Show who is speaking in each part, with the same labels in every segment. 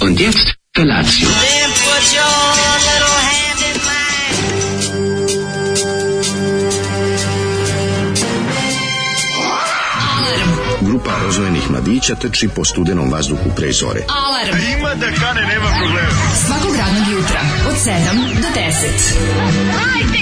Speaker 1: Und jetzt Felatio.
Speaker 2: Then put your little hand in mine.
Speaker 3: Grupa rozvojenih mladića trči po studenom vazduhu pre zore.
Speaker 4: Alarm. Ima da kane, nema problema. Svakog radnog jutra, od 7 do 10.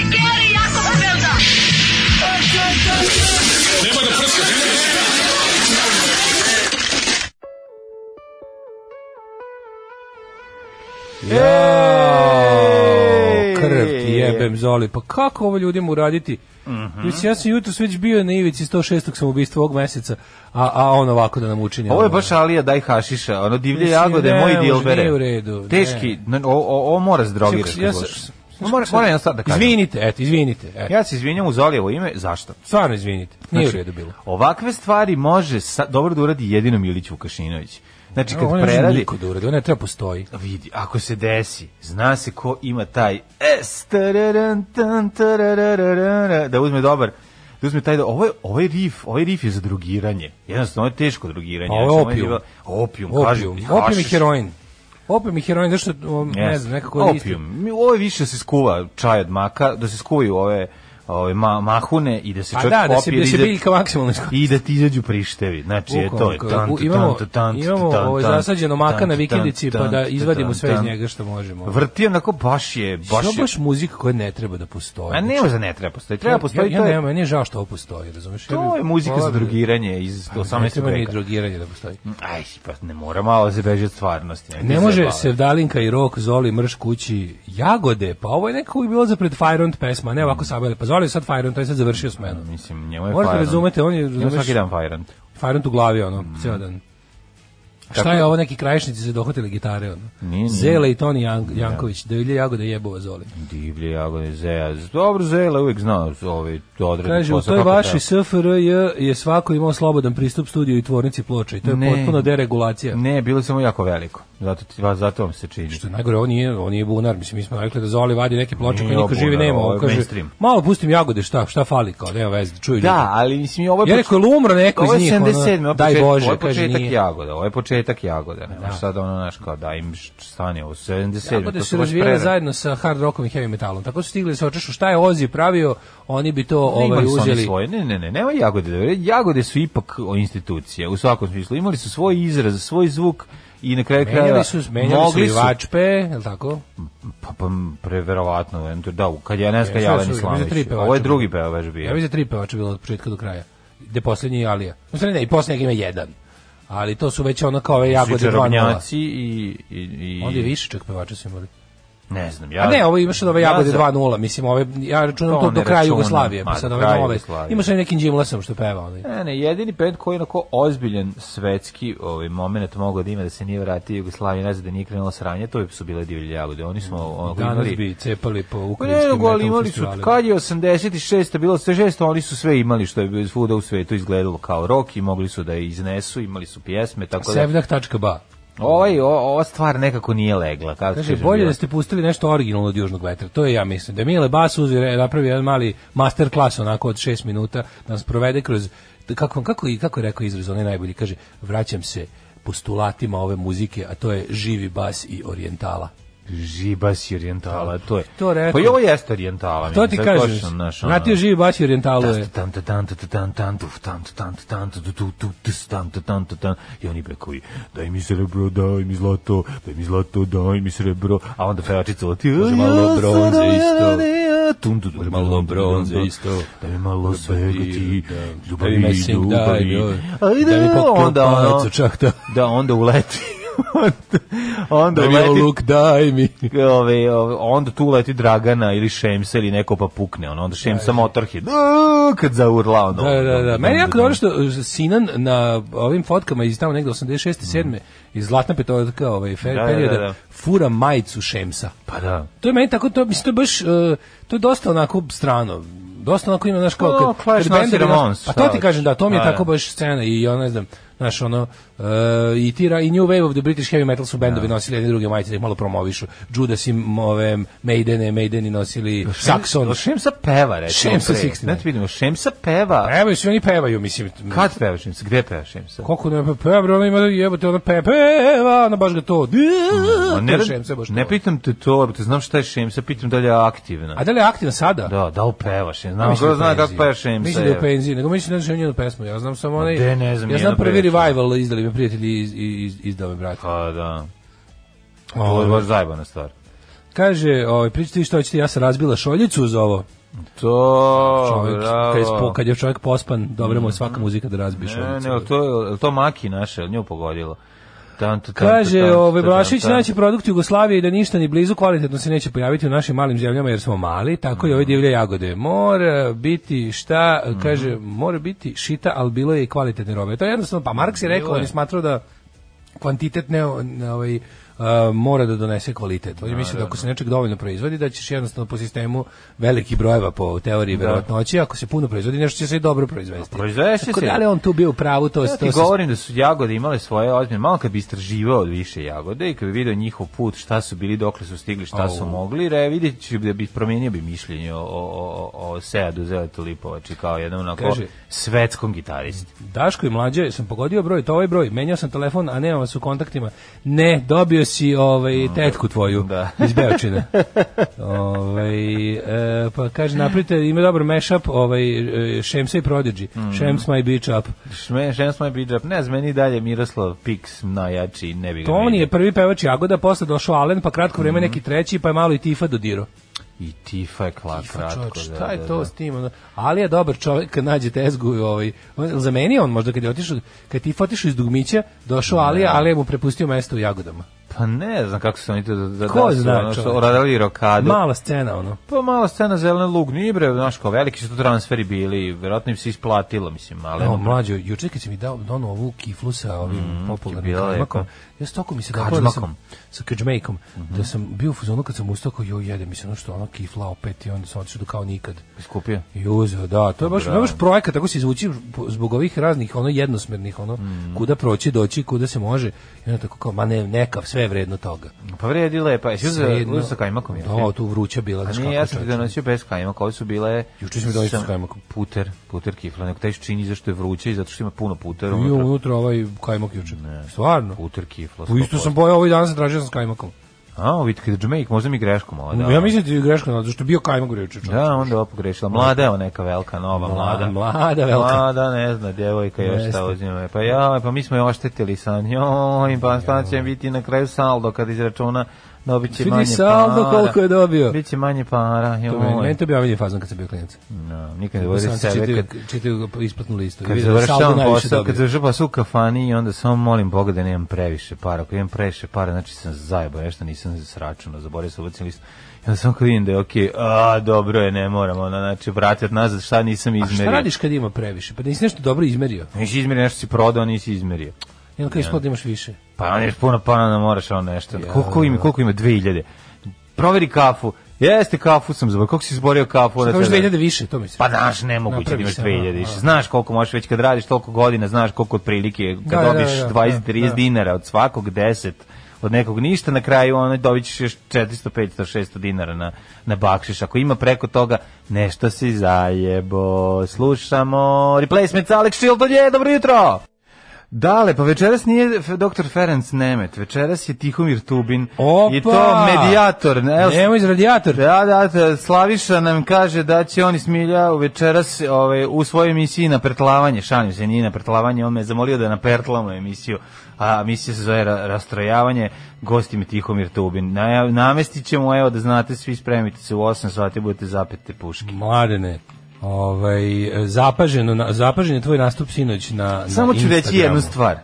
Speaker 5: Ej!
Speaker 6: krv ti jebem zoli. Pa kako ovo ljudima uraditi?
Speaker 5: Mhm.
Speaker 6: Znači, ja sam jutros već bio na ivici 106. samoubistva ovog meseca, a, a on ovako da nam učini.
Speaker 5: Ovo je
Speaker 6: ono.
Speaker 5: baš Alija daj hašiša, ono divlje
Speaker 6: Mislim,
Speaker 5: jagode,
Speaker 6: ne,
Speaker 5: moji
Speaker 6: može,
Speaker 5: dilbere.
Speaker 6: nije u redu, ne.
Speaker 5: Teški, ne, o, o, ovo mora zdrogiraš
Speaker 6: Ja
Speaker 5: kad
Speaker 6: sam-
Speaker 5: goš. Mora, mora jedna stvar da kažem.
Speaker 6: Izvinite, eto, izvinite. Eto.
Speaker 5: Ja se izvinjam u Zolijevo ime, zašto?
Speaker 6: Stvarno izvinite. Nije u
Speaker 5: Znači,
Speaker 6: redu bilo.
Speaker 5: Ovakve stvari može sa, dobro da uradi jedino Milić Vukašinović. Znači,
Speaker 6: Ovo
Speaker 5: kad
Speaker 6: ne može
Speaker 5: preradi,
Speaker 6: Niko da uradi, ovo ne treba postoji.
Speaker 5: vidi, ako se desi, zna se ko ima taj es, tararan, tan, tararararara, da uzme dobar da uzme taj, ovo je, ovaj rif, ovaj rif je za drugiranje. Jednostavno, ovo je teško drugiranje.
Speaker 6: Pa ovo je
Speaker 5: Znači,
Speaker 6: opijum.
Speaker 5: bilo- Opijum, kažu.
Speaker 6: Opium. Opium i
Speaker 5: hašiš.
Speaker 6: heroin. Opium i heroin, zašto, o, ne
Speaker 5: Jeste.
Speaker 6: znam, nekako... je isto.
Speaker 5: Opium. Mi- Ovo je više da se skuva čaj od maka, da se skuvaju ove ove ma, mahune i da se
Speaker 6: Pa
Speaker 5: čovjek
Speaker 6: da, da se,
Speaker 5: popije
Speaker 6: da
Speaker 5: i
Speaker 6: se biljka maksimalno iskoristi.
Speaker 5: i da ti izađu prištevi. Znači, je to je
Speaker 6: Bukvalno,
Speaker 5: tant,
Speaker 6: imamo,
Speaker 5: tant, tant,
Speaker 6: imamo
Speaker 5: tant,
Speaker 6: ovo
Speaker 5: tant,
Speaker 6: zasađeno maka
Speaker 5: tant,
Speaker 6: na vikendici
Speaker 5: tant,
Speaker 6: pa da
Speaker 5: tant,
Speaker 6: izvadimo
Speaker 5: tant,
Speaker 6: sve iz
Speaker 5: tant.
Speaker 6: njega što možemo.
Speaker 5: Vrtijem, onako, baš je, baš
Speaker 6: Što
Speaker 5: je.
Speaker 6: baš muzika koja ne treba da postoji.
Speaker 5: A ne može da ne treba postoji, treba postoji,
Speaker 6: ja,
Speaker 5: to
Speaker 6: ja,
Speaker 5: je,
Speaker 6: nema, meni je žao što ovo postoji, razumiješ?
Speaker 5: to je muzika za drugiranje iz
Speaker 6: Pa Ne
Speaker 5: 18.
Speaker 6: treba ni
Speaker 5: veka.
Speaker 6: drugiranje da postoji.
Speaker 5: Aj, pa ne mora malo se beži od stvarnosti.
Speaker 6: Ne može Sevdalinka i Rok, Zoli, Mrš kući, Jagode, pa ovo je nekako uvijek bilo za pred Fire on pesma, a ne ovako sabele, pa Zoli je sad Fire on, to je sad završio smenu.
Speaker 5: Mislim, njemu je
Speaker 6: Možete
Speaker 5: Fajron.
Speaker 6: razumete, on je,
Speaker 5: Njemu
Speaker 6: razumeš,
Speaker 5: svaki dan Fajron.
Speaker 6: Fire on u glavi, ono,
Speaker 5: Mm.
Speaker 6: ceo dan. Šta je ovo, neki krajišnici se dohvatili gitare, ono.
Speaker 5: Nije, nije.
Speaker 6: Zele i Toni Jank- Janković, da vilje Jagode jebova Zoli.
Speaker 5: Divlje jagode Zeja. Dobro, Zela uvek zna ovaj to odredi
Speaker 6: Kaže, u
Speaker 5: posao
Speaker 6: toj
Speaker 5: kako
Speaker 6: vašoj
Speaker 5: treba.
Speaker 6: SFRJ je svako imao slobodan pristup studiju i tvornici ploča i to je
Speaker 5: Ne.
Speaker 6: potpuno deregulacija.
Speaker 5: Ne, bilo je samo jako veliko. Zato, ti, va- zato vam se čini.
Speaker 6: Što je najgore, on nije, on nije bunar, mislim, mi smo navikli da Zoli vadi neke ploče koje
Speaker 5: Nije
Speaker 6: niko živi
Speaker 5: bunar,
Speaker 6: nema.
Speaker 5: ovo je
Speaker 6: On kaže,
Speaker 5: mainstream.
Speaker 6: malo pustim jagode, šta, šta fali, kao, nema veze, čuju
Speaker 5: Da, ali mislim i ovo
Speaker 6: Ja
Speaker 5: poč-
Speaker 6: rekao, ili umro neko
Speaker 5: ovo
Speaker 6: iz
Speaker 5: je
Speaker 6: njih, ono,
Speaker 5: 77, ovo je
Speaker 6: daj
Speaker 5: početak-
Speaker 6: Bože,
Speaker 5: ovo je
Speaker 6: kaže,
Speaker 5: početak
Speaker 6: nije.
Speaker 5: jagoda, ovo je početak jagoda. Ne, da. sad ono, znaš, kao da im š- stani ovo 77.
Speaker 6: Tako da
Speaker 5: to
Speaker 6: se
Speaker 5: su baš
Speaker 6: razvijale
Speaker 5: prerane.
Speaker 6: zajedno sa hard rockom i heavy metalom. Tako su stigli da se očešu šta je Ozi pravio, oni bi to ovaj,
Speaker 5: imali su oni
Speaker 6: uzeli.
Speaker 5: svoje. Ne, ne, ne, nema jagode. da- Jagode su ipak o, institucije, u svakom smislu. Imali su svoj izraz, svoj zvuk i na kraju krajeva
Speaker 6: Menjali su, menjali su
Speaker 5: mogli
Speaker 6: i vačpe, je li tako?
Speaker 5: Pa, pa preverovatno, eventu- da, u- kad je Neska
Speaker 6: E,
Speaker 5: Jelen
Speaker 6: sad su- mislim, tri
Speaker 5: Islamić.
Speaker 6: pevača
Speaker 5: Ovo je
Speaker 6: bilo.
Speaker 5: drugi pevač bio.
Speaker 6: Ja mislim da tri pevača bilo od početka do kraja. Gde poslednji je Alija. U stvari ne, i poslednjeg ima jedan. Ali to su već ono kao ove
Speaker 5: Svi
Speaker 6: jagode 2.0.
Speaker 5: čarobnjaci i, i, i...
Speaker 6: Onda je više čak pevača su imali.
Speaker 5: Ne znam, ja...
Speaker 6: A ne, ovo imaš od ove jagode
Speaker 5: za-
Speaker 6: 2.0 mislim, ove, ja računam
Speaker 5: To
Speaker 6: to,
Speaker 5: ne
Speaker 6: do kraja
Speaker 5: računam,
Speaker 6: Jugoslavije,
Speaker 5: ma,
Speaker 6: pa sad
Speaker 5: do
Speaker 6: ove
Speaker 5: kraja
Speaker 6: nove.
Speaker 5: Jugoslavije.
Speaker 6: Imaš i nekim Jimlesom što peva onaj.
Speaker 5: Ne, ne, jedini band koji je onako ozbiljen svetski ovaj moment mogao da ima da se nije vratio Jugoslavije nazad da nije krenulo sranje, to su bile divlje jagode. Oni smo onako
Speaker 6: Danas
Speaker 5: imali...
Speaker 6: bi cepali po
Speaker 5: Pa ne,
Speaker 6: ukrajinskim
Speaker 5: nego, ali
Speaker 6: metal
Speaker 5: imali su,
Speaker 6: festivalima.
Speaker 5: kad je 86. bilo sve žesto, oni su sve imali što je svuda u svetu izgledalo kao rock i mogli su da je iznesu, imali su pjesme, tako da...
Speaker 6: Sevdah.ba.
Speaker 5: Ovaj, o, ova stvar nekako nije legla. Kako
Speaker 6: Kaže,
Speaker 5: kažem,
Speaker 6: bolje
Speaker 5: bila-
Speaker 6: da ste pustili nešto originalno od Južnog vetra. To je ja mislim. Da Mile Bas uzvi, napravi jedan mali master klas onako od 6 minuta, da nas provede kroz kako kako i kako je rekao izraz, onaj najbolji kaže, vraćam se postulatima ove muzike, a to je živi bas i orijentala.
Speaker 5: Žibas i orijentala, to je.
Speaker 6: To rekao.
Speaker 5: Pa i ovo jeste orijentala.
Speaker 6: To
Speaker 5: mislim,
Speaker 6: ti
Speaker 5: sad
Speaker 6: kažeš.
Speaker 5: točno, znaš, ono-
Speaker 6: Vratio živi bas i orijentalu je.
Speaker 5: Tan, tan, tan, tan, tan, tan, tuf, tan, tan, tan, tan, tu, tu, tu, tis, tan, tan, tan, tan, tan. I oni bekovi, daj mi srebro, daj mi zlato, daj mi zlato, daj mi srebro. A onda pevačica leti,
Speaker 6: Može malo bronze isto. Može malo bronze isto.
Speaker 5: Da mi malo svega ti, ljubavi,
Speaker 6: mi messing, daj,
Speaker 5: ljubavi.
Speaker 6: joj.
Speaker 5: Ajde,
Speaker 6: Daj mi pop, pop,
Speaker 5: onda ono,
Speaker 6: palacu, čak to.
Speaker 5: da, onda uleti. Onda- onda
Speaker 6: Da mi
Speaker 5: uleti
Speaker 6: luk daj mi.
Speaker 5: ove, ove, onda tu leti Dragana ili Šemsa ili neko pa pukne, ono, onda Šemsa Motorhead, "A", kad zaurla, ono.
Speaker 6: Da, da, da. Meni je jako dobro što uh, Sinan na ovim fotkama iz tamo negde 86. 7. iz Zlatna petorka ovaj, fer,
Speaker 5: Mm. Da, da,
Speaker 6: perioda
Speaker 5: da, da.
Speaker 6: fura majicu Šemsa.
Speaker 5: Pa da.
Speaker 6: e, To je meni tako, to, mislim, to je baš, uh, to je dosta onako strano. dosta onako ima znaš kao
Speaker 5: Pa,
Speaker 6: kad,
Speaker 5: Clash
Speaker 6: kad
Speaker 5: Nazi
Speaker 6: bendovi, znaš,
Speaker 5: Ramones,
Speaker 6: pa
Speaker 5: šta
Speaker 6: to ti
Speaker 5: hoćeš?
Speaker 6: kažem da to mi je
Speaker 5: Da,
Speaker 6: tako
Speaker 5: da.
Speaker 6: baš scena i ono ne znam znaš ono uh, i tira i New Wave of the British Heavy Metal su bendovi nosili jedne druge majice da ih malo promovišu Judas i m- ove Maidene Maideni nosili Saxon
Speaker 5: Šemsa peva, recimo.
Speaker 6: Šemsa
Speaker 5: pre.
Speaker 6: 69.
Speaker 5: Znači vidimo, Šemsa peva.
Speaker 6: Pevaju svi oni pevaju mislim
Speaker 5: Kad peva Šemsa? Gde peva Šemsa?
Speaker 6: Koliko ne pe- peva, bre, ona ima jebote, ona pe- peva, ona baš ga to.
Speaker 5: Ma
Speaker 6: Ne,
Speaker 5: ne,
Speaker 6: se baš to.
Speaker 5: ne pitam te to, te znam šta je Šemsa, pitam da li je aktivna.
Speaker 6: A da li je aktivna sada?
Speaker 5: Da, da li peva Šemsa? Znam,
Speaker 6: Mislim
Speaker 5: ko
Speaker 6: da je
Speaker 5: zna
Speaker 6: u
Speaker 5: kako
Speaker 6: penziji.
Speaker 5: peva Šemsa.
Speaker 6: Mislim da je u
Speaker 5: evo.
Speaker 6: penziji, nego mislim da znam njenu pesmu. Ja znam samo onaj...
Speaker 5: gde ne znam
Speaker 6: ja znam
Speaker 5: njenu
Speaker 6: prvi
Speaker 5: pesmu.
Speaker 6: revival izdali me prijatelji iz, iz, izdave, brate.
Speaker 5: Pa
Speaker 6: Ovaj.
Speaker 5: da. To je
Speaker 6: Ovo,
Speaker 5: baš zajebana stvar.
Speaker 6: Ovaj, kaže, ovaj, pričati ti što hoćete, ja sam razbila šoljicu uz ovo.
Speaker 5: To,
Speaker 6: Čovjek,
Speaker 5: bravo.
Speaker 6: kad, je, spo- kad je čovjek pospan, dobro mu je svaka muzika da razbije
Speaker 5: Ne,
Speaker 6: šoljicu.
Speaker 5: ne, ali to, je- ali to Maki naše, ali nju pogodilo. Tan, tan, tan,
Speaker 6: Kaže,
Speaker 5: tan,
Speaker 6: ovaj
Speaker 5: tan,
Speaker 6: Blašić
Speaker 5: tan, tan.
Speaker 6: naći produkt Jugoslavije i da ništa ni blizu kvalitetno se neće pojaviti u našim malim zemljama jer smo mali, tako
Speaker 5: Mm.
Speaker 6: i ove divlje jagode. Mora biti šta,
Speaker 5: Mm-hmm.
Speaker 6: kaže, mora biti šita, ali bilo je i kvalitetne robe. To je jednostavno, pa Marks je rekao,
Speaker 5: Bilo je.
Speaker 6: on je smatrao da kvantitet ne, ne ovaj, uh, mora da donese kvalitet. On je mislio da ako se nečeg dovoljno proizvodi, da ćeš jednostavno po sistemu velikih brojeva po teoriji verovatnoći, ako se puno proizvodi, nešto će se i dobro proizvesti.
Speaker 5: proizvešće
Speaker 6: Tako
Speaker 5: Pa se.
Speaker 6: Da li je on tu bio u pravu, to,
Speaker 5: Ja
Speaker 6: to
Speaker 5: ti
Speaker 6: se
Speaker 5: govorim da su jagode imale svoje ozbiljne, malo kad bi istraživao više jagode i kad bi video njihov put, šta su bili, dokle su stigli, šta su mogli, re, vidjet ću da bi promijenio bi mišljenje o, o, o, o Seadu Zeletu Lipovači kao jednom onako
Speaker 6: Kaže-
Speaker 5: svetskom gitaristi.
Speaker 6: Daško i mlađe sam pogodio broj, to ovaj broj, menjao sam telefon, a nema vas u kontaktima. Ne, dobio si ovaj, tetku tvoju
Speaker 5: Mm, Da.
Speaker 6: iz Beočine. ovaj, e, pa kaže, napravite, ima dobar mashup, ovaj, e, Šemsa i Prodigy.
Speaker 5: Mm.
Speaker 6: Šems my bitch up.
Speaker 5: Šme, šems moj bidžap, ne znam, meni i dalje Miroslav Piks najjači, ne bi ga
Speaker 6: Toni
Speaker 5: vidio.
Speaker 6: je prvi pevač Jagoda, posle došao Alen, pa kratko
Speaker 5: Mm.
Speaker 6: vreme neki treći, pa je malo i Tifa dodiro.
Speaker 5: I Tifa je kla, Pa kratko.
Speaker 6: Čovječ,
Speaker 5: da,
Speaker 6: šta je
Speaker 5: da,
Speaker 6: to
Speaker 5: da.
Speaker 6: s tim? ono? Ali je dobar čovjek kad nađe tezgu i ovaj. on- Za meni je on možda kad je otišao, kad ti otišao iz dugmića, došao Alija, Alija mu prepustio mesto u Jagodama.
Speaker 5: Pa ne znam kako su oni to da, da,
Speaker 6: Ko
Speaker 5: da su
Speaker 6: zna,
Speaker 5: ono što
Speaker 6: čoveče?
Speaker 5: radili rokadu.
Speaker 6: Mala scena, ono.
Speaker 5: Pa mala scena zelena lug, nije bre, znaš kao veliki su tu transferi bili, verovatno im se isplatilo, mislim, ali... ono,
Speaker 6: Evo, mlađo, juče kad si mi dao dono ovu kiflu sa ovim popularnim
Speaker 5: Mm, bila je
Speaker 6: kajmakom,
Speaker 5: lepa.
Speaker 6: ja s toliko mi se dopalo da sam,
Speaker 5: Kađmakom. Mhm.
Speaker 6: sa kađmejkom, da sam bio u fazonu kad sam ustao kao, joj, jede mi se ono što ono kifla opet i onda sam otišao do kao nikad.
Speaker 5: Skupio.
Speaker 6: I uzeo, da, to je baš, to je baš projekat, tako se izvuči zbog ovih raznih, ono, jednosmernih, ono,
Speaker 5: Mhm.
Speaker 6: kuda proći, doći, kuda se može. I onda tako kao, ma ne, neka, sve je vredno toga.
Speaker 5: Pa vredi lepa, jesi uzeo
Speaker 6: Vredno.
Speaker 5: uzeo sa kajmakom? jel?
Speaker 6: Da, tu vruća bila,
Speaker 5: A
Speaker 6: znaš
Speaker 5: nije,
Speaker 6: kako
Speaker 5: ja sam ti
Speaker 6: čoveče.
Speaker 5: donosio bez kajmaka, ovo su bile...
Speaker 6: Juče si mi donosio
Speaker 5: sam-
Speaker 6: s kajmakom.
Speaker 5: Puter, puter kifla, nego taj čini zašto je vruće i zato što ima puno putera
Speaker 6: Bio
Speaker 5: unutra.
Speaker 6: unutra ovaj kajmak juče. Stvarno.
Speaker 5: Puter kifla.
Speaker 6: Pa isto
Speaker 5: 100%.
Speaker 6: sam pojao ovaj dan, sam tražio sam s kajmakom.
Speaker 5: A, ovo vidite, kada Jamaica, možda mi greškom ovo Pa da.
Speaker 6: Ja mislim da je greška na zašto je bio kajmak reče.
Speaker 5: Da, onda je ovo pogrešila. Mlada je ona neka velika, nova, mlada.
Speaker 6: Mlada, velika.
Speaker 5: Mlada, ne zna, djevojka još
Speaker 6: Jeste.
Speaker 5: šta uzima. Pa ja, pa mi smo je oštetili sa njoj, pa šta će biti na kraju saldo kad izračuna dobit će
Speaker 6: Vidi
Speaker 5: manje
Speaker 6: saldo
Speaker 5: para.
Speaker 6: koliko je dobio.
Speaker 5: Biće manje para,
Speaker 6: To meni, meni
Speaker 5: joj.
Speaker 6: to bio omiljen fazon kad sam bio klinac.
Speaker 5: No, nikad ne
Speaker 6: Sam
Speaker 5: vodi
Speaker 6: se
Speaker 5: sebe
Speaker 6: čitao,
Speaker 5: kad
Speaker 6: čitao isplatnu listu.
Speaker 5: Kad
Speaker 6: I vidio da saldo
Speaker 5: završavam
Speaker 6: najviše
Speaker 5: posao,
Speaker 6: dobio.
Speaker 5: kad završavam posao u kafani i onda samo molim Boga da nemam previše para. Ako imam previše para, znači sam zajebao, nešto nisam sračunao, zaboravio sam ubacim list. I onda samo kad vidim da je okej, a dobro je, ne moram, ono, znači vratiti nazad, šta nisam
Speaker 6: A
Speaker 5: izmerio.
Speaker 6: šta radiš kad ima previše? Pa nisi nešto dobro izmerio.
Speaker 5: Nisi izmerio, nešto si prodao, nisi izmerio.
Speaker 6: I onda kad ispod imaš više.
Speaker 5: Pa on je puno para, onda moraš ono nešto. Koliko ima, koliko ima? 2000. Proveri kafu. Jeste, kafu sam zaboravio. Koliko si izborio
Speaker 6: Šta
Speaker 5: kafu? Onda
Speaker 6: kažeš
Speaker 5: te-
Speaker 6: 2000 više, to misliš?
Speaker 5: Pa znaš, nemoguće da
Speaker 6: Napraviš
Speaker 5: imaš
Speaker 6: se, ono,
Speaker 5: 2000
Speaker 6: a,
Speaker 5: više.
Speaker 6: a.
Speaker 5: Znaš koliko možeš već kad radiš toliko godina, znaš koliko otprilike, kad
Speaker 6: Da, da,
Speaker 5: dobiješ
Speaker 6: da, da,
Speaker 5: 20-30
Speaker 6: da.
Speaker 5: dinara od svakog 10 od nekog ništa, na kraju ono dobit ćeš još 400, 500, 600 dinara na, na bakšiš. Ako ima preko toga, nešto si zajebo. Slušamo Replacements Alex Šildolje, dobro jutro! Dale, pa večeras nije f- dr. Ferenc Nemet, večeras je Tihomir Tubin
Speaker 6: Opa!
Speaker 5: i to medijator. ne, evo,
Speaker 6: Nemoj iz radijator.
Speaker 5: da, da, da, Slaviša nam kaže da će on iz Milja u večeras ovaj, u svojoj emisiji na pretlavanje, šalim se, nije na pretlavanje, on me je zamolio da napertlamo emisiju, a emisija se zove Ra- Rastrojavanje, gosti mi Tihomir Tubin. Na, namestit ćemo, evo da znate, svi spremite se u 8 sati, budete zapete puške.
Speaker 6: Mladene, ovaj, zapaženo, na, zapažen je tvoj nastup sinoć na, na
Speaker 5: Samo ću reći
Speaker 6: Instagramu.
Speaker 5: jednu stvar.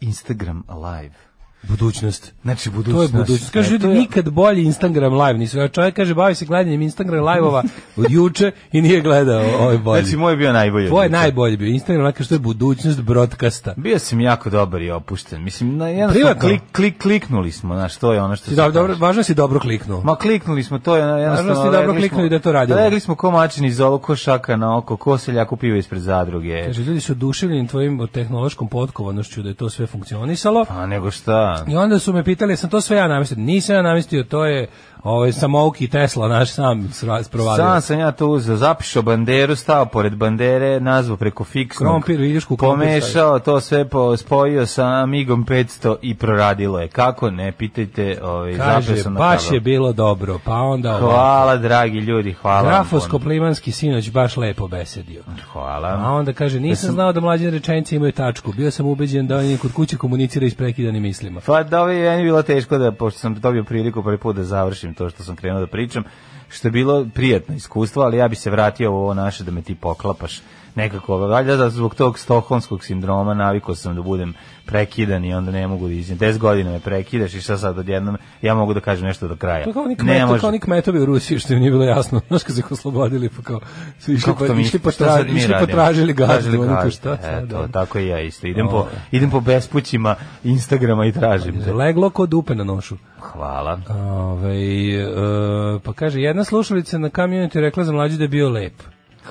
Speaker 5: Instagram live.
Speaker 6: Budućnost.
Speaker 5: Znači,
Speaker 6: To je
Speaker 5: budućnost.
Speaker 6: budućnost. Kaže,
Speaker 5: E,
Speaker 6: ljudi,
Speaker 5: to je-
Speaker 6: nikad bolji Instagram live nisu. Ja čovjek kaže, bavi se gledanjem Instagram live-ova od juče i nije gledao ovaj bolji.
Speaker 5: Znači, moj je bio najbolji. od
Speaker 6: Tvoj je
Speaker 5: juče.
Speaker 6: najbolji bio. Instagram, onako što je budućnost broadcasta.
Speaker 5: Bio sam jako dobar i opušten. Mislim, na jednostavno
Speaker 6: Privatno?
Speaker 5: klik, klik, kliknuli smo, znaš, to je ono što
Speaker 6: Ti
Speaker 5: se
Speaker 6: dobro, dobro,
Speaker 5: kaže.
Speaker 6: važno si dobro kliknuo.
Speaker 5: Ma kliknuli smo, to je ono, jednostavno...
Speaker 6: ste dobro
Speaker 5: rekli smo-
Speaker 6: kliknuli da to radimo.
Speaker 5: Rekli smo ko mačin iz ovo, ko šaka na oko, ko seljaku piva ispred zadruge.
Speaker 6: Kaže, ljudi su oduševljeni tvojim tehnološkom potkovanošću da je to sve funkcionisalo.
Speaker 5: Pa nego šta?
Speaker 6: I onda su me pitali, sam to sve ja namestio? Nisam ja namestio, to je ovaj, samouki Tesla naš sam sra- sprovadio.
Speaker 5: Sam sam ja to uzeo, zapišao banderu, stao pored bandere, nazvao preko fiksnog.
Speaker 6: Krompir, viljušku krompir
Speaker 5: Pomešao, to sve po, spojio sa Amigom 500 i proradilo je. Kako? Ne, pitajte. Ovaj, zapeo
Speaker 6: Kaže,
Speaker 5: sam na
Speaker 6: baš
Speaker 5: kabel.
Speaker 6: je bilo dobro, pa onda... Hvala.
Speaker 5: Hvala, dragi ljudi, hvala. vam puno.
Speaker 6: Grafosko-plimanski sinoć baš lepo besedio. A
Speaker 5: Hvala.
Speaker 6: onda kaže, nisam znao da mlađe rečenice imaju tačku. Bio sam ubeđen da on kod kuće komunicira iz prekidanim mislima.
Speaker 5: Pa da ovo je meni bilo teško da, pošto sam dobio priliku prvi put da završim to što sam krenuo da pričam, što je bilo prijatno iskustvo, ali ja bi se vratio u ovo naše da me ti poklapaš nekako. Valjda da zbog tog stokholmskog sindroma navikao sam da budem prekidan i onda ne mogu da iznijem. 10 godina me prekidaš i šta sad odjednom ja mogu da kažem nešto do kraja.
Speaker 6: To je kao oni
Speaker 5: ne
Speaker 6: kmetovi, kao oni kmetovi u Rusiji, što im nije bilo jasno. Znaš kad su ih oslobodili, pa kao su išli,
Speaker 5: Kako
Speaker 6: pa,
Speaker 5: to mi
Speaker 6: išli, pa,
Speaker 5: šta
Speaker 6: tra-
Speaker 5: sad mi
Speaker 6: išli pa
Speaker 5: radimo?
Speaker 6: tražili gazdu. Ono kao
Speaker 5: gazdu. E,
Speaker 6: šta sad,
Speaker 5: Eto,
Speaker 6: ono. Ovaj.
Speaker 5: tako i ja isto. Idem po,
Speaker 6: Ovo.
Speaker 5: idem po bespućima Instagrama i tražim. te.
Speaker 6: Leglo kod dupe na nošu.
Speaker 5: Hvala.
Speaker 6: Ove, e, pa kaže, jedna slušalica na community rekla za mlađu da je bio lep.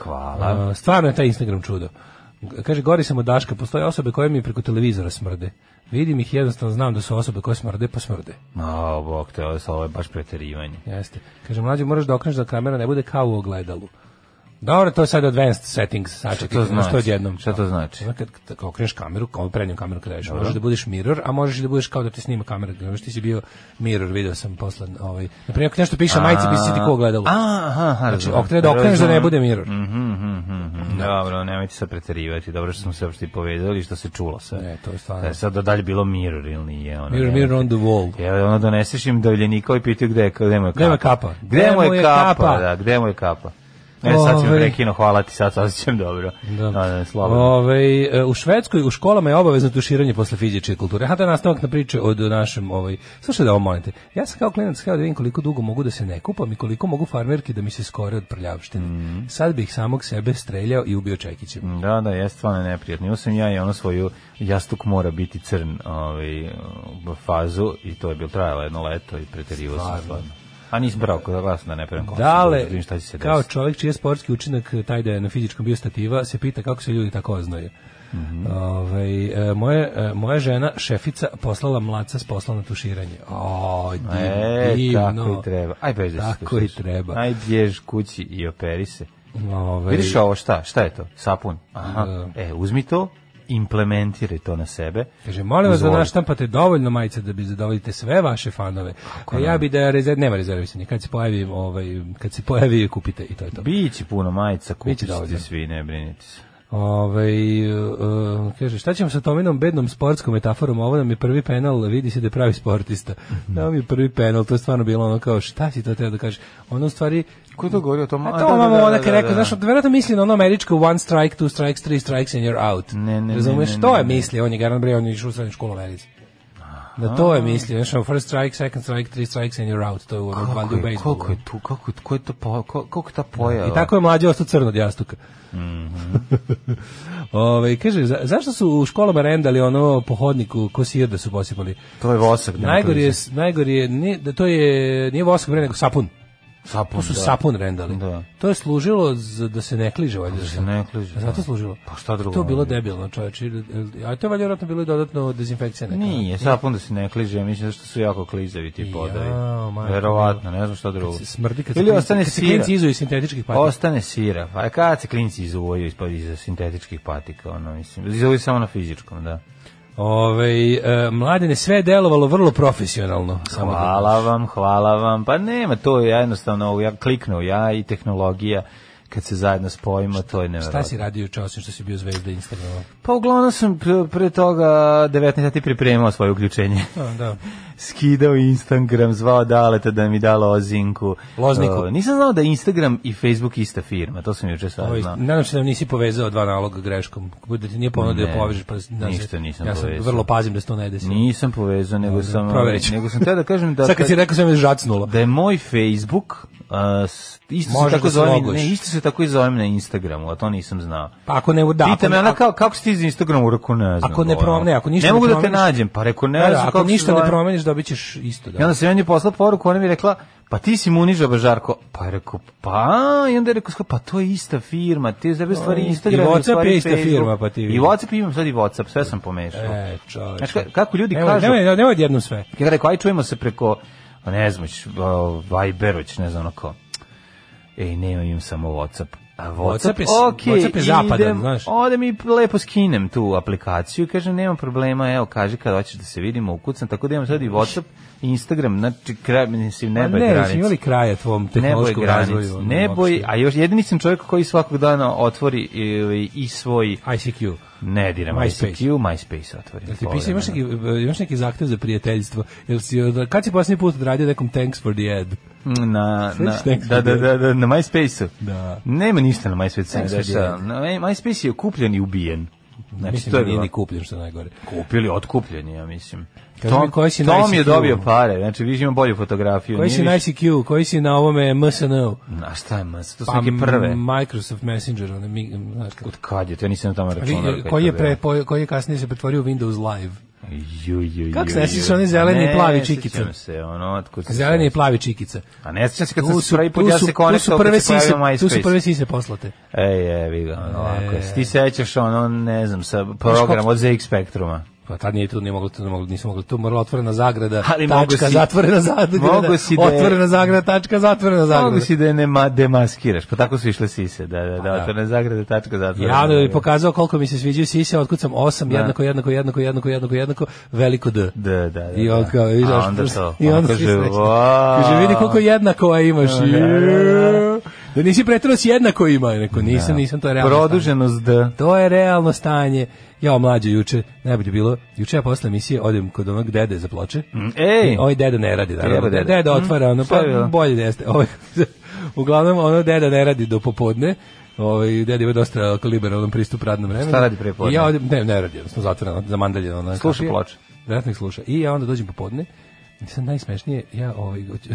Speaker 5: Hvala.
Speaker 6: A, stvarno je taj Instagram čudo. G- Kaže, gori sam od Daška, postoje osobe koje mi preko televizora smrde. Vidim ih, jednostavno znam da su osobe koje smrde, pa smrde.
Speaker 5: A, bok te, ovo je, ovo je baš preterivanje.
Speaker 6: Jeste. Kaže, mlađe, moraš da okreneš da kamera ne bude kao u ogledalu. Dobro, to je sad advanced settings, sačekaj,
Speaker 5: to
Speaker 6: znaš
Speaker 5: znači?
Speaker 6: to odjednom.
Speaker 5: Šta to znači?
Speaker 6: Znaš, Kad, kad okreneš kameru, kao prednju kameru kada ješ, možeš da budeš mirror, a možeš i da budeš kao da te snima kamera. Znaš, ti si bio mirror, video sam posle, ovaj, na primjer, ako nešto piše na majici, pisi ti ko ogledalo.
Speaker 5: A, aha, aha, Mhm,
Speaker 6: Znači, ok, treba da okreneš da ne bude mirror.
Speaker 5: Dobro, nemojte se preterivati. Dobro što smo se uopšte i povezali i što se čulo sve.
Speaker 6: Ne, E, to je stvarno.
Speaker 5: Da je sad da dalje bilo mirror ili nije. pa- Ono,
Speaker 6: Mirror, mirror on the wall.
Speaker 5: Je, ono doneseš im davljenika i pitaju gde, je- gde mu je kapa.
Speaker 6: mu je kapa?
Speaker 5: Gde mu je kapa? Da, gde mu je kapa? Ne, sad si me
Speaker 6: Ovaj.
Speaker 5: prekino, hvala ti, sad se osjećam dobro.
Speaker 6: Da.
Speaker 5: Da, da, slobodno.
Speaker 6: Ovaj, e, u Švedskoj u školama je obavezno tuširanje posle fizičke kulture. Aha, da je nastavak na priče od našem ovaj. Slušaj da ovo molim te. Ja sam kao klinac htio da vidim koliko dugo mogu da se ne kupam i koliko mogu farmerke da mi se skore od prljavštine.
Speaker 5: Mhm.
Speaker 6: Sad bih samog sebe streljao i ubio čekićem.
Speaker 5: Da, da, je stvarno neprijatno. Imao sam ja i ono svoju jastuk mora biti crn ovaj, fazu i to je bilo trajalo jedno leto i preterivo sam stvarno. A nisam brao da glasno da ne prema
Speaker 6: Dale,
Speaker 5: šta će se
Speaker 6: kao
Speaker 5: desiti.
Speaker 6: čovjek čiji je sportski učinak e, taj da je na fizičkom bio stativa, se pita kako se ljudi tako oznaju.
Speaker 5: Mhm.
Speaker 6: Ovaj, e, moje, e, moja žena, šefica, poslala mlaca s posla na tuširanje. O, divno,
Speaker 5: E, tako
Speaker 6: divno.
Speaker 5: i treba. Aj, beži da se
Speaker 6: Tako i
Speaker 5: tušiš.
Speaker 6: treba.
Speaker 5: Aj, bjež kući i operi se.
Speaker 6: Ovaj,
Speaker 5: Vidiš ovo šta? Šta je to? Sapun. Aha. E, uzmi to, implementiraj to na sebe.
Speaker 6: Kaže, molim vas da
Speaker 5: Izvoli.
Speaker 6: naštampate dovoljno majice da bi zadovoljite sve vaše fanove. A ja bi da rezerv, nema rezervisanja. Kad se pojavi, ovaj, kad se pojavi kupite i to je to.
Speaker 5: Biće puno majica,
Speaker 6: Biće
Speaker 5: kupit ćete
Speaker 6: dovoljno.
Speaker 5: svi, ne brinite se.
Speaker 6: Ovaj e, e, kaže, šta ćemo sa Tominom bednom sportskom metaforom? Ovo nam je prvi penal, vidi se da je pravi sportista. Da nam je prvi penal, to je stvarno bilo ono kao, šta si to teo da kažeš? Ono u stvari,
Speaker 5: Ko je to govorio o tom?
Speaker 6: A to mamo ona kad je rekla, znaš, verovatno misli na ono američko one strike, two strikes, three strikes and you're out.
Speaker 5: Ne, ne,
Speaker 6: Razumeš,
Speaker 5: ne, ne,
Speaker 6: to
Speaker 5: ne,
Speaker 6: je
Speaker 5: ne.
Speaker 6: misli, on je garant bre, on je išao u srednju školu u Americi. Na to je misli, znaš, ono, first strike, second strike, three strikes and you're out, to je u ono, valjda u
Speaker 5: Kako je,
Speaker 6: bejsbolu.
Speaker 5: koliko je tu, kako, ko je to, po, ko, koliko je ta ono? pojava?
Speaker 6: I tako je mlađe ostao crno od jastuka.
Speaker 5: Mhm.
Speaker 6: Ove, kaže, za- zašto su u školama rendali ono po hodniku ko sir da su posipali?
Speaker 5: To je vosak.
Speaker 6: Najgori je, najgori je, nije, da to je, nije vosak bre, nego sapun.
Speaker 5: Sapun,
Speaker 6: To su
Speaker 5: da.
Speaker 6: sapun rendali.
Speaker 5: Da.
Speaker 6: To je služilo za, da se ne kliže, valjda.
Speaker 5: se ne kliže,
Speaker 6: A Zato
Speaker 5: da.
Speaker 6: služilo.
Speaker 5: Pa šta drugo
Speaker 6: To je bilo
Speaker 5: onda?
Speaker 6: debilno, čoveče. A to je valjda vjerojatno bilo i dodatno dezinfekcija neka.
Speaker 5: Nije, sapun da se ne kliže, mislim da što su jako klizavi ti podavi.
Speaker 6: Jao, majko
Speaker 5: Verovatno, ne znam šta drugo.
Speaker 6: Se Smrdi kad se
Speaker 5: Ili
Speaker 6: klinci-
Speaker 5: ostane
Speaker 6: kad se
Speaker 5: sira.
Speaker 6: klinci izuju iz sintetičkih patika.
Speaker 5: Ostane sira. A kad se klinci izuvaju ispod iza sintetičkih patika, ono, mislim. Izuvaju samo na fizičkom, da.
Speaker 6: Ove, e, mladene, sve je delovalo vrlo profesionalno. Samo da-
Speaker 5: Hvala vam, hvala vam. Pa nema, to je jednostavno, ja kliknuo ja i tehnologija kad se zajedno spojimo, to je nevjerojatno.
Speaker 6: Šta si radio juče osim što si bio zvezda Instagrama?
Speaker 5: Pa uglavnom sam pre, pre toga 19 sati pripremao svoje uključenje.
Speaker 6: Da, Pa da.
Speaker 5: Skidao Instagram, zvao Daleta da mi da lozinku.
Speaker 6: Lozniku.
Speaker 5: O, nisam znao da Instagram i Facebook ista firma, to sam juče
Speaker 6: Ovo,
Speaker 5: saznao.
Speaker 6: Ovaj, nadam se da nisi povezao dva naloga greškom. Da ti nije ponudio da
Speaker 5: Ne,
Speaker 6: povežeš. Pa, da se-
Speaker 5: ništa nisam
Speaker 6: ja sam
Speaker 5: povezao.
Speaker 6: vrlo pazim da se to ne desi.
Speaker 5: Nisam povezao, nego sam,
Speaker 6: proverit ću.
Speaker 5: nego sam teo da kažem da,
Speaker 6: Sad kad si rekao sam me žacnulo.
Speaker 5: dakle- da je moj Facebook a, s- isto se
Speaker 6: Možeš
Speaker 5: tako
Speaker 6: da se
Speaker 5: zovem,
Speaker 6: loguješ.
Speaker 5: ne, isto se tako i zovem na Instagramu, a to nisam znao.
Speaker 6: Pa ako ne da,
Speaker 5: Da,
Speaker 6: ako
Speaker 5: Pita me
Speaker 6: ne-
Speaker 5: ona kao kako si ti iz Instagrama u roku ne znam.
Speaker 6: Ako ne
Speaker 5: ono.
Speaker 6: promene, ako ništa
Speaker 5: ne
Speaker 6: ne
Speaker 5: mogu da te
Speaker 6: promeniš-
Speaker 5: nađem, pa rekao ne
Speaker 6: Da, da,
Speaker 5: znam
Speaker 6: ako
Speaker 5: kako se
Speaker 6: ništa ne
Speaker 5: zovem.
Speaker 6: promeniš, dobit ćeš isto.
Speaker 5: I
Speaker 6: Da.
Speaker 5: onda se meni poslao poruku, ona mi je rekla, pa ti si mu unižaba Žarko. Pa je rekao, pa, i onda je rekao, "Ska, pa to je ista firma, ti zabe stvari
Speaker 6: i-
Speaker 5: Instagram.
Speaker 6: i
Speaker 5: u
Speaker 6: WhatsApp
Speaker 5: stvari
Speaker 6: je ista
Speaker 5: Facebook."
Speaker 6: firma, pa ti
Speaker 5: I
Speaker 6: vidi.
Speaker 5: WhatsApp imam, sad i WhatsApp, sve sam pomešao.
Speaker 6: E, čoveče.
Speaker 5: Znaš ka- kako ljudi
Speaker 6: nemoj,
Speaker 5: kažu-
Speaker 6: Nemoj, nemoj jednom sve.
Speaker 5: Kad je rekao, aj čujemo se preko, a ne znam, ću, o, Viberović, ne znam, onako, ej, nemam imam samo Whatsapp. A
Speaker 6: WhatsApp
Speaker 5: Whatsapp,
Speaker 6: je
Speaker 5: je,
Speaker 6: s- WhatsApp je zapadan,
Speaker 5: idem,
Speaker 6: znaš.
Speaker 5: Odem i lepo skinem tu aplikaciju i kažem, nema problema, evo, kaži kad hoćeš da se vidimo, ukucam, tako da imam sad i Whatsapp, i Instagram, znači, kraj, mislim,
Speaker 6: Pa
Speaker 5: nebo je
Speaker 6: ne,
Speaker 5: granica.
Speaker 6: jesi imali kraja tvom
Speaker 5: Neboj
Speaker 6: tehnološkom
Speaker 5: granic,
Speaker 6: razvoju. ono,
Speaker 5: neboj,
Speaker 6: uopšte.
Speaker 5: a još jedini sam čovjek koji svakog dana otvori i, i svoj,
Speaker 6: ICQ.
Speaker 5: ne diram
Speaker 6: MySpace.
Speaker 5: ICQ, MySpace otvori.
Speaker 6: Jel ti pisao, imaš neki, imaš neki zahtev za prijateljstvo? Jel si, kad si posljednji put odradio nekom thanks for the ad?
Speaker 5: Na, na,
Speaker 6: Slično tekst
Speaker 5: da, da,
Speaker 6: video.
Speaker 5: da, da, na MySpace-u.
Speaker 6: Da.
Speaker 5: Nema ništa na MySpace-u.
Speaker 6: Ne,
Speaker 5: Ne,
Speaker 6: sve
Speaker 5: dešava. na, MySpace je kupljen i ubijen. Znači,
Speaker 6: Mislim da
Speaker 5: to je
Speaker 6: nije
Speaker 5: bilo.
Speaker 6: ni kupljen, što je najgore.
Speaker 5: Kupili, otkupljen, je, ja mislim.
Speaker 6: Kaži mi, koji si na
Speaker 5: Tom je
Speaker 6: ICQ?
Speaker 5: dobio pare, znači viš ima bolju fotografiju.
Speaker 6: Koji
Speaker 5: nije
Speaker 6: si na
Speaker 5: više-
Speaker 6: ICQ, koji si na ovome MSN-u?
Speaker 5: A šta je, mas, to su
Speaker 6: Pa
Speaker 5: neke prve.
Speaker 6: Microsoft Messenger, one, mi, znaš kako.
Speaker 5: Od kad je, to ja nisam na tome računao. kad
Speaker 6: Koji
Speaker 5: to
Speaker 6: je, pre,
Speaker 5: bilo.
Speaker 6: po- koji je kasnije se pretvorio u Windows Live.
Speaker 5: Ju, ju, ju,
Speaker 6: Kako se ne
Speaker 5: ju.
Speaker 6: sjećaš one zelene i
Speaker 5: Ne,
Speaker 6: plavi
Speaker 5: sjećam
Speaker 6: čikice?
Speaker 5: se, ono, otkud se
Speaker 6: Zeleni i
Speaker 5: sjećam.
Speaker 6: plavi čikica.
Speaker 5: A ne sjećam se kad sam
Speaker 6: Tu
Speaker 5: se
Speaker 6: su,
Speaker 5: prvi put,
Speaker 6: tu
Speaker 5: ja
Speaker 6: su,
Speaker 5: se
Speaker 6: tu su
Speaker 5: konektao
Speaker 6: prve
Speaker 5: kad se
Speaker 6: sise,
Speaker 5: pojavio MySpace.
Speaker 6: tu su prve sise poslate.
Speaker 5: Ej, evi ga,
Speaker 6: E.
Speaker 5: ono, ako se ti sećaš, ono, ne znam, sa program od ZX Spectruma.
Speaker 6: Pa tad nije tu, nije moglo, tu, ne moglo, nisu moglo, tu morala otvorena zagrada,
Speaker 5: Ali mogu
Speaker 6: tačka,
Speaker 5: si-
Speaker 6: zatvorena zagrada,
Speaker 5: mogu si da je-
Speaker 6: otvorena zagrada, tačka, zatvorena zagrada.
Speaker 5: Mogu si da je ne ma, demaskiraš, pa tako su išle sise, da, da, da,
Speaker 6: da.
Speaker 5: otvorene zagrade, tačka zatvorene.
Speaker 6: Ja da
Speaker 5: zagrade.
Speaker 6: bi pokazao koliko mi se sviđaju sise, otkud sam 8, jednako, jednako, jednako, jednako, jednako, jednako, veliko D.
Speaker 5: Da, da, da.
Speaker 6: I on
Speaker 5: da.
Speaker 6: kao, vidiš,
Speaker 5: A onda to,
Speaker 6: i onda
Speaker 5: kaže,
Speaker 6: kaže,
Speaker 5: "Wow."
Speaker 6: kaže, vidi koliko jednako imaš.
Speaker 5: Da, da, da.
Speaker 6: Da nisi pretjerao s jednako ima. Rekao, nisam, nisam, to je realno stanje.
Speaker 5: Produženost D.
Speaker 6: To je realno stanje. Ja mlađe juče, najbolje bilo, juče ja posle emisije odem kod onog dede za ploče.
Speaker 5: Mhm. Ej,
Speaker 6: Ovaj deda ne radi,
Speaker 5: Treba
Speaker 6: naravno.
Speaker 5: deda.
Speaker 6: Deda, deda otvara, ono,
Speaker 5: Šta je bilo?
Speaker 6: pa bolje da jeste. Ovaj, uglavnom, ono, deda ne radi do popodne. Ovaj, deda ima dosta ovako liberalan pristup radnom vremenu.
Speaker 5: Šta radi prepodne?
Speaker 6: I ja odem, ne, ne radi, odnosno zatvoreno, zamandaljeno. Ono,
Speaker 5: Sluša
Speaker 6: kapije.
Speaker 5: ploče.
Speaker 6: Verovatno ih sluša. I ja onda dođem popodne, i sad najsmešnije, ja ovaj, hoću-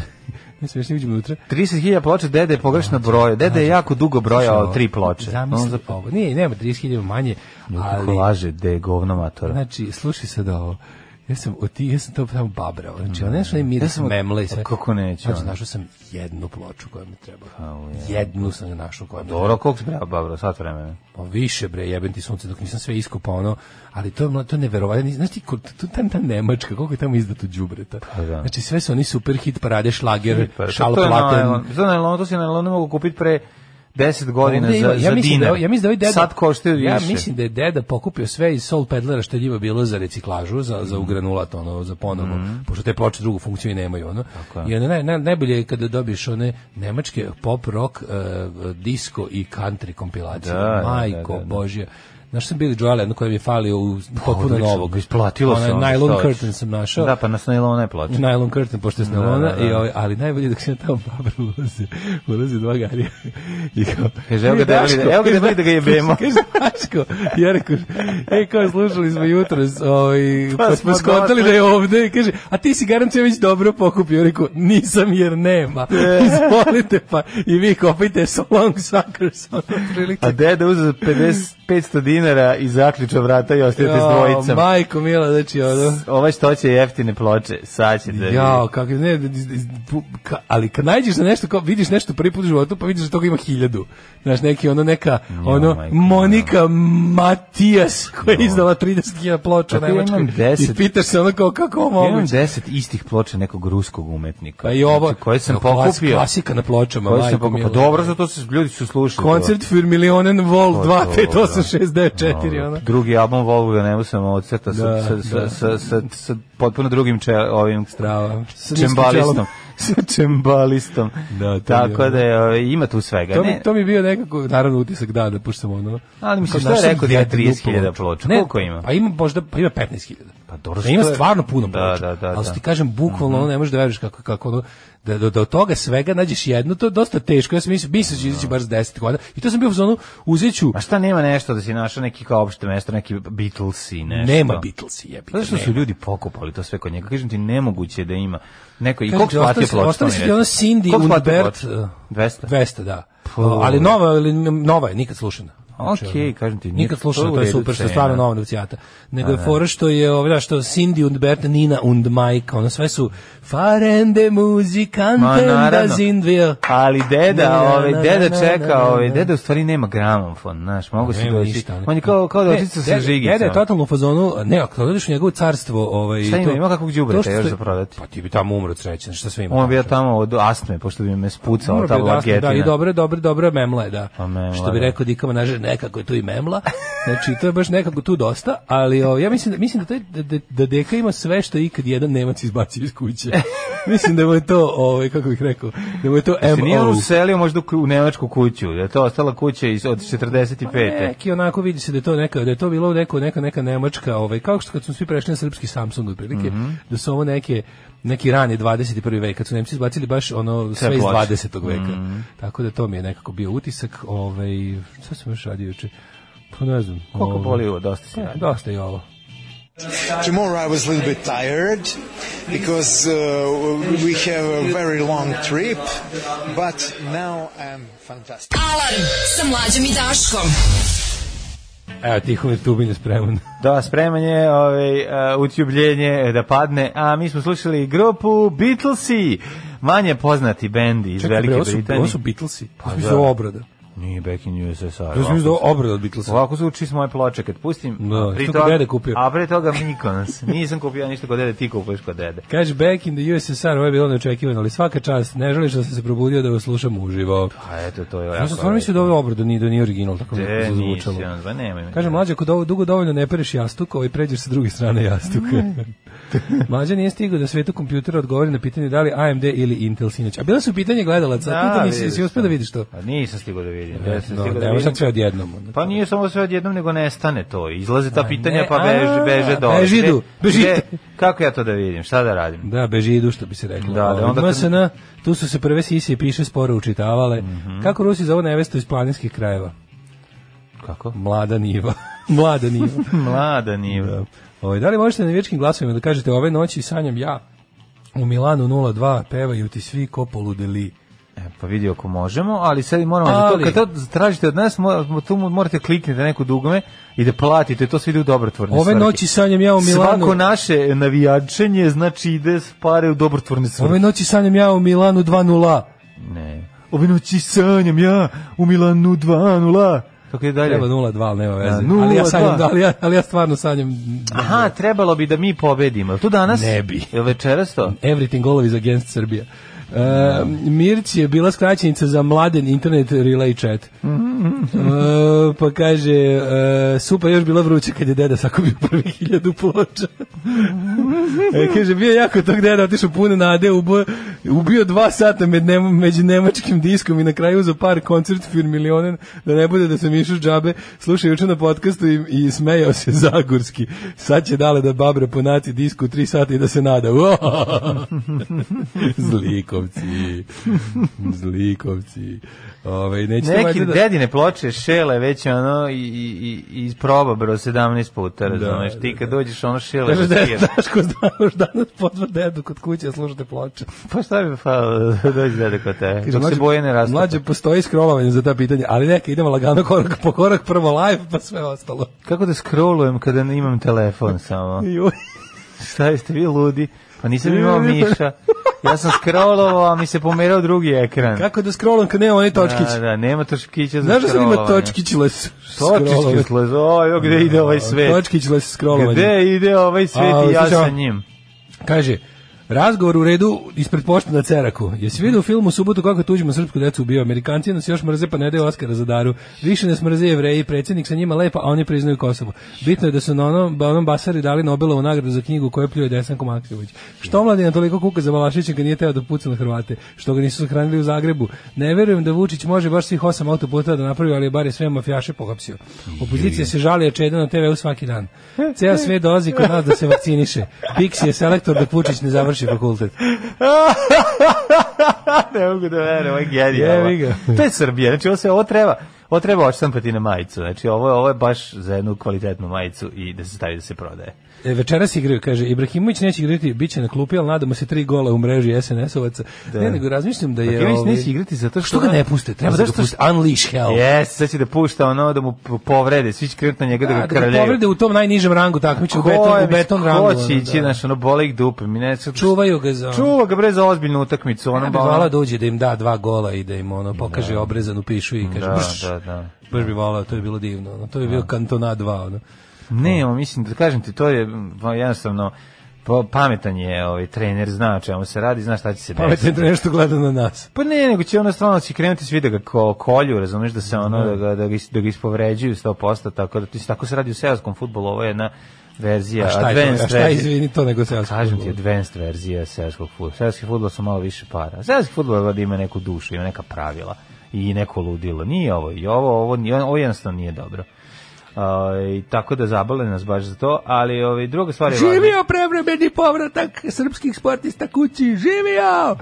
Speaker 6: najsmešnije uđem unutra,
Speaker 5: 30.000 ploče, dede je pogrešno brojao. Dede je jako dugo brojao tri ploče.
Speaker 6: Znači, Zamisli
Speaker 5: On za-
Speaker 6: ovo. Nije, nema 30.000 manje,
Speaker 5: Kako
Speaker 6: ali
Speaker 5: laže, de je govno matora.
Speaker 6: Znači, slušaj sad ovo. Ja sam od ti, ja sam to tamo babrao. Znači, onaj što je miris
Speaker 5: Ja sam od-
Speaker 6: memle i sve.
Speaker 5: kako neću,
Speaker 6: Znači,
Speaker 5: ono.
Speaker 6: našao sam jednu ploču koja mi treba. Jednu sam našao koja mi treba.
Speaker 5: Dobro, koliko si brao, babro, sat vremena.
Speaker 6: Pa više bre, jebem ti sunce dok nisam sve iskopao ono, ali to je mla- to je neverovatno. Znaš ti kod tu ta, ta Nemačka koliko je tamo izdato đubreta.
Speaker 5: Pa da.
Speaker 6: Znači sve su oni super hit parade, šlager,
Speaker 5: Pa, to je
Speaker 6: šalplaten.
Speaker 5: nylon. Za nylon, to si nylon ne mogu kupiti pre 10 godina
Speaker 6: Ovde ima-
Speaker 5: za, za
Speaker 6: ja mislim da,
Speaker 5: dinar.
Speaker 6: ja mislim da ovaj deda,
Speaker 5: Sad koštaju više.
Speaker 6: Ja mislim da je deda pokupio sve iz Soul Pedlera što je njima bilo za reciklažu, za,
Speaker 5: Mm.
Speaker 6: za ugranulat, ono, za ponovo, pošto te ploče drugu funkciju i nemaju. Ono.
Speaker 5: je.
Speaker 6: I ono, naj, naj, najbolje je kada dobiješ one nemačke pop, rock, eh, disco i country kompilacije.
Speaker 5: Da, da,
Speaker 6: Majko,
Speaker 5: da, da, da.
Speaker 6: Božja. Znaš sam Billy Joel, jedno koje mi je falio u potpuno
Speaker 5: Odlično,
Speaker 6: novog.
Speaker 5: Isplatilo
Speaker 6: Onaj
Speaker 5: se. ono što
Speaker 6: Nylon
Speaker 5: hoćeš.
Speaker 6: curtain sam našao.
Speaker 5: Da, pa nas nylon ne plaća.
Speaker 6: Nylon curtain, Znači, pošto je snelona,
Speaker 5: Da, da, da.
Speaker 6: i ovaj, ali najbolje je dok se na tamo babra ulaze, ulaze dva garija. I kao,
Speaker 5: Kaže, evo ga
Speaker 6: "E,
Speaker 5: debeli,
Speaker 6: Daško,"
Speaker 5: evo ga
Speaker 6: kaže,
Speaker 5: debeli da ga jebemo.
Speaker 6: Kaže, Daško, ja rekao, e, kao slušali smo jutro, ovaj,
Speaker 5: Pa
Speaker 6: pa smo
Speaker 5: smo
Speaker 6: skontali
Speaker 5: došli.
Speaker 6: da je ovde, i kaže, a ti si garancija već dobro pokupio, Ja rekao, nisam jer nema, izvolite pa, i vi kopajte so long suckers, ono, prilike.
Speaker 5: A deda uzeo 50, 500 dinara i zaključa vrata i ostajete s
Speaker 6: O,
Speaker 5: dvojicom.
Speaker 6: majko mila, znači, ono,
Speaker 5: Ovaj što će jeftine ploče, sad će da...
Speaker 6: Ja, kako ne, d- d- d- pu- ka- ali kad nađeš na nešto, kao, vidiš nešto prvi put u životu, pa vidiš da toga ima hiljadu. Znaš, neki ono neka, ono,
Speaker 5: majko,
Speaker 6: Monika Matijas, koja je izdala 30.000 ploča
Speaker 5: Tako ja
Speaker 6: nemačkih.
Speaker 5: imam 10.
Speaker 6: I pitaš se ono kao, kako ovo
Speaker 5: Ja imam
Speaker 6: moguće?
Speaker 5: 10 istih ploča nekog ruskog umetnika.
Speaker 6: Pa i ovo,
Speaker 5: Znači, koje sam
Speaker 6: evo, klas-
Speaker 5: pokupio.
Speaker 6: Klasika na pločama,
Speaker 5: Koje sam
Speaker 6: majko
Speaker 5: pokupio. Pa
Speaker 6: mila.
Speaker 5: Dobro, zato se ljudi su slušali.
Speaker 6: Koncert für Millionen Vol
Speaker 5: Pa,
Speaker 6: 258694,
Speaker 5: Dobro.
Speaker 6: ono.
Speaker 5: Drugi album Volvo ne mogu sam odcrta sa,
Speaker 6: Da,
Speaker 5: sa, sa,
Speaker 6: da.
Speaker 5: sa, sa, sa potpuno drugim če, ovim
Speaker 6: Strava.
Speaker 5: čembalistom. sa čembalistom.
Speaker 6: Da, to
Speaker 5: Tako
Speaker 6: je
Speaker 5: da je, ovaj, ima tu svega.
Speaker 6: To,
Speaker 5: ne,
Speaker 6: mi, to mi je bio nekako, naravno, utisak dana, pošto sam ono...
Speaker 5: Ali mislim,
Speaker 6: kao,
Speaker 5: šta je
Speaker 6: našao
Speaker 5: rekao
Speaker 6: sam
Speaker 5: da je
Speaker 6: jednu
Speaker 5: 30.000
Speaker 6: ploču.
Speaker 5: ploča? Koliko ima?
Speaker 6: Pa ima možda, pa ima 15.000.
Speaker 5: Pa dobro,
Speaker 6: Da, ima
Speaker 5: što je-
Speaker 6: stvarno puno
Speaker 5: Da,
Speaker 6: ploča.
Speaker 5: da, Mhm. da,
Speaker 6: ali
Speaker 5: da.
Speaker 6: ti kažem, bukvalno, ono, ne možeš da veriš kako, kako ono, da, da, da od toga svega nađeš jednu, to je dosta teško. Ja sam mislio, mislio ću izaći bar s 10 godina. I to sam bio u zonu, uzet ću...
Speaker 5: A šta nema nešto da si našao neki kao opšte mesto, neki Beatles i nešto?
Speaker 6: Nema Beatlesi, jebite.
Speaker 5: Zato što su
Speaker 6: nema.
Speaker 5: ljudi pokupali to sve kod njega. Kažem ti, nemoguće je da ima. Neko, i
Speaker 6: Kažem
Speaker 5: koliko
Speaker 6: ti,
Speaker 5: platio
Speaker 6: ostali su-
Speaker 5: ploča?
Speaker 6: ostali
Speaker 5: to
Speaker 6: su
Speaker 5: mi
Speaker 6: ti ono
Speaker 5: reci?
Speaker 6: Cindy,
Speaker 5: Koliko platio
Speaker 6: Unibert,
Speaker 5: ploča?
Speaker 6: uh,
Speaker 5: 200.
Speaker 6: 200, da. Ali nova, ali nova je, nikad slušana. Znači,
Speaker 5: Okej, kažem ti,
Speaker 6: Nikad slušao,
Speaker 5: u
Speaker 6: to je
Speaker 5: redu
Speaker 6: super, što je
Speaker 5: cena.
Speaker 6: stvarno nova novcijata. Nego je fora što je, ovo, da, što Cindy und Bert, Nina und Mike, ono sve su farende
Speaker 5: Ma,
Speaker 6: muzikanten da
Speaker 5: naravno.
Speaker 6: sind wir.
Speaker 5: Ali deda,
Speaker 6: Na,
Speaker 5: ovaj
Speaker 6: na,
Speaker 5: deda
Speaker 6: na,
Speaker 5: čeka,
Speaker 6: na, na,
Speaker 5: ovaj
Speaker 6: na.
Speaker 5: deda u stvari nema gramofon, znaš, mogu se
Speaker 6: Nema
Speaker 5: doći.
Speaker 6: ništa, ono.
Speaker 5: On je kao kao da
Speaker 6: Ne,
Speaker 5: otišao sa
Speaker 6: deda- Deda je
Speaker 5: žigicama.
Speaker 6: totalno u fazonu, ne, ako odeš u njegovo carstvo, ovaj
Speaker 5: Šta ima,
Speaker 6: to-
Speaker 5: ima kakvog
Speaker 6: to
Speaker 5: đubreta
Speaker 6: što
Speaker 5: još
Speaker 6: stoji-
Speaker 5: za prodati?
Speaker 6: Pa ti bi tamo umro od sreće, šta sve ima.
Speaker 5: On
Speaker 6: tamo,
Speaker 5: bi ja
Speaker 6: čovječe.
Speaker 5: tamo od asme, pošto bi me spucao
Speaker 6: Mora
Speaker 5: ta
Speaker 6: bi odasno,
Speaker 5: blagetina.
Speaker 6: Da, i dobro, dobro, dobro memla je, da.
Speaker 5: Pa memla,
Speaker 6: Što bi
Speaker 5: da.
Speaker 6: rekao Dikama, naže, nekako je tu i memla. Znači, to je baš nekako tu dosta, ali o, ja mislim da, mislim da, taj, da- da, da deka ima sve što je ikad jedan Nemac izbacio iz kuće. mislim da mu je to, ovaj, kako bih rekao, da mu je to
Speaker 5: Se nije ono on
Speaker 6: MO.
Speaker 5: uselio možda u ku- u nemačku kuću, da je to ostala kuća iz, od 45.
Speaker 6: Neki onako vidi se da je to neka da je to bilo neko neka neka nemačka, ovaj kao što kad su svi prešli na srpski Samsung otprilike,
Speaker 5: Mhm.
Speaker 6: da su ovo neke neki rani 21. vek, kad su Nemci izbacili baš ono sve iz
Speaker 5: ploče. Mhm.
Speaker 6: 20. veka. Tako da to mi je nekako bio utisak, ovaj šta sam još radio juče? Pa ne znam.
Speaker 5: Koliko
Speaker 6: ovaj,
Speaker 5: boli ovo, dosta si
Speaker 6: pa,
Speaker 5: radio.
Speaker 6: Dosta je ovo.
Speaker 1: Tomorrow I was a little bit tired because uh, we have a very long trip, but now I'm fantastic.
Speaker 4: Alarm sa mlađom i Daškom.
Speaker 6: Evo Tihomir Tubin je spreman.
Speaker 5: Da, spreman je ovaj, a, utjubljenje da padne, a mi smo slušali grupu Beatlesi, manje poznati bendi iz Velike
Speaker 6: bre, ovo su,
Speaker 5: Britanije.
Speaker 6: ovo su Beatlesi. Pa,
Speaker 5: Pa
Speaker 6: pa
Speaker 5: da.
Speaker 6: obrada.
Speaker 5: Nije back in USSR.
Speaker 6: Ja sam
Speaker 5: ovako
Speaker 6: mislio da je
Speaker 5: zvuči.
Speaker 6: obrada od Beatlesa.
Speaker 5: Ovako zvuči s moje ploče kad pustim.
Speaker 6: Da,
Speaker 5: a pre
Speaker 6: što kod dede kupio.
Speaker 5: A pre toga Mikons. Nisam kupio ništa kod dede, ti kupuješ kod dede.
Speaker 6: Kaže, back in the USSR, ovo je bilo neočekivano, ali svaka čast, ne želiš da sam se probudio da vas slušam uživo.
Speaker 5: A eto, to je jako.
Speaker 6: Ja sam stvarno mislio da ovo obrada nije, da nije original, tako mi
Speaker 5: E,
Speaker 6: je
Speaker 5: nisi,
Speaker 6: zazvučalo.
Speaker 5: on, ba nemoj. me.
Speaker 6: Kaže, mlađe, kod ovo dugo dovoljno ne pereš jastuk, ovaj pređeš sa druge strane jastuka. mlađe nije stigao da svetu kompjutera odgovori na pitanje da li AMD ili Intel sinoć. A bilo su pitanje gledalaca,
Speaker 5: Da,
Speaker 6: da, pitanje si,
Speaker 5: vidiš
Speaker 6: si uspio da
Speaker 5: to.
Speaker 6: vidiš to? E,
Speaker 5: A nisam stigao da vidim.
Speaker 6: Da,
Speaker 5: Ja sam stigao da
Speaker 6: da, evo
Speaker 5: vidim.
Speaker 6: sad sve odjednom. ono. onda.
Speaker 5: Pa nije samo sve odjednom, nego nestane to. Izlaze ta pitanja,
Speaker 6: ne,
Speaker 5: pa beže,
Speaker 6: a,
Speaker 5: beže dole.
Speaker 6: bežidu,
Speaker 5: Gde-
Speaker 6: bežite.
Speaker 5: gde- Kako ja to da vidim? Šta da radim?
Speaker 6: Da, beži idu, što bi se reklo.
Speaker 5: Da, da,
Speaker 6: Ovaj,
Speaker 5: onda kad-
Speaker 6: MSN, tu su se prve sise i piše sporo učitavale.
Speaker 5: Mhm.
Speaker 6: Kako Rusi zovu nevestu iz planinskih krajeva?
Speaker 5: Kako?
Speaker 6: Mlada niva. Mlada niva.
Speaker 5: Mlada niva.
Speaker 6: Ovaj, da li možete na vječkim glasovima da kažete ove noći sanjam ja u Milanu 02 pevaju ti svi ko poludeli.
Speaker 5: E, pa vidi ako možemo, ali sad moramo za to,
Speaker 6: Ali-
Speaker 5: kad to tražite od nas, mo- tu morate klikniti na neko dugme i da platite, to sve ide u dobrotvorne
Speaker 6: Ove
Speaker 5: svrhe.
Speaker 6: noći sanjam ja u Milanu.
Speaker 5: Svako naše navijačenje znači ide s pare u dobrotvorne svrhe.
Speaker 6: Ove noći sanjam ja u Milanu 2.0.
Speaker 5: Ne. Ove noći sanjam ja u Milanu 2-0. Kako je dalje?
Speaker 6: Treba 0.2, ali nema veze.
Speaker 5: E. Da,
Speaker 6: ali, ja
Speaker 5: 0:2.
Speaker 6: sanjam, ali, ja, ali ja stvarno sanjam
Speaker 5: Aha, trebalo bi da mi pobedimo. Jel Tu danas?
Speaker 6: Ne bi.
Speaker 5: Jel večeras to?
Speaker 6: Everything Golov is against Srbija. E, Mirć je bila skraćenica za mladen internet relay chat. E, pa kaže, e, supa je još bila vruća kad je deda sakupio prvi hiljadu ploča. e, kaže, bio je jako tog deda, otišao puno nade, ubio, ubio dva sata med nemo- među nemačkim diskom i na kraju uzao par koncert fir milionen, da ne bude da sam išao džabe, slušao juče na podcastu i, i smejao se Zagorski. Sad će dale da babra ponati disku tri sata i da se nada. Zlikovci. Zlikovci. Ove, nećete
Speaker 5: Neki
Speaker 6: valjda da-
Speaker 5: dedine ploče šele već ono i, i, i isproba bro 17 puta, razumeš? Ti kad dođeš ono šele
Speaker 6: Kaže,
Speaker 5: da
Speaker 6: "Deda, Daško, znaš, danas pozva dedu kod kuće, a slušate ploče.
Speaker 5: Pa šta bi falilo da dođe dede kod tebe? E, Dok se boje ne rastu.
Speaker 6: Mlađe, postoji skrolovanje za ta pitanja, ali neka, idemo lagano korak po korak, prvo live, pa sve ostalo.
Speaker 5: Kako da scrollujem kada imam telefon samo?
Speaker 6: Joj.
Speaker 5: Šta jeste vi ludi? Pa nisam imao miša. Ja sam scrollovao, a mi se pomerao drugi ekran.
Speaker 6: Kako da scrollam kad nema one točkić?
Speaker 5: Da, da, nema točkića za
Speaker 6: Znaš da sad ima
Speaker 5: scrollovanje.
Speaker 6: točkić les?
Speaker 5: Točkiće slaz, oj, gde ide ovaj svet?
Speaker 6: Točkić les scrollovanje.
Speaker 5: Gde ide ovaj svet
Speaker 6: A,
Speaker 5: i ja
Speaker 6: slušaj,
Speaker 5: sa njim?
Speaker 6: Kaže, Razgovor u redu ispred pošte na Ceraku. Jesi vidio u filmu u subotu kako je tuđima srpsku decu ubio? Amerikanci nas još mrze pa ne daju Oskara za daru. Više nas mrze jevreji, predsjednik sa njima lepa, a oni priznaju Kosovo. Bitno je da su na onom, ba- onom basari dali Nobelovu nagradu za knjigu koju pljuje Desanko Maksimović. Što mladina toliko kuka za Balašića kad nije teo da puca na Hrvate? Što ga nisu sahranili u Zagrebu? Ne verujem da Vučić može baš svih osam autoputa da napravi, ali je bar je sve mafijaše pohapsio. Opozicija se žali jer čeda na TV-u svaki dan. Ceo sve dolazi kod nas da se vakciniše. Pixi je selektor dok Vučić ne završi fakultet.
Speaker 5: ne mogu da verujem, ovaj ovo je genijalno.
Speaker 6: Jebi ga.
Speaker 5: to je Srbija, znači ovo se ovo treba, ovo treba očstampati na majicu, znači ovo, je- ovo je baš za jednu kvalitetnu majicu i da se stavi da se prodaje.
Speaker 6: E, večeras igraju, kaže, Ibrahimović neće igrati, bit će na klupi, ali nadamo se tri gola u mreži SNS-ovaca. Ne, nego razmišljam da je...
Speaker 5: Ibrahimović
Speaker 6: ovaj,
Speaker 5: neće igrati zato što-
Speaker 6: Što ga ne puste? Treba
Speaker 5: A
Speaker 6: da ga
Speaker 5: zašto-
Speaker 6: puste. Unleash hell.
Speaker 5: Jes, sad će da pušta ono da mu p- povrede, svi će krenuti na njega da
Speaker 6: Da,
Speaker 5: ga
Speaker 6: da ga
Speaker 5: kraljeju.
Speaker 6: povrede u tom najnižem rangu takmiče, u beton, u beton rangu.
Speaker 5: Ko će
Speaker 6: ono,
Speaker 5: ići,
Speaker 6: da.
Speaker 5: znaš, ono, boli ih dupe, mi ne... sad-
Speaker 6: Čuvaju ga za...
Speaker 5: Čuva ga bre za ozbiljnu utakmicu, ono,
Speaker 6: Ja bih
Speaker 5: ba-
Speaker 6: volao da uđe da im da dva gola i da im ono pokaže obrezanu pišu i kaže
Speaker 5: Da,
Speaker 6: brš.
Speaker 5: da, da.
Speaker 6: Baš bih volao, to je bilo divno. Ono. To je bio kantona 2. Ono.
Speaker 5: E, Ne, ma, mislim, da kažem ti, to je m, pa, jednostavno, pa, pametan je ovaj trener, zna o čemu se radi, zna šta će se desiti.
Speaker 6: Pametno je nešto gleda na nas.
Speaker 5: Pa ne, nego će ono stvarno će krenuti svi da ga ko, kolju, razumeš da se ono da ga da ga, is- da ga ispovređuju 100%, tako da ti tako se radi u seoskom fudbalu, ovo je jedna verzija
Speaker 6: A šta je, to,
Speaker 5: advanced
Speaker 6: a šta je
Speaker 5: verzija.
Speaker 6: izvini to nego se ja
Speaker 5: Kažem ti, advanced verzija seoskog fudbala. Seoski fudbal su malo više para. Seoski fudbal valjda ima neku dušu, ima neka pravila i neko ludilo. Nije ovo, i ovo, ovo, nije- ovo jednostavno nije dobro. Ovaj, tako da zabole nas baš za to, ali ovaj, druga stvar je važna.
Speaker 6: Živio prevremeni povratak srpskih sportista kući, živio!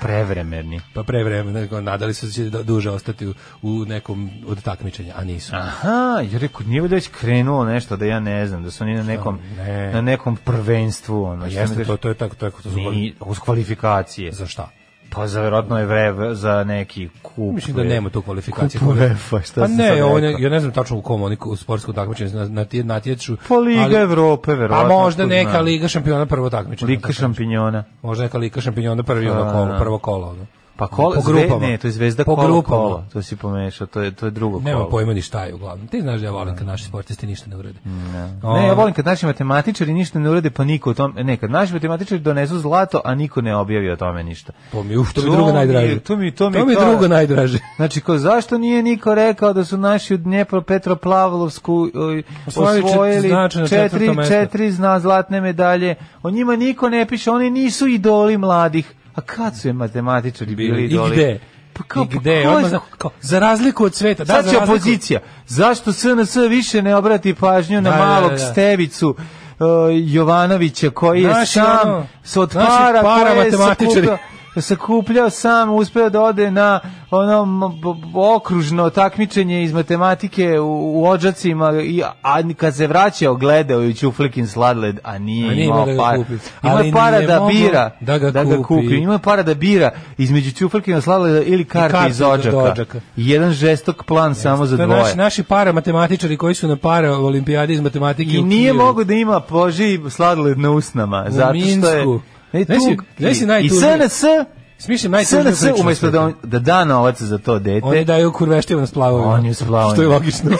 Speaker 5: Prevremeni.
Speaker 6: Pa prevremeno, nego nadali su se da će duže ostati u, u nekom od takmičenja, a nisu.
Speaker 5: Aha, ja rekao, nije da je krenulo nešto da ja ne znam, da su oni na nekom,
Speaker 6: Ne. Pa
Speaker 5: na nekom prvenstvu. Ono, što mi
Speaker 6: Jeste,
Speaker 5: kažeš,
Speaker 6: to, to je tako, tako, to su
Speaker 5: ni- uz kvalifikacije.
Speaker 6: Za šta?
Speaker 5: Pa za verovatno je vreve za neki kup.
Speaker 6: Mislim da
Speaker 5: je.
Speaker 6: nema tu kvalifikacije.
Speaker 5: Kup UEFA, šta
Speaker 6: pa
Speaker 5: sam
Speaker 6: ne,
Speaker 5: sad
Speaker 6: ovo ne,
Speaker 5: rekao?
Speaker 6: ja ne znam tačno u kom oni u sportskom takmičenju na- natje- natječu.
Speaker 5: Pa Liga
Speaker 6: ali-
Speaker 5: Evrope,
Speaker 6: Pa
Speaker 5: verovatno.
Speaker 6: možda
Speaker 5: tu
Speaker 6: neka
Speaker 5: znam.
Speaker 6: Liga šampiona prvo takmičenje.
Speaker 5: Lika šampinjona.
Speaker 6: Možda neka Liga šampiona prvi
Speaker 5: Da,
Speaker 6: ono
Speaker 5: da.
Speaker 6: kolo, prvo kolo. Ono.
Speaker 5: Pa kola,
Speaker 6: po grupama.
Speaker 5: Zve, ne, to je zvezda
Speaker 6: po
Speaker 5: kola,
Speaker 6: grupama.
Speaker 5: kola. To si pomešao, to je, to je drugo
Speaker 6: Nema
Speaker 5: kolo.
Speaker 6: pojma ni šta je uglavnom. Ti znaš da ja volim kad naši sportisti ništa ne Ono, urede.
Speaker 5: Ne, ja volim kad naši matematičari ništa ne urade, pa niko o tom... Ne, kad naši matematičari donesu zlato, a niko ne objavi o tome ništa.
Speaker 6: To mi, uf, to mi
Speaker 5: To
Speaker 6: je drugo
Speaker 5: mi-
Speaker 6: najdraže.
Speaker 5: to mi- to mi
Speaker 6: to mi je
Speaker 5: kao-
Speaker 6: drugo najdraže.
Speaker 5: Znači, kao, zašto nije niko rekao da su naši u Dnjepropetropavlovsku oj,
Speaker 6: Osvojili čet-
Speaker 5: osvojili
Speaker 6: značajno
Speaker 5: četiri,
Speaker 6: četvrto mesto.
Speaker 5: četiri zna zlatne medalje? O njima niko ne piše, oni nisu idoli mladih. A kad su je matematičari bili
Speaker 6: I
Speaker 5: idoli?
Speaker 6: gde?
Speaker 5: Pa kao,
Speaker 6: I gde?
Speaker 5: Pa ko je-
Speaker 6: Odmah za, kao, za razliku od sveta. Da,
Speaker 5: Sad
Speaker 6: za
Speaker 5: će
Speaker 6: razliku-
Speaker 5: opozicija. Zašto SNS više ne obrati pažnju na
Speaker 6: Da, da,
Speaker 5: malog
Speaker 6: da, da.
Speaker 5: Stevicu uh, Jovanovića koji je
Speaker 6: Naši,
Speaker 5: sam
Speaker 6: ono,
Speaker 5: s od
Speaker 6: naši
Speaker 5: para,
Speaker 6: para
Speaker 5: koje je
Speaker 6: matematičari.
Speaker 5: sakupljao- sakupljao sam, uspeo da ode na ono m- b- b- okružno takmičenje iz matematike u, u Odžacima, i, a kad se vraćao gledao je u Ćuflikin sladled, a nije,
Speaker 6: A nije
Speaker 5: imao
Speaker 6: imao da ga
Speaker 5: para.
Speaker 6: kupi.
Speaker 5: Ima
Speaker 6: Ali
Speaker 5: para
Speaker 6: nije
Speaker 5: da
Speaker 6: mogao
Speaker 5: bira,
Speaker 6: da ga kupi.
Speaker 5: Ima para da bira između Ćuflikina sladleda ili karte,
Speaker 6: karte
Speaker 5: iz
Speaker 6: iz
Speaker 5: Odžaka.
Speaker 6: Odžaka.
Speaker 5: Jedan žestok plan samo za
Speaker 6: To je
Speaker 5: dvoje.
Speaker 6: naši, naši para matematičari koji su na para olimpijadi iz matematike
Speaker 5: I
Speaker 6: u
Speaker 5: nije
Speaker 6: Kijevu.
Speaker 5: mogu da ima poži sladoled na usnama, zato što je...
Speaker 6: Minsku.
Speaker 5: E, tu-
Speaker 6: Znaš si- znaš si
Speaker 5: I
Speaker 6: najtužnije?
Speaker 5: SNS,
Speaker 6: Smišljam najtužniju
Speaker 5: SNS
Speaker 6: priču. na
Speaker 5: umesto da,
Speaker 6: svetu.
Speaker 5: on, da da novac za to dete,
Speaker 6: Oni daju kurveštima na splavovima.
Speaker 5: On je splavovima.
Speaker 6: Što je logično.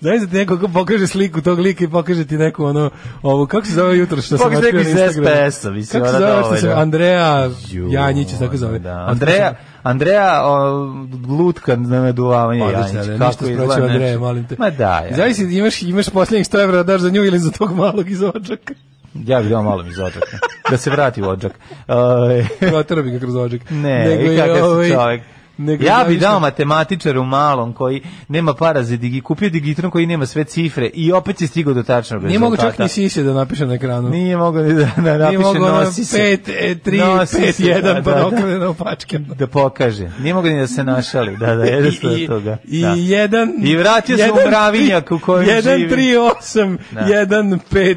Speaker 6: Znaš da ti neko ko pokaže sliku tog lika i pokaže ti neku ono, ovu, kako se zove jutro što sam
Speaker 5: Pokaže
Speaker 6: otkrio
Speaker 5: neko
Speaker 6: na
Speaker 5: iz
Speaker 6: Instagramu?
Speaker 5: SPS-a, mislim,
Speaker 6: Kako se
Speaker 5: ona
Speaker 6: zove što
Speaker 5: dovoljno.
Speaker 6: sam, Andreja
Speaker 5: Ju,
Speaker 6: Janjić, se tako zove.
Speaker 5: Da. Andreja, Andreja o, lutka na naduvavanje Janjić.
Speaker 6: Odlično, da, ništa
Speaker 5: izgleda,
Speaker 6: sproću Andreja,
Speaker 5: znači-
Speaker 6: molim te.
Speaker 5: Ma da, ja.
Speaker 6: Zavisi, imaš, imaš posljednjih 100 evra da daš za nju ili za tog malog iz ođaka.
Speaker 5: Ja bih dao malo iz odžaka. da se vrati u odžak. E,
Speaker 6: Protero bi ga kroz ođak.
Speaker 5: Ne,
Speaker 6: Nego
Speaker 5: Nego
Speaker 6: je
Speaker 5: kakav si
Speaker 6: ovaj-
Speaker 5: čovjek.
Speaker 6: nego je
Speaker 5: ja bih
Speaker 6: zavisno-
Speaker 5: dao matematičaru malom koji nema para za digi, kupio digitron koji nema sve cifre i opet je stigao do tačnog
Speaker 6: Nije mogu
Speaker 5: rezultata.
Speaker 6: čak ni sise da napišem na ekranu.
Speaker 5: Nije mogu ni da, da
Speaker 6: Nije
Speaker 5: napiše
Speaker 6: mogu ono
Speaker 5: nosi se.
Speaker 6: 5, 3,
Speaker 5: Nosi
Speaker 6: 5,
Speaker 5: se,
Speaker 6: 1, pa
Speaker 5: da,
Speaker 6: da
Speaker 5: da,
Speaker 6: okrene na opačke.
Speaker 5: da pokaže. Nije mogu ni da se našali. Da, da, jednostavno
Speaker 6: I,
Speaker 5: E, toga.
Speaker 6: i,
Speaker 5: da.
Speaker 6: i jedan...
Speaker 5: I vratio se u mravinjak u kojem živi.
Speaker 6: 1, 3, 8,
Speaker 5: Da.
Speaker 6: 1, 5,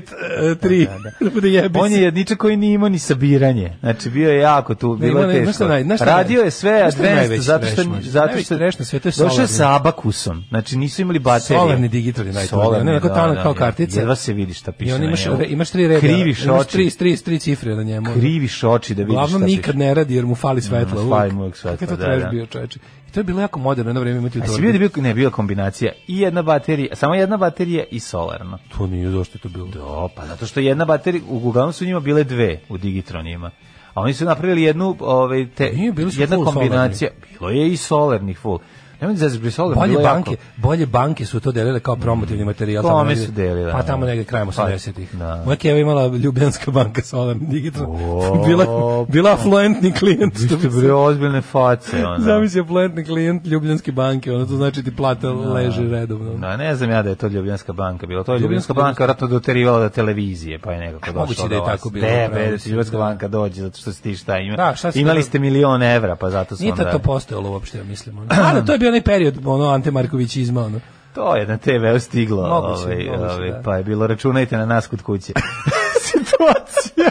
Speaker 6: 3.
Speaker 5: Da, da,
Speaker 6: e, Da bude jebi
Speaker 5: On je
Speaker 6: se.
Speaker 5: jedničak koji nije imao ni sabiranje. Znači, bio je jako tu, bilo
Speaker 6: ima
Speaker 5: je
Speaker 6: ne-
Speaker 5: teško.
Speaker 6: znaš šta naj- znaš šta naj-
Speaker 5: Radio je sve
Speaker 6: znaš šta je
Speaker 5: advanced,
Speaker 6: najveći
Speaker 5: zato što,
Speaker 6: trash možda?
Speaker 5: zato
Speaker 6: Najveći
Speaker 5: što
Speaker 6: trash na svetu je
Speaker 5: došao je
Speaker 6: solarni.
Speaker 5: sa abakusom. Znači, nisu imali baterije.
Speaker 6: Solarni digital je najtužniji.
Speaker 5: Solarni,
Speaker 6: On je onako
Speaker 5: da,
Speaker 6: tanak
Speaker 5: da,
Speaker 6: kao
Speaker 5: da.
Speaker 6: kartica.
Speaker 5: Jedva se vidi šta piše
Speaker 6: I on
Speaker 5: na
Speaker 6: imaš,
Speaker 5: njemu.
Speaker 6: re- imaš tri reda.
Speaker 5: Kriviš
Speaker 6: imaš
Speaker 5: oči.
Speaker 6: tri, tri, tri cifre na njemu.
Speaker 5: Kriviš oči da vidiš
Speaker 6: Uglavnom
Speaker 5: šta piše.
Speaker 6: nikad ne radi jer mu fali svetla.
Speaker 5: Mm,
Speaker 6: uvek.
Speaker 5: fali mu uvek
Speaker 6: Kakav je
Speaker 5: svetla,
Speaker 6: to
Speaker 5: da,
Speaker 6: trash
Speaker 5: da.
Speaker 6: bio, čoveče. I to je bilo jako moderno jedno vreme imati u
Speaker 5: A si
Speaker 6: torbi.
Speaker 5: Pa vidio da je bio, ne, bila kombinacija i jedna baterija, samo jedna baterija i solarno.
Speaker 6: To nije zašto je to bilo.
Speaker 5: Do, pa zato što jedna baterija, u- uglavnom su njima bile dve u Digitronima. A oni su napravili jednu, ovaj, te,
Speaker 6: Pa Nije, bili su
Speaker 5: jedna
Speaker 6: full
Speaker 5: kombinacija. Bilo je i solarnih full. Nemojte da zazibri solarno,
Speaker 6: Bolje
Speaker 5: bilo je
Speaker 6: banke,
Speaker 5: jako.
Speaker 6: bolje banke su to delile kao promotivni materijal.
Speaker 5: Kome
Speaker 6: tamo negde-
Speaker 5: su delile,
Speaker 6: Pa
Speaker 5: da.
Speaker 6: tamo negde krajem
Speaker 5: Pa,
Speaker 6: 80-ih.
Speaker 5: da.
Speaker 6: Moja keva imala Ljubljanska banka Solarni Digital.
Speaker 5: O, pa
Speaker 6: bila, bila afluentni klijent.
Speaker 5: Vi
Speaker 6: Što
Speaker 5: ste
Speaker 6: bi
Speaker 5: bre ozbiljne face, ono.
Speaker 6: Zamisli afluentni klijent Ljubljanske banke, ono to znači ti plata leže redovno.
Speaker 5: Da, ne znam ja da je to Ljubljanska banka bila. To je
Speaker 6: Ljubljanska
Speaker 5: Ljubljanska
Speaker 6: E,
Speaker 5: banka vratno dotirivala do televizije, pa je nekako došlo
Speaker 6: moguće
Speaker 5: do
Speaker 6: da je
Speaker 5: vas.
Speaker 6: tako bilo,
Speaker 5: Ne,
Speaker 6: upravo
Speaker 5: bre, da
Speaker 6: si,
Speaker 5: ti Ljubljanska
Speaker 6: da.
Speaker 5: banka dođe, zato što si ti šta ima.
Speaker 6: Da, šta si-
Speaker 5: Imali ste milion evra, pa zato su
Speaker 6: Nije
Speaker 5: onda...
Speaker 6: to, to postojalo uopšte, ja mislim. Ono. A da, to je bio onaj period, ono, Ante Markovićizma, ono.
Speaker 5: To je na TV stiglo,
Speaker 6: Moguće,
Speaker 5: ovaj,
Speaker 6: moguće,
Speaker 5: ovaj,
Speaker 6: da.
Speaker 5: pa je bilo računajte na nas kod kuće. Situacija.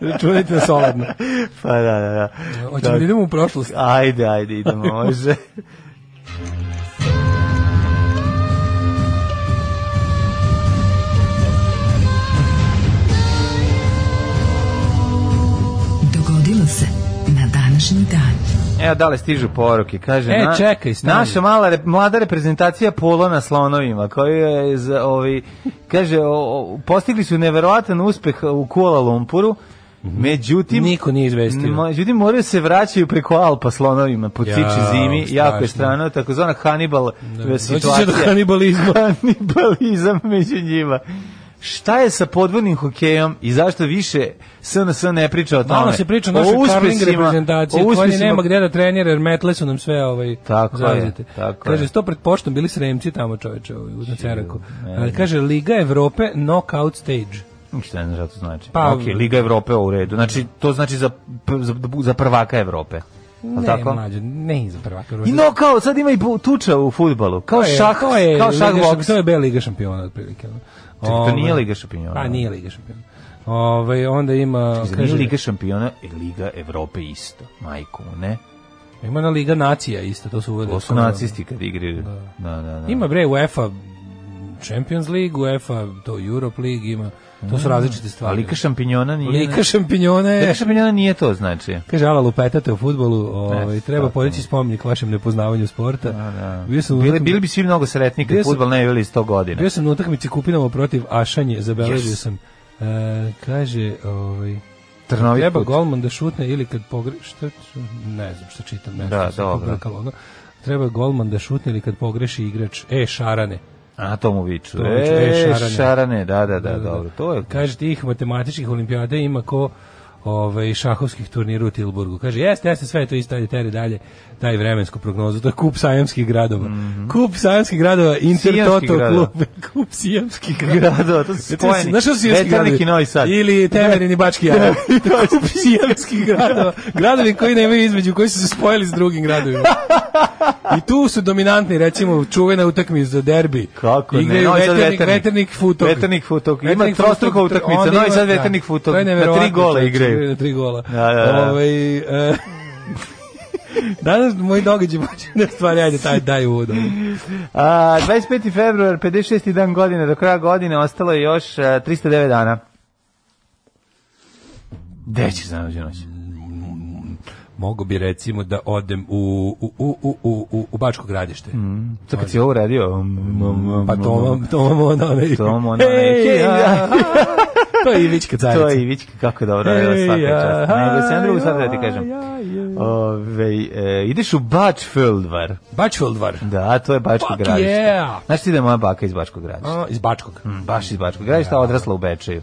Speaker 6: Računajte na solarno.
Speaker 5: pa da, da, da.
Speaker 6: Hoćemo
Speaker 5: Da.
Speaker 6: da idemo u prošlost.
Speaker 5: Ajde, ajde, idemo, može.
Speaker 4: Dogodilo se na današnji dan.
Speaker 5: Evo, da li stižu poruke, kaže...
Speaker 6: E, čekaj, stani.
Speaker 5: Naša mala, rep- mlada reprezentacija pola na slonovima, koju je, za, ovi, kaže, o, o, postigli su neverovatan uspeh u Kuala Lumpuru, Mhm. Međutim,
Speaker 6: Niko nije izvestio.
Speaker 5: Mo- Međutim, moraju se vraćaju preko Alpa slonovima, po
Speaker 6: Jao,
Speaker 5: ciči zimi, jako
Speaker 6: strašno.
Speaker 5: je strano, takozvana Hannibal da,
Speaker 6: Doći
Speaker 5: situacija.
Speaker 6: će do kanibalizma.
Speaker 5: Kanibalizam među njima. Šta je sa podvodnim hokejom i zašto više SNS ne priča o tome?
Speaker 6: Malo se priča o
Speaker 5: O
Speaker 6: našoj Karling
Speaker 5: uspesima-
Speaker 6: reprezentaciji,
Speaker 5: o
Speaker 6: koja ni
Speaker 5: uspesima-
Speaker 6: nema gde da trenira, jer metle su nam sve ovaj,
Speaker 5: Tako je,
Speaker 6: zauzete.
Speaker 5: tako
Speaker 6: kaže,
Speaker 5: je.
Speaker 6: sto pred poštom bili sremci tamo čoveče ovaj, u Ceraku. Ali kaže, Liga Evrope knockout stage.
Speaker 5: Šta ne znam šta to znači.
Speaker 6: Pa-
Speaker 5: Pa, okay, Liga Evrope u redu. Znači, to znači za, za, za prvaka Evrope. Al
Speaker 6: Ne,
Speaker 5: tako?
Speaker 6: mlađe, ne iza prvaka.
Speaker 5: I no kao, sad ima i bu- tuča u futbalu. Kao
Speaker 6: To je-
Speaker 5: šah,
Speaker 6: to je
Speaker 5: kao šah
Speaker 6: Liga šam-
Speaker 5: boks.
Speaker 6: To je B Liga šampiona, otprilike. ono.
Speaker 5: To nije
Speaker 6: Ovaj,
Speaker 5: Liga šampiona.
Speaker 6: Pa nije Liga šampiona. Ovaj onda ima,
Speaker 5: Zar nije
Speaker 6: kaže,
Speaker 5: Liga šampiona i Liga Evrope isto. Majko, mu, ne?
Speaker 6: ima na Liga nacija isto, to su uvodili.
Speaker 5: To su nacisti kad igraju. Da, da, da.
Speaker 6: Ima bre UEFA Champions League, UEFA to Europe League ima. To su različite
Speaker 5: A
Speaker 6: stvari.
Speaker 5: Mm. Liga šampinjona nije...
Speaker 6: Lika šampinjone.
Speaker 5: Liga šampiona nije to, znači.
Speaker 6: Kaže, ala lupetate u futbolu, ovaj,
Speaker 5: Ne,
Speaker 6: treba
Speaker 5: tako.
Speaker 6: podići spomenik vašem nepoznavanju sporta.
Speaker 5: da.
Speaker 6: Bio sam, u
Speaker 5: Bili,
Speaker 6: utakmi-
Speaker 5: bili bi svi mnogo sretni kad
Speaker 6: Bio sam-
Speaker 5: futbal ne bi bili 100 godina.
Speaker 6: bio sam na utakmici Kupinovo protiv Ašanje, zabeležio
Speaker 5: Yes.
Speaker 6: sam. E, kaže, ovaj,
Speaker 5: Trnovi
Speaker 6: treba
Speaker 5: put.
Speaker 6: golman da šutne ili kad pogreši, šta, ne znam što čitam, nešto
Speaker 5: Da,
Speaker 6: sam se
Speaker 5: dobro.
Speaker 6: pobrkalo, ono. Treba golman da šutne ili kad pogreši igrač. E, šarane.
Speaker 5: A, to mu viču.
Speaker 6: To mu viču,
Speaker 5: E,
Speaker 6: e,
Speaker 5: šarane.
Speaker 6: šarane.
Speaker 5: da, da, da, dobro. To je...
Speaker 6: Kaže tih matematičkih olimpijada ima ko ovaj šahovskih turnira u Tilburgu. Kaže jeste, jeste sve je to isto ajde teri dalje daj vremensku prognozu. To je kup sajamskih gradova. Kup sajamskih gradova Inter
Speaker 5: Sijamskih
Speaker 6: Toto
Speaker 5: Mhm. gradova.
Speaker 6: klub. Kup sijamskih gradova.
Speaker 5: Grado, to su spojeni.
Speaker 6: Znaš što su sijamski gradovi?
Speaker 5: Veternik i Novi Sad.
Speaker 6: Ili Temerin i Bački Jara. Kup sijamskih gradova. Gradovi koji nemaju između, koji su se spojili s drugim gradovima. I tu su dominantni, recimo, čuvena utakmica za derbi.
Speaker 5: Kako ne,
Speaker 6: Igraju
Speaker 5: Novi Sad
Speaker 6: veternik,
Speaker 5: Veternik.
Speaker 6: veternik futok.
Speaker 5: Veternik Futog. Ima
Speaker 6: Veternik
Speaker 5: trostruka
Speaker 6: Futog, tr-
Speaker 5: utakmica.
Speaker 6: onda
Speaker 5: Novi
Speaker 6: ima-
Speaker 5: Sad Veternik Futog.
Speaker 6: to je
Speaker 5: Na tri
Speaker 6: neverovatno,
Speaker 5: gola
Speaker 6: čovječe,
Speaker 5: igraju.
Speaker 6: Na tri gola.
Speaker 5: Da, da, da.
Speaker 6: Ovaj, e, Danas moji događaj počinju na stvari, ajde, taj, daj uvod.
Speaker 5: A, 25. februar, 56. dan godine, do kraja godine ostalo je još a, 309 dana. Gde ćeš za nođu noć?
Speaker 6: Mogu bi recimo da odem u, u, u, u, u, u, u Bačko gradište.
Speaker 5: To kad si ovo radio? um, um, um,
Speaker 6: Pa to vam, to vam ono, onaj-
Speaker 5: To vam ono, onaj-
Speaker 6: Ej,
Speaker 5: Hej,
Speaker 6: ja. to je Ivićka carica.
Speaker 5: To je Ivićka, kako je dobro, radila
Speaker 6: Ej,
Speaker 5: svaka
Speaker 6: ja,
Speaker 5: čast. Nego se Andreju sad da ti
Speaker 6: ja,
Speaker 5: kažem.
Speaker 6: ja, ja.
Speaker 5: Ove, e, ideš u Bačfeldvar.
Speaker 6: Bačfeldvar.
Speaker 5: Da, to je Bačko
Speaker 6: Fuck
Speaker 5: gradište.
Speaker 6: yeah!
Speaker 5: Znaš ti da je moja baka iz Bačkog gradišta?
Speaker 6: A, iz Bačkog.
Speaker 5: Mm, Baš iz Bačkog gradišta, a odrasla u Bečeju.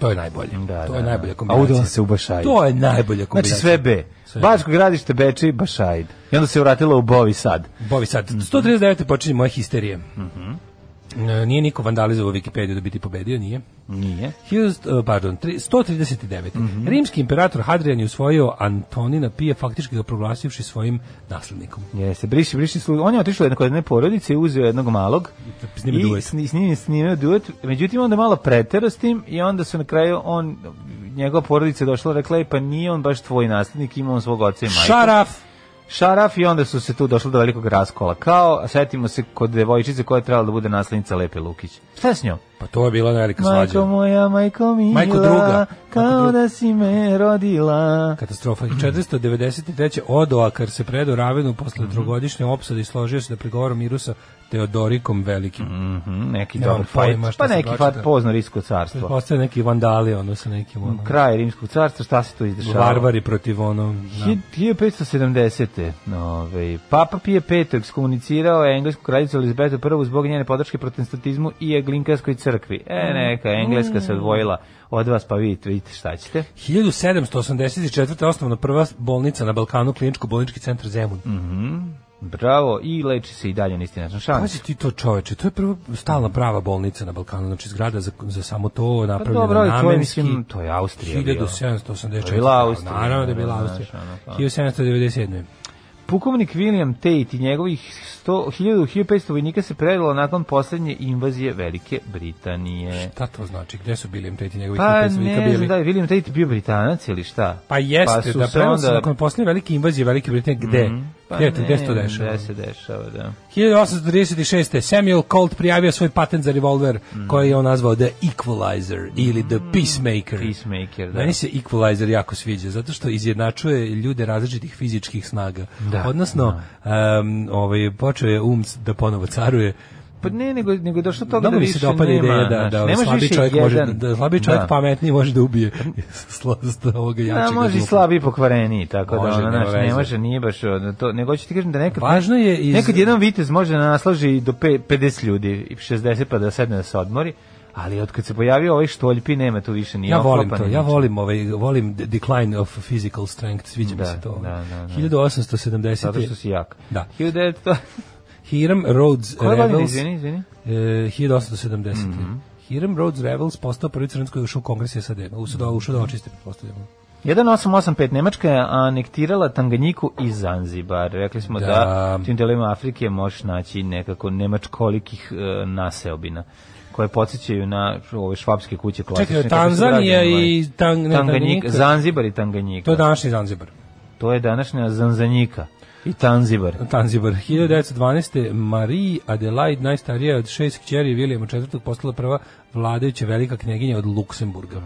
Speaker 6: To je najbolje.
Speaker 5: Da,
Speaker 6: to
Speaker 5: da,
Speaker 6: je
Speaker 5: da.
Speaker 6: najbolja
Speaker 5: A
Speaker 6: kombinacija.
Speaker 5: udala se u Bašaj.
Speaker 6: To je najbolja
Speaker 5: Znači
Speaker 6: kombinacija.
Speaker 5: sve B.
Speaker 6: Sve B.
Speaker 5: Bačko gradište, Bečej, Bašajd. I onda se vratila u Bovi Sad.
Speaker 6: Bovi sad,
Speaker 5: Mhm.
Speaker 6: 139. počinje moja histerija. E, Nije niko vandalizovao Wikipediju da bi ti pobedio, nije.
Speaker 5: Nije.
Speaker 6: Hiljadu- e, pardon, tri- 139.
Speaker 5: Mhm.
Speaker 6: Rimski imperator Hadrian je usvojio Antonina Pije, faktički ga proglasivši svojim naslednikom.
Speaker 5: Jeste, briši, briši slu... On je otišao jednog od jedne porodice i uzeo jednog malog.
Speaker 6: Snime
Speaker 5: I
Speaker 6: duet.
Speaker 5: sni, sni, snimio duet. Međutim, onda malo pretero s tim i onda su na kraju on, njegova porodica je došla i rekla, "E, pa nije on baš tvoj naslednik, ima on svog oca i majku.
Speaker 6: Šaraf!
Speaker 5: Šaraf i onda su se tu došli do velikog raskola. Kao, setimo se kod devojčice koja je trebala da bude naslednica Lepe Lukić. Šta je s njom?
Speaker 6: Pa to je bila velika svađa.
Speaker 5: Majko moja, majko mila,
Speaker 6: Majko druga. Majko
Speaker 5: kao
Speaker 6: druga.
Speaker 5: da si me rodila.
Speaker 6: Katastrofa. 493. Odoakar se predao Ravenu
Speaker 5: Mhm.
Speaker 6: posle drugodišnje opsade i složio se da pregovara miru sa Teodorikom Velikim. Mm,
Speaker 5: Mhm, neki
Speaker 6: Nemam
Speaker 5: dobar
Speaker 6: pojma
Speaker 5: fight.
Speaker 6: šta
Speaker 5: Pa
Speaker 6: sam
Speaker 5: neki
Speaker 6: pročitao.
Speaker 5: fight pozno risko carstvo. Mm,
Speaker 6: Postoje Pa. neki vandali, ono, sa nekim, ono,
Speaker 5: Kraj rimskog carstva, šta se tu izdešava?
Speaker 6: varvari protiv, ono, da.
Speaker 5: 1570. Ovaj, Papa Pije V ekskomunicirao je englesku kraljicu Elizabetu I zbog njene podrške protestantizmu i eglinkarskoj crkvi. E,
Speaker 6: Mm.
Speaker 5: neka, engleska se odvojila od vas, pa vidite, vidite šta ćete.
Speaker 6: 1784. osnovna prva bolnica na Balkanu, kliničko-bolnički centar Zemun.
Speaker 5: Mhm. Bravo, i leči se i dalje na isti način. Šans.
Speaker 6: Pazi ti to čoveče, to je prva stalna prava bolnica na Balkanu, znači zgrada za, za samo to napravljena
Speaker 5: Pa dobro, ali to je,
Speaker 6: namenski.
Speaker 5: mislim, to je Austrija bila.
Speaker 6: 1784.
Speaker 5: To je bila Austrija,
Speaker 6: Naravno da je bila
Speaker 5: znaš,
Speaker 6: Austrija.
Speaker 5: ono, pa.
Speaker 6: 1797.
Speaker 5: Pukovnik William Tate i njegovih 100, 1000, 1500 vojnika se predalo nakon poslednje invazije Velike Britanije.
Speaker 6: Šta to znači? Gde su bili im teti njegovi
Speaker 5: Pa
Speaker 6: pesnika
Speaker 5: ne znam
Speaker 6: bili?
Speaker 5: da je William Tate bio Britanac ili šta?
Speaker 6: Pa jeste,
Speaker 5: su
Speaker 6: da
Speaker 5: se Mhm. Pa
Speaker 6: prema se nakon posljednje velike invazije Velike Britanije, gde? gde, to- gde se to
Speaker 5: ne,
Speaker 6: dešava? Mm.
Speaker 5: Gde se dešava, da.
Speaker 6: 1836. Samuel Colt prijavio svoj patent za revolver
Speaker 5: Mhm.
Speaker 6: koji je on nazvao The Equalizer ili The Peacemaker.
Speaker 5: Peacemaker, Mhm. da.
Speaker 6: Meni se Equalizer jako sviđa zato što izjednačuje ljude različitih fizičkih snaga.
Speaker 5: Da,
Speaker 6: Odnosno, em, ovaj, počeo je um da ponovo caruje.
Speaker 5: Pa ne, nego, nego je došlo do toga
Speaker 6: Mnogo
Speaker 5: da
Speaker 6: mi
Speaker 5: više
Speaker 6: se dopada
Speaker 5: nema,
Speaker 6: ideja da,
Speaker 5: znaš,
Speaker 6: da,
Speaker 5: ne može
Speaker 6: slabi
Speaker 5: više
Speaker 6: čovjek
Speaker 5: jedan,
Speaker 6: može, da slabi čovjek
Speaker 5: da.
Speaker 6: pametniji može da ubije slast ovoga jačega.
Speaker 5: Da, može i
Speaker 6: duplo.
Speaker 5: slabi i pokvareni, tako
Speaker 6: Može,
Speaker 5: da ono,
Speaker 6: nema
Speaker 5: znaš,
Speaker 6: veze.
Speaker 5: ne može, nije baš ono, to, nego ću ti kažem da nekad,
Speaker 6: Važno je iz...
Speaker 5: nekad jedan vitez može da naslaži do pe, 50 ljudi, i 60 pa da sedne da se odmori, ali od kad se pojavio ovaj štoljpi nema tu više ni
Speaker 6: Ja
Speaker 5: oklopa,
Speaker 6: volim
Speaker 5: ni
Speaker 6: to, ja
Speaker 5: ničega.
Speaker 6: volim, ovaj, volim de- decline of physical strength, sviđa mi
Speaker 5: Da,
Speaker 6: se to.
Speaker 5: da, da, da.
Speaker 6: 1870.
Speaker 5: Zato što si jak.
Speaker 6: Da.
Speaker 5: 1900...
Speaker 6: Hiram Rhodes
Speaker 5: Koje godine,
Speaker 6: Rebels,
Speaker 5: izvini, Mhm. izvini?
Speaker 6: e, 1870. Hiram Rhodes Rebels postao prvi crnac koji je ušao u kongres SAD. Ušao da, ušao da očiste, pretpostavljamo.
Speaker 5: 1885 Nemačka je anektirala Tanganjiku i Zanzibar. Rekli smo da,
Speaker 6: Da.
Speaker 5: da u tim delima Afrike možeš naći nekako nemačkolikih e, naseobina koje podsjećaju na ove švabske kuće klasične.
Speaker 6: Čekaj,
Speaker 5: kako su
Speaker 6: Tanzanija
Speaker 5: građani, ovaj,
Speaker 6: i Tang, ne,
Speaker 5: Tanganjika,
Speaker 6: Tanganjika.
Speaker 5: Zanzibar i Tanganjika.
Speaker 6: To je današnji Zanzibar.
Speaker 5: To je današnja Zanzanjika i Tanzibar.
Speaker 6: Tanzibar. 1912. Marie Adelaide, najstarija od šest kćeri Vilijama IV. postala prva vladajuća velika knjeginja od Luksemburga.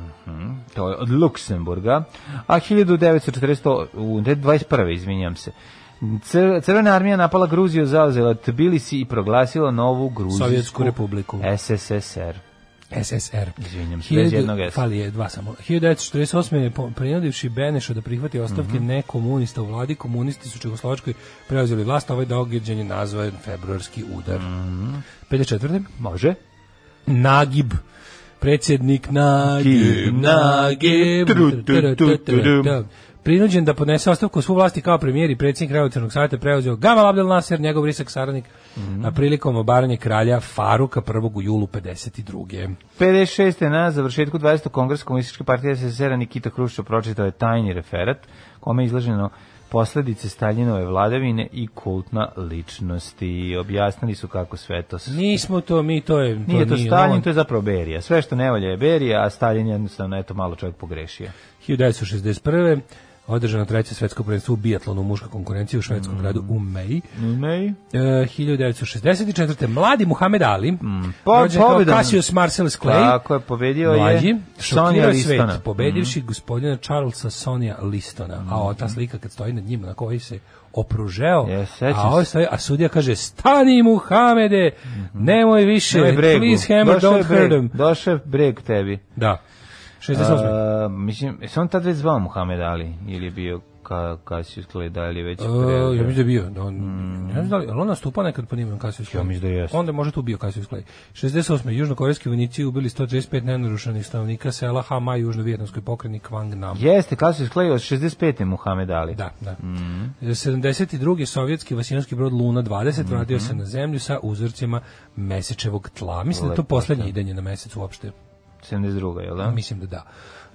Speaker 5: To je od Luksemburga. A 1940, u, ne, 21. izvinjam se. Cr- Crvena armija napala Gruziju, zauzela Tbilisi i proglasila novu Gruzijsku
Speaker 6: Sovjetsku republiku.
Speaker 5: SSSR.
Speaker 6: SSR.
Speaker 5: Izvinjam se, bez jednog S.
Speaker 6: Fali je dva samo. 1948. je po- prinudivši Beneša da prihvati ostavke
Speaker 5: Mhm.
Speaker 6: nekomunista u vladi, komunisti su u Čegoslovačkoj preuzeli vlast, a ovaj događaj je nazvan februarski udar.
Speaker 5: Mhm.
Speaker 6: 54.
Speaker 5: Može.
Speaker 6: Nagib predsjednik Nagib,
Speaker 5: Nagib,
Speaker 6: Nagib,
Speaker 5: tru, tru, tru, tru.
Speaker 6: da. prinuđen da podnese ostavku svu vlasti kao premijer i predsjednik Revolucionarnog savjeta preuzeo Gamal Abdel Nasser, njegov risak saradnik,
Speaker 5: Mhm.
Speaker 6: a prilikom obaranje kralja Faruka 1. u julu 52.
Speaker 5: 56. na završetku 20. kongresa komunističke partije SSR-a Nikita Hruščov pročitao je tajni referat kome je izlaženo posledice Staljinove vladavine i kultna ličnosti. Objasnili su kako sve to se...
Speaker 6: Nismo to, mi to je...
Speaker 5: Nije to
Speaker 6: nije
Speaker 5: Stalin,
Speaker 6: on.
Speaker 5: to je zapravo Berija. Sve što ne valja je Berija, a Stalin je jednostavno, eto, malo čovjek pogrešio.
Speaker 6: 1961. Održano treće svetsko prvenstvo u biatlonu muška konkurencija u švedskom
Speaker 5: Mhm.
Speaker 6: gradu u Meji.
Speaker 5: Imej.
Speaker 6: E, 1964. Mladi Muhammed Ali,
Speaker 5: Mm. Po-
Speaker 6: rođen kao
Speaker 5: pobedom.
Speaker 6: Cassius Marcellus Clay,
Speaker 5: Tako je, pobedio
Speaker 6: mlađi,
Speaker 5: je Sonja
Speaker 6: šokirao je svet,
Speaker 5: Listona. Mm-hmm.
Speaker 6: pobedivši gospodina Charlesa Sonja Listona. A o, ta slika kad stoji nad njima, na kojoj se opružeo,
Speaker 5: Mm-hmm. Je, sećam
Speaker 6: a, ovaj
Speaker 5: se.
Speaker 6: stoji, a sudija kaže, stani Muhamede, nemoj više,
Speaker 5: Došao je bregu.
Speaker 6: please hammer,
Speaker 5: Došao je
Speaker 6: don't hurt
Speaker 5: breg.
Speaker 6: him.
Speaker 5: Došao je breg tebi.
Speaker 6: Da, 68.
Speaker 5: A, mislim, je on tad već zvao Muhammed Ali ili je bio ka, Cassius Clay, da ili je već
Speaker 6: E, ja
Speaker 5: pre-
Speaker 6: mislim da je bio. Da on, ja mislim da li, ali on nastupa nekad pod imenom Cassius Clay.
Speaker 5: Mm. Ja mislim da jeste.
Speaker 6: Onda je možda tu bio Cassius Clay. 68. Južnokorejski vojnici ubili 135 nenarušenih stanovnika sela Hama i južno-vjetnamskoj pokrajini Kvang Nam.
Speaker 5: Jeste, Cassius Clay od 65. Muhammed Ali.
Speaker 6: Da, da.
Speaker 5: Mm.
Speaker 6: 72. sovjetski vasijanski brod Luna 20 vratio
Speaker 5: Mhm.
Speaker 6: se na zemlju sa uzorcima mesečevog tla. Mislim da je to
Speaker 5: Lepo,
Speaker 6: poslednje idenje na mesec uopšte.
Speaker 5: 72. jel da?
Speaker 6: Mislim da da.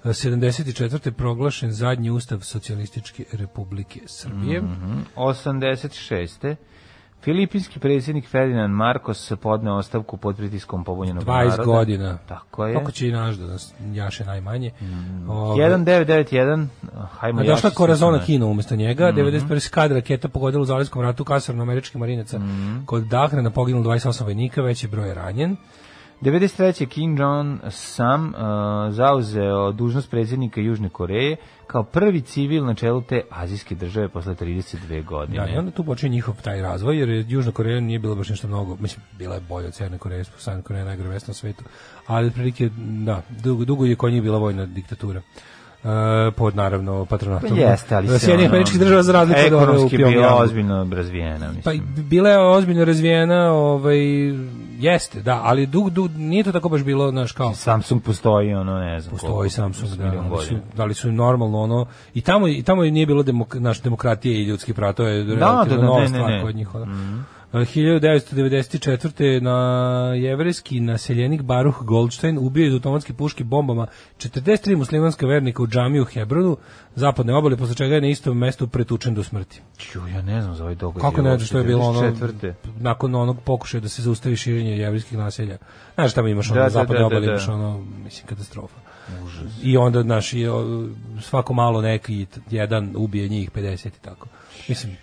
Speaker 6: 74. proglašen zadnji ustav socijalističke republike Srbije.
Speaker 5: Mhm. 86. Filipinski predsjednik Ferdinand Marcos podneo ostavku pod pritiskom pobunjenog
Speaker 6: 20
Speaker 5: naroda.
Speaker 6: godina.
Speaker 5: Tako je.
Speaker 6: Kako će i naš da nas jaše najmanje.
Speaker 5: Mhm.
Speaker 6: Mm. Ove,
Speaker 5: 1991. ah, Hajmo
Speaker 6: a došla
Speaker 5: jaši se Mhm.
Speaker 6: Korazona
Speaker 5: na-
Speaker 6: Kino umesto njega, 91. skad raketa pogodila u Zalivskom
Speaker 5: Mhm.
Speaker 6: ratu kasarno američkih marinaca. Kod Dahrena poginulo 28 vojnika, veći broj je ranjen.
Speaker 5: 93. Kim Jong Sam uh, zauzeo dužnost predsjednika Južne Koreje kao prvi civil na čelu te azijske države posle 32 godine.
Speaker 6: Da, i onda tu počinje njihov taj razvoj, jer je Južna Koreja nije bila baš nešto mnogo, mislim, bila je bolja od Sjerne Koreje, Sjerne Koreja je najgore na svetu, ali otprilike, da, dugo, dugo je kod njih bila vojna diktatura. Uh, pod naravno patronatom. E,
Speaker 5: Pa jeste, ali se
Speaker 6: Sjedinjenih
Speaker 5: ono,
Speaker 6: američkih država za razliku od ove u
Speaker 5: Ekonomski je bila
Speaker 6: Pjongjangu.
Speaker 5: ozbiljno razvijena,
Speaker 6: Pa
Speaker 5: mislim.
Speaker 6: bila je ozbiljno razvijena, ovaj jeste, da, ali dug, dug nije to tako baš bilo, znaš, kao
Speaker 5: Samsung postoji, ono, ne znam.
Speaker 6: postoji Samsung, da,
Speaker 5: milion
Speaker 6: ali su,
Speaker 5: godina.
Speaker 6: da li su im normalno ono i tamo i tamo nije bilo demok, naš demokratije i ljudski prava, to je da,
Speaker 5: da,
Speaker 6: relativno
Speaker 5: da,
Speaker 6: nova
Speaker 5: ne, ne,
Speaker 6: stvar
Speaker 5: ne. Mhm.
Speaker 6: kod njih. ono. E, 1994. na jevrejski naseljenik Baruch Goldstein ubio je iz automatske puške bombama 43 muslimanska vernika u džamiju u Hebronu, zapadne obale, posle čega je na istom mestu pretučen do smrti.
Speaker 5: Ču, ja ne znam za ovaj događaj.
Speaker 6: Kako ne znaš što je bilo ono
Speaker 5: Četvrte.
Speaker 6: nakon onog pokušaja da se zaustavi širenje jevrejskih naselja. Znaš tamo imaš ono
Speaker 5: Da,
Speaker 6: da,
Speaker 5: da,
Speaker 6: zapadne
Speaker 5: da,
Speaker 6: obale,
Speaker 5: da, da.
Speaker 6: imaš ono mislim katastrofa. I onda znaš i o, svako malo neki t- jedan ubije njih 50 i tako. Mislim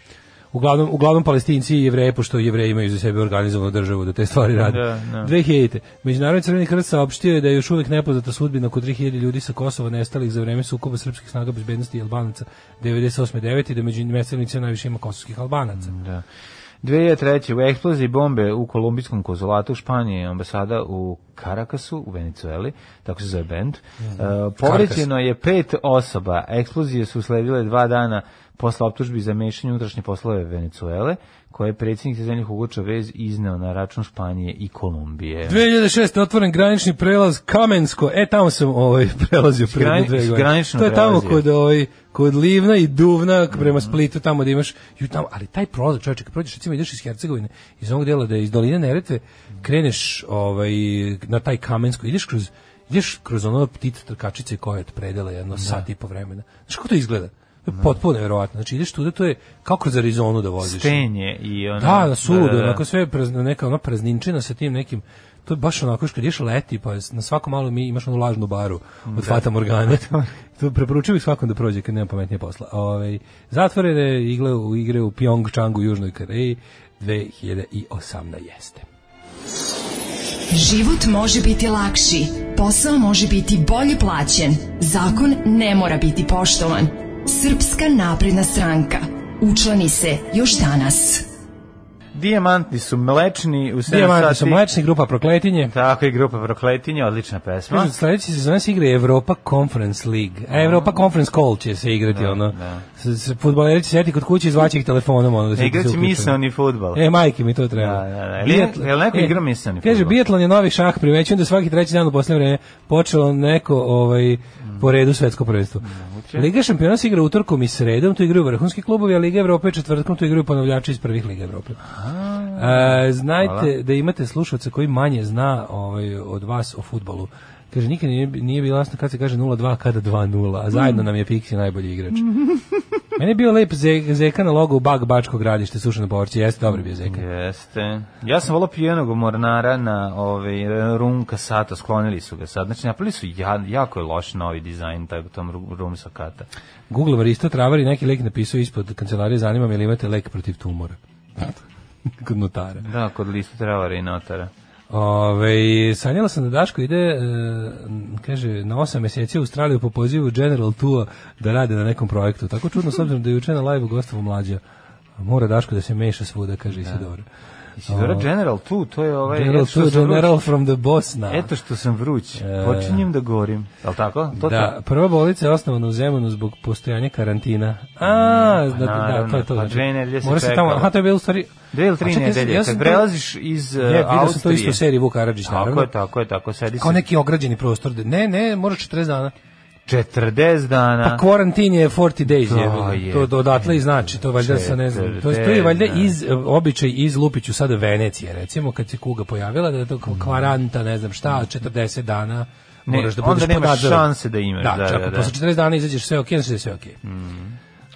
Speaker 6: Uglavnom, uglavnom palestinci i jevreji, pošto jevreji imaju za sebe organizovanu državu da te stvari rade.
Speaker 5: Da, da.
Speaker 6: 2000. Međunarodni crveni krst saopštio je da je još uvijek nepoznata sudbina oko 3000 ljudi sa Kosova nestalih za vreme sukoba srpskih snaga bezbednosti i albanaca 98. 9. i da među nestalnicima najviše ima kosovskih albanaca.
Speaker 5: Da. 2003. u eksploziji bombe u kolumbijskom konzulatu u Španiji, ambasada u Karakasu u Venecueli, tako se zove bend.
Speaker 6: Mhm.
Speaker 5: E, povređeno je pet osoba. Eksplozije su sledile dva dana posle optužbi za mešanje u unutrašnje poslove Venecuele, koje je predsjednik Zvenih Ugoča vez izneo na račun Španije i Kolumbije.
Speaker 6: 2006. otvoren granični prelaz Kamensko. E, tamo sam ovaj, prelazio pre
Speaker 5: Grani-
Speaker 6: dve godine.
Speaker 5: granično
Speaker 6: To je tamo
Speaker 5: prelazio. Mhm.
Speaker 6: kod, ovaj, kod Livna i Duvna, k- prema Splitu, tamo da imaš... Ju, tamo, ali taj prolaz, čovječe, kad prođeš, recimo ideš iz Hercegovine, iz onog dela da je iz doline Neretve, kreneš ovaj, na taj Kamensko, ideš kroz ideš kroz ono ptit trkačice koja je od predela jedno sat i po vremena. Znaš kako to izgleda? To je potpuno nevjerovatno. Znači ideš tuda, to je kao kroz Arizonu da voziš.
Speaker 5: Stenje i ono...
Speaker 6: Da, da, suludo, onako sve je prazno, neka ona prazninčina sa tim nekim to je baš onako što ideš leti, pa na svako malo mi imaš onu lažnu baru od Fata Morgane. to preporučujem ih svakom da prođe kad nema pametnije posla. Ove, zatvorene igle u igre u Pyeongchangu u Južnoj Koreji 2018. jeste.
Speaker 4: Život može biti lakši, posao može biti bolje plaćen, zakon ne mora biti poštovan. Srpska napredna stranka. Učlani se još danas.
Speaker 5: Dijamantni su mlečni u 7
Speaker 6: Dijamanti su
Speaker 5: sati.
Speaker 6: mlečni, grupa Prokletinje.
Speaker 5: Tako i grupa Prokletinje, odlična pesma.
Speaker 6: Kažu, sledeće sezone se igra Evropa Conference League. A Evropa Conference Call će se igrati, ono.
Speaker 5: da.
Speaker 6: S, s, fudbaleri će sedeti kod kuće i zvaće ih telefonom, ono. Da se-
Speaker 5: Ne igraći
Speaker 6: se uključe.
Speaker 5: misleni futbal.
Speaker 6: E, majke mi to treba. e,
Speaker 5: Da, da, da. Jel- jel neko igra misaoni
Speaker 6: Kaže,
Speaker 5: fudbal?
Speaker 6: bijatlon je novi šah, primećujem da svaki treći dan u poslednje vreme počelo neko ovaj, po redu svetsko prvenstvo. Liga šampiona se igra utorkom i sredom, tu igraju vrhunski klubovi, a Liga Evrope je četvrtkom, tu igraju ponavljači iz prvih Liga Evrope. E, znajte da imate slušalca koji manje zna ovaj, od vas o futbolu. Kaže, nikad nije, nije bilo jasno kad se kaže 0-2, kada 2-0, a zajedno nam je Pixi najbolji igrač.
Speaker 5: Mhm.
Speaker 6: Meni je bio lep ze- Zeka na logo u Bag Bačko gradište, sušeno povrće, jeste, dobro bio Zeka.
Speaker 5: Jeste. Ja sam volao pijenog mornara na ovaj, Rumka Sata, sklonili su ga sad. Znači, napravili su ja, jako je loš novi dizajn taj, tom Ru- Rumsa Kata.
Speaker 6: Google Varisto Travar i neki lek napisao ispod kancelarije, zanima me ili imate lek protiv tumora. Kod notara.
Speaker 5: Da, kod listu travara i notara.
Speaker 6: Ove, sanjala sam da Daško ide, e, kaže, na osam meseci u Australiju po pozivu General Tua da rade na nekom projektu. Tako čudno, s obzirom da je juče na live-u gostovo mlađa. Mora Daško da se meša svuda, kaže Isidora.
Speaker 5: Isidora General tu, to je ovaj...
Speaker 6: General
Speaker 5: eto što
Speaker 6: Tua,
Speaker 5: sam E, vruć.
Speaker 6: General from the boss now.
Speaker 5: Eto što sam vruć. Počinjem da gorim. Je li tako? To
Speaker 6: da,
Speaker 5: to?
Speaker 6: prva bolnica je osnovana u Zemunu zbog postojanja karantina. A, da, da, to
Speaker 5: naravno,
Speaker 6: je to.
Speaker 5: pa
Speaker 6: znači,
Speaker 5: dve nedelje se
Speaker 6: mora se
Speaker 5: čekalo.
Speaker 6: tamo, aha, to je bilo u stvari...
Speaker 5: Dve ili
Speaker 6: A
Speaker 5: tri
Speaker 6: čekaj, ja sam-
Speaker 5: nedelje.
Speaker 6: ja sam
Speaker 5: Kad
Speaker 6: to-
Speaker 5: prelaziš iz uh,
Speaker 6: Ne, vidio sam to
Speaker 5: Austrije.
Speaker 6: isto u seriji Vuk Karadžić,
Speaker 5: Tako
Speaker 6: naravno.
Speaker 5: je, tako je, tako. Sedi
Speaker 6: Kao
Speaker 5: se
Speaker 6: neki ograđeni prostor. gde- Ne, ne, mora 40 dana.
Speaker 5: 40 dana.
Speaker 6: Pa quarantine je 40 days,
Speaker 5: To
Speaker 6: je.
Speaker 5: je.
Speaker 6: To, to odatle i znači, to valjda sa ne znam. To, je- to je valjda iz e, običaj iz Lupiću sada Venecije, recimo, kad se kuga pojavila, da je to kao kvaranta, ne znam šta, 40 dana
Speaker 5: Ne,
Speaker 6: moraš da
Speaker 5: onda
Speaker 6: budeš pod
Speaker 5: nemaš
Speaker 6: nadzorom.
Speaker 5: šanse da imaš,
Speaker 6: Da,
Speaker 5: da,
Speaker 6: čak,
Speaker 5: da, Mhm. da.
Speaker 6: posle 40 dana izađeš sve okej, okay, sve sve okej.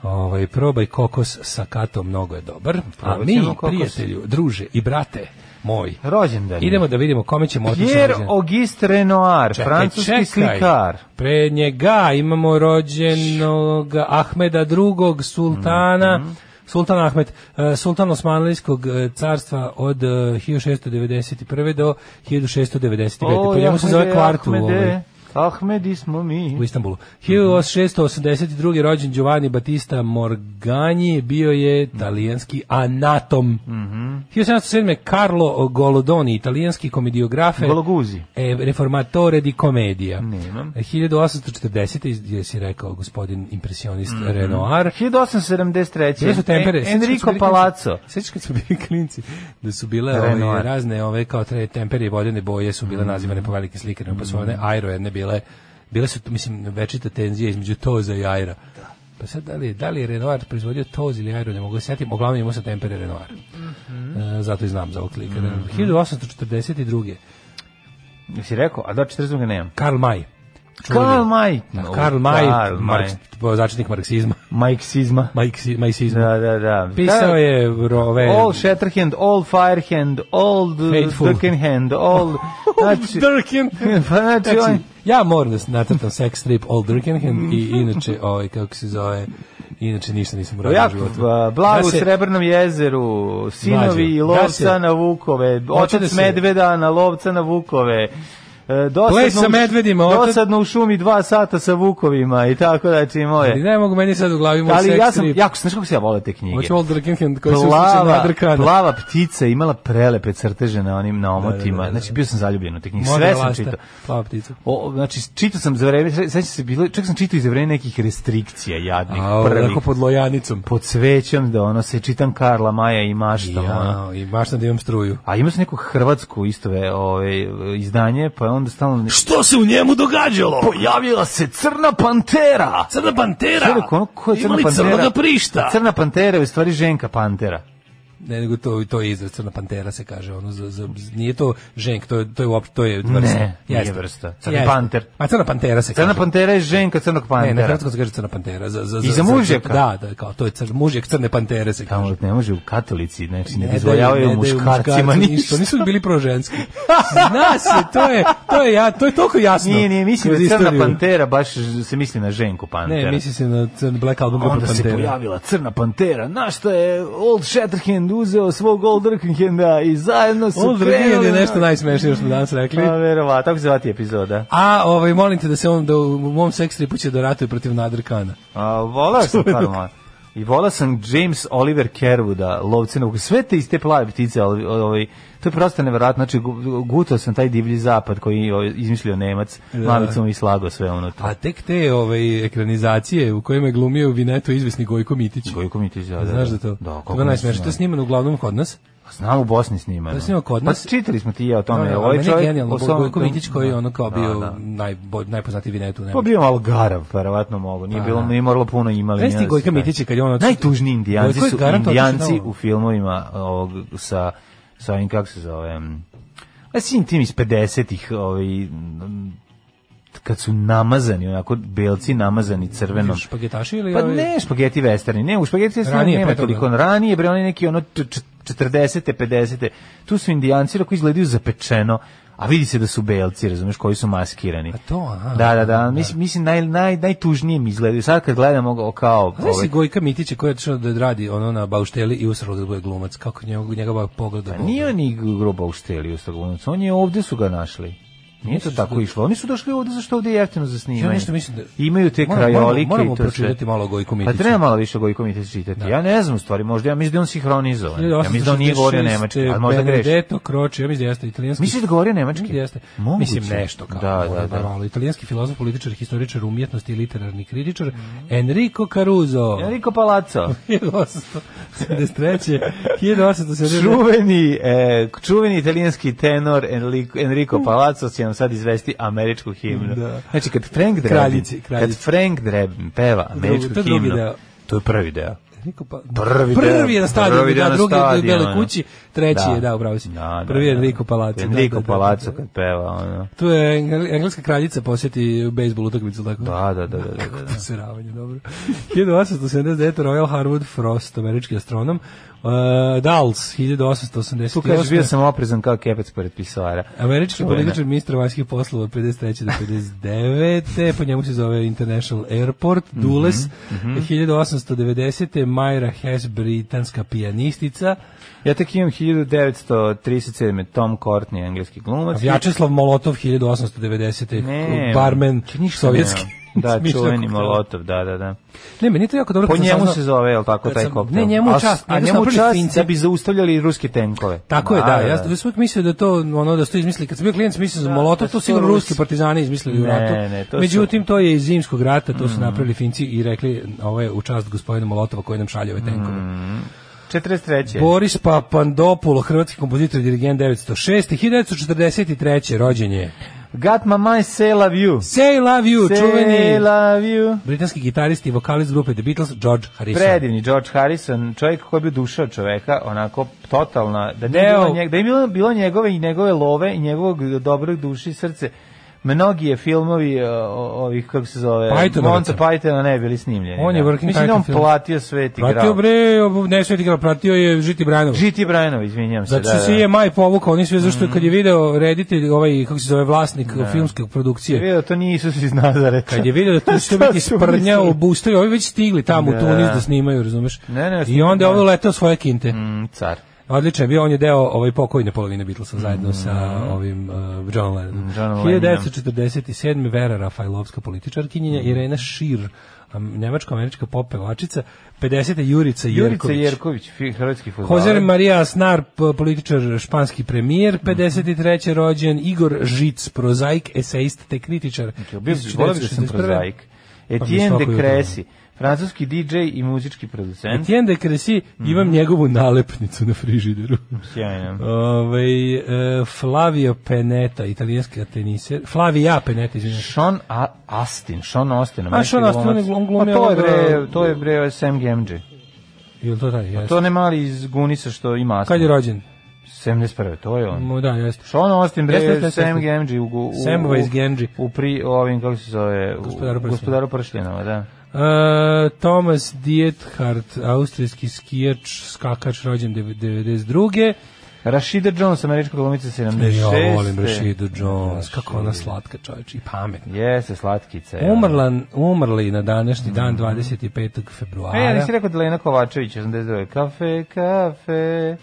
Speaker 6: Ovaj, probaj kokos sa katom, mnogo je dobar. A
Speaker 5: Probat
Speaker 6: mi,
Speaker 5: ćemo kokos.
Speaker 6: prijatelju, druže i brate moj,
Speaker 5: Rođendan. je.
Speaker 6: idemo da vidimo kome ćemo otići. na
Speaker 5: Pierre
Speaker 6: rođendan.
Speaker 5: Auguste Renoir, francuski slikar.
Speaker 6: Pre
Speaker 5: Mhm.
Speaker 6: njega imamo rođenog Ahmeda II, sultana Sultan Ahmet, e, sultan Osmanlijskog e, carstva od e, 1691. do 1695. Po njemu se zove kvartu. Ovaj.
Speaker 5: Ahmedi smo mi.
Speaker 6: u Istanbulu. 1682. rođen Giovanni Battista Morgani bio je italijanski anatom. Mm 1707. Carlo Golodoni, italijanski komediografe.
Speaker 5: Gologuzi.
Speaker 6: E, reformatore di komedija.
Speaker 5: Nemam.
Speaker 6: 1840. iz- je si rekao gospodin impresionist Renoir.
Speaker 5: 1873.
Speaker 6: Bile su tempere.
Speaker 5: En-
Speaker 6: Sećaš kad su
Speaker 5: Enrico
Speaker 6: bili
Speaker 5: Palazzo.
Speaker 6: klinci- Sećaš kad su bili klinci da su bile
Speaker 5: Renoir. Mm.
Speaker 6: ove, razne ove kao tre, tempere i vodene boje su bile nazivane po velikim slikarima, pa su one aero jedne bile, bile su, mislim, večita tenzija između toza i aira. Pa sad, da li, je- da li je Renoir proizvodio toz ili aero, ne mogu se sjetiti, uglavnom imao sam tempere Renoir.
Speaker 5: Mhm.
Speaker 6: E, zato i znam za ovog slikara. 1842.
Speaker 5: Jesi rekao? A da, 42. nemam.
Speaker 6: Karl May.
Speaker 5: Karl May.
Speaker 6: Da,
Speaker 5: No,
Speaker 6: Karl May,
Speaker 5: Karl
Speaker 6: Marks,
Speaker 5: May.
Speaker 6: začetnik marksizma,
Speaker 5: Majksizma.
Speaker 6: majksi- majsizma.
Speaker 5: Da, da, da.
Speaker 6: Pisao
Speaker 5: Da.
Speaker 6: je ove...
Speaker 5: All Shatterhand, all Firehand, all
Speaker 6: Faithful.
Speaker 5: Durkenhand, all... Znači,
Speaker 6: Durkin.
Speaker 5: pa znači, on,
Speaker 6: Znači, ja moram da nacrtam sex strip All Durkenhen i inače, ovaj, kako se zove, inače ništa nisam uradio u
Speaker 5: Jako,
Speaker 6: životu.
Speaker 5: ba, blago
Speaker 6: Da
Speaker 5: u
Speaker 6: se-
Speaker 5: Srebrnom jezeru, sinovi
Speaker 6: Mlađo,
Speaker 5: i
Speaker 6: da
Speaker 5: lovca
Speaker 6: se-
Speaker 5: na vukove,
Speaker 6: Hoće
Speaker 5: otac
Speaker 6: da se-
Speaker 5: medveda na lovca na vukove, e, dosadno,
Speaker 6: Play sa
Speaker 5: u-
Speaker 6: medvedima, otac-
Speaker 5: dosadno u šumi dva sata sa vukovima i tako da će
Speaker 6: Ali
Speaker 5: moje.
Speaker 6: ne mogu meni sad u glavi moj
Speaker 5: Ali
Speaker 6: sex
Speaker 5: ja sam,
Speaker 6: strip.
Speaker 5: jako, znaš kako se ja vole te knjige?
Speaker 6: Hoću All Durkenhen koji se usliče na
Speaker 5: Plava,
Speaker 6: drkana.
Speaker 5: plava ptica je imala prelepe crteže na onim na omotima. Znači bio sam zaljubljen u te knjige.
Speaker 6: Modra
Speaker 5: Sve sam
Speaker 6: lasta,
Speaker 5: čitao.
Speaker 6: Plava ptica.
Speaker 5: O, znači, čitao sam za vreme, se- sećam se, bilo, čak sam čitao i za vreme nekih restrikcija jadnih,
Speaker 6: A, ovo,
Speaker 5: prvih.
Speaker 6: onako pod lojanicom.
Speaker 5: Pod svećom da ono se čitam Karla Maja i mašta. ono.
Speaker 6: Ja, i baš sam da imam struju.
Speaker 5: A ima se neko hrvatsko istove ove, ovaj, izdanje, pa je onda stalno...
Speaker 6: Što se u njemu događalo?
Speaker 5: Pojavila se crna pantera!
Speaker 6: Crna pantera!
Speaker 5: Sve rekao, ono, ko je crna pantera? Crna pantera je u stvari ženka pantera.
Speaker 6: Ne, nego to to je izraz crna pantera se kaže, ono za, za nije to ženk, to je to je uopšte to je vrsta.
Speaker 5: Ne, nije
Speaker 6: Jeste.
Speaker 5: vrsta. Crni
Speaker 6: Jeste.
Speaker 5: panter.
Speaker 6: Ma crna pantera se
Speaker 5: Crna
Speaker 6: kaže.
Speaker 5: pantera je ženka crnog
Speaker 6: Ne, na
Speaker 5: pantera.
Speaker 6: hrvatskom se kaže crna pantera za za
Speaker 5: I za mužjaka?
Speaker 6: Da, da, kao to je crn mužjak crne pantere se kaže.
Speaker 5: Tamo ne može u katolici, znači ne,
Speaker 6: Ne daju-
Speaker 5: dozvoljavaju
Speaker 6: ne daju
Speaker 5: muškarcima
Speaker 6: muškarcu
Speaker 5: ništa.
Speaker 6: Nisu bili proženski. Zna se, to je, to je, ja, to je toliko jasno.
Speaker 5: Nije, nije, mislim da
Speaker 6: kroz
Speaker 5: je crna
Speaker 6: istoriju.
Speaker 5: pantera, baš se misli na ženku pantera.
Speaker 6: Ne, misli se na crn Black Album grupa
Speaker 5: Onda se
Speaker 6: Pantera.
Speaker 5: pojavila crna pantera, na što je Old Shatterhand uzeo svog Old Rickenhanda i zajedno su
Speaker 6: Old Virginian je nešto najsmešnije što smo danas rekli.
Speaker 5: Pa, verovatno, tako se zvati epizoda.
Speaker 6: A, ovaj, molim te da se on, da u mom seks stripu će da ratuje protiv Nadrkana.
Speaker 5: A, volao sam Karma. I volao sam James Oliver Kerwooda, lovce na vuku. Sve te iste plave ptice, ali ovaj, to je prosto nevjerojatno. Znači, gu- gutao sam taj divlji zapad koji je ovaj, izmislio Nemac, mamicom i slago sve ono unutra.
Speaker 6: A Pa tek te ovaj, ekranizacije u kojima je glumio Vineto izvesni Gojko Mitić.
Speaker 5: Koliko mi ti izgleda?
Speaker 6: Znaš da to?
Speaker 5: Da,
Speaker 6: to
Speaker 5: koliko
Speaker 6: je
Speaker 5: mi
Speaker 6: najsmešnije. To je
Speaker 5: se
Speaker 6: snimano uglavnom kod nas.
Speaker 5: Znam u Bosni snimano.
Speaker 6: To je snimao kod nas.
Speaker 5: Pa čitali smo ti i ja o tome.
Speaker 6: Ali
Speaker 5: ovaj
Speaker 6: meni
Speaker 5: čovjek-
Speaker 6: je genijalno.
Speaker 5: o svom-
Speaker 6: Gojko Mitić koji je ono kao bio
Speaker 5: Da, da.
Speaker 6: najbolj- najpoznatiji Vineto. u
Speaker 5: Pa
Speaker 6: Nemačkoj.
Speaker 5: bio malo garav, verovatno mogu. Nije bilo, nije moralo puno imali.
Speaker 6: Pa Znaš ti
Speaker 5: nije da se
Speaker 6: Gojka
Speaker 5: kaže.
Speaker 6: Mitića kad je on otišao-
Speaker 5: Najtužniji indijanci
Speaker 6: Gojko je
Speaker 5: su
Speaker 6: garant otišao
Speaker 5: indijanci
Speaker 6: tamo.
Speaker 5: u filmovima ovog, sa, sa ovim, kako se zove, m, a svim tim iz 50-ih, ovaj, m, kad su namazani, onako, belci namazani crvenom.
Speaker 6: Špagetaši ili
Speaker 5: Pa
Speaker 6: ovaj-
Speaker 5: ne, špageti westerni, ne, u špageti westerni
Speaker 6: Ranije,
Speaker 5: nema
Speaker 6: pre toga.
Speaker 5: toliko. Ranije, bre, oni neki ono t- čet- 40. 50. Tu su indijanci koji izgledaju zapečeno, a vidi se da su belci, razumeš, koji su maskirani.
Speaker 6: A to, aha.
Speaker 5: Da, da, da, mislim, mislim naj, naj, najtužnije mi izgledaju. Sad kad gledamo ga kao...
Speaker 6: A Znaš
Speaker 5: ovaj,
Speaker 6: si Gojka Mitića koji je otišao da radi ono na baušteli i usralo da bude glumac. Kako njegov, njegova pogleda.
Speaker 5: Pa nije on ni groba u šteliju u Stogoluncu, on je ovde su ga našli. Nije to tako išlo. Oni su došli ovde zašto ovde je jeftino za snimanje.
Speaker 6: Ja nešto mislim da-
Speaker 5: Imaju te
Speaker 6: Moramo-
Speaker 5: krajolike
Speaker 6: moramo- moramo
Speaker 5: i to sve.
Speaker 6: pročitati malo o Gojku Mitiću.
Speaker 5: Pa treba malo više o Gojku Mitiću čitati. Ja ne znam u stvari, možda ja mislim da je on sinhronizovan. Ja mislim da on nije govorio nemački, ali možda greši.
Speaker 6: Benedetto Croce, ja mislim da jeste italijanski.
Speaker 5: Misliš da govorio nemački?
Speaker 6: Mislim da jeste.
Speaker 5: Moguće.
Speaker 6: Mislim nešto kao.
Speaker 5: Da,
Speaker 6: ono,
Speaker 5: da, da.
Speaker 6: bar malo. Italijanski filozof, političar, historičar umjetnosti i literarni kritičar Enrico Caruso.
Speaker 5: Mhm. Enrico Palazzo,
Speaker 6: 1873. 1879.
Speaker 5: čuveni, e, čuveni italijanski tenor Enrico, Enrico Palazzo će nam sad izvesti američku himnu.
Speaker 6: Da.
Speaker 5: Znači kad Frank Drebin,
Speaker 6: Kraljici, kraljici.
Speaker 5: kad Frank Drebin peva američku
Speaker 6: to je drugi
Speaker 5: himnu,
Speaker 6: deo.
Speaker 5: to je prvi deo.
Speaker 6: Enrico Pa...
Speaker 5: Prvi deo.
Speaker 6: je na stadionu,
Speaker 5: Prvi deo
Speaker 6: da,
Speaker 5: na
Speaker 6: drugi je u
Speaker 5: stadionu.
Speaker 6: Beloj kući, treći
Speaker 5: Da.
Speaker 6: je, da, upravo si.
Speaker 5: Da, da,
Speaker 6: Prvi je
Speaker 5: da.
Speaker 6: Enrico Palazzo.
Speaker 5: Enrico
Speaker 6: da, da, da,
Speaker 5: Palazzo
Speaker 6: da.
Speaker 5: kad peva, ono.
Speaker 6: Tu je engl- engleska kraljica posjeti bejsbol utakmicu, tako?
Speaker 5: Da, da, da, da, da.
Speaker 6: Kako posiravanje, dobro. 1879. Royal Harwood Frost, američki astronom. Uh, Dals, 1888.
Speaker 5: Tu kažeš, bio sam oprezan kao kepec pored pisara.
Speaker 6: Američki
Speaker 5: Čuvena.
Speaker 6: političar ministar vanjskih poslova od 53. do
Speaker 5: Mhm,
Speaker 6: 59. po njemu se zove International Airport, Dulles, 1890. Myra Hess, britanska pijanistica,
Speaker 5: Ja tek imam 1937. Tom Courtney, engleski glumac.
Speaker 6: Vjačeslav Molotov 1890.
Speaker 5: Ne,
Speaker 6: barmen
Speaker 5: ču- ništa
Speaker 6: sovjetski.
Speaker 5: nemam. Da,
Speaker 6: Smišlja
Speaker 5: čuveni
Speaker 6: koktela.
Speaker 5: Molotov, da, da, da.
Speaker 6: Ne, meni je to jako dobro.
Speaker 5: Po
Speaker 6: kad sam
Speaker 5: njemu
Speaker 6: saznao-
Speaker 5: se zove, je li tako,
Speaker 6: kad
Speaker 5: taj
Speaker 6: sam-
Speaker 5: koktel?
Speaker 6: Ne, njemu
Speaker 5: A
Speaker 6: u
Speaker 5: s-
Speaker 6: čast.
Speaker 5: A
Speaker 6: njega su
Speaker 5: njemu u
Speaker 6: napravili
Speaker 5: čast
Speaker 6: Finci.
Speaker 5: da bi zaustavljali ruske tenkove.
Speaker 6: Tako je, da. Ja sam uvijek mislio da je to ono da su to izmislili kad sam bio klijent, mislio sam da,
Speaker 5: Da,
Speaker 6: Molotov,
Speaker 5: da
Speaker 6: to
Speaker 5: su
Speaker 6: sigurno
Speaker 5: to
Speaker 6: ruski
Speaker 5: Rusi.
Speaker 6: partizani izmislili u
Speaker 5: Ne,
Speaker 6: ratu.
Speaker 5: ne, to su- Mm.
Speaker 6: Međutim to je iz zimskog rata, to su napravili Finci i rekli ovo je u čast gospodina Molotova koji nam šalje ove tenkove.
Speaker 5: Mm. 43.
Speaker 6: Boris Papandopulo, hrvatski kompozitor i dirigent 906. 1943. rođenje.
Speaker 5: Got my mind, say love you.
Speaker 6: Say Love You,
Speaker 5: Say
Speaker 6: čuveni
Speaker 5: love you.
Speaker 6: britanski gitarist i vokalist grupe The Beatles, George Harrison.
Speaker 5: Predivni George Harrison, čovjek koji bi duša od čoveka, onako totalna, da nije
Speaker 6: Deo-
Speaker 5: bilo, njeg, da je bilo, bilo njegove i njegove love i njegovog dobrog duši i srce. Mnogi je filmovi o- o- ovih, kako se zove,
Speaker 6: Pythonovaca.
Speaker 5: Monty Pythona ne bili snimljeni.
Speaker 6: On je
Speaker 5: da.
Speaker 6: working
Speaker 5: Mislim da on
Speaker 6: title film.
Speaker 5: platio svet i
Speaker 6: Pratio
Speaker 5: grao.
Speaker 6: bre, ob- ne sveti ga, pratio je Žiti Brajanović.
Speaker 5: G.T. Brajnov, izvinjam se.
Speaker 6: Zato
Speaker 5: da, Mhm.
Speaker 6: što se
Speaker 5: da.
Speaker 6: Znači E je Maj povukao, oni sve zašto kad je video reditelj, ovaj, kako se zove, vlasnik filmske
Speaker 5: Je
Speaker 6: produkcije,
Speaker 5: Vidio, to nije Isus iz Nazareta.
Speaker 6: kad je video da tu će biti
Speaker 5: su
Speaker 6: sprnja
Speaker 5: mislili?
Speaker 6: u bustoj, ovi već stigli tamo
Speaker 5: Da.
Speaker 6: u Tunis da snimaju, razumeš?
Speaker 5: Ne, ne,
Speaker 6: I onda
Speaker 5: da.
Speaker 6: je ovo letao svoje kinte.
Speaker 5: Mm, car.
Speaker 6: Odličan je bio, on je deo ovaj pokojne polovine Beatlesa zajedno
Speaker 5: Mhm.
Speaker 6: sa ovim uh, John Lennonom.
Speaker 5: Johnom
Speaker 6: 1947. Vera Rafajlovska političarkinja,
Speaker 5: Mhm.
Speaker 6: Irena Šir, nemačko-američka pop pevačica, 50. Jurica
Speaker 5: Jurica
Speaker 6: Jerković.
Speaker 5: Jerković, fi- hrvatski fudbaler.
Speaker 6: Jose Maria Aznar, p- političar, španski premijer,
Speaker 5: Mhm.
Speaker 6: 53. rođen, Igor Žic, prozaik, esejist te kritičar.
Speaker 5: Bio bi volio bi da sam
Speaker 6: 1961.
Speaker 5: prozaik.
Speaker 6: Pa svako
Speaker 5: Etienne de
Speaker 6: jutro.
Speaker 5: Cressy, francuski DJ i muzički producent.
Speaker 6: Etienne de Cressy,
Speaker 5: Mhm.
Speaker 6: imam njegovu nalepnicu na frižideru. Uh,
Speaker 5: Sjajno.
Speaker 6: Ove, e, Flavio Peneta, italijanski teniser. Flavia Peneta, izvinjam.
Speaker 5: Sean A Astin, Sean Austin. Pa
Speaker 6: A, Sean Austin, on je glum- glumio
Speaker 5: to je
Speaker 6: onoga-
Speaker 5: bre, to je bre Sam Gamgee.
Speaker 6: Jel to taj? Jeste.
Speaker 5: Pa To ne mali iz Gunisa što ima Astin.
Speaker 6: Kad je rođen?
Speaker 5: 71. To je on.
Speaker 6: Mo, da, jeste.
Speaker 5: Sean Austin bre
Speaker 6: Jeste, jeste, jeste.
Speaker 5: Sam Gamgee u, gu- u
Speaker 6: Samwise Gamgee.
Speaker 5: U pri ovim kako se zove u-
Speaker 6: Gospodaru pršljinama.
Speaker 5: gospodaru pršljenama, da.
Speaker 6: E, Thomas Diethard, austrijski skijač, skakač, rođen dev- 92.
Speaker 5: Rashida Jones, američka glumica 76.
Speaker 6: Ja volim Rashidu Jones, kako ona slatka čovječ i pametna.
Speaker 5: Jeste, slatkica. je.
Speaker 6: Umrla, umrli na današnji dan 25. februara.
Speaker 5: Mm. E, ja nisi rekao da Lena Kovačević, 82. Kafe, kafe,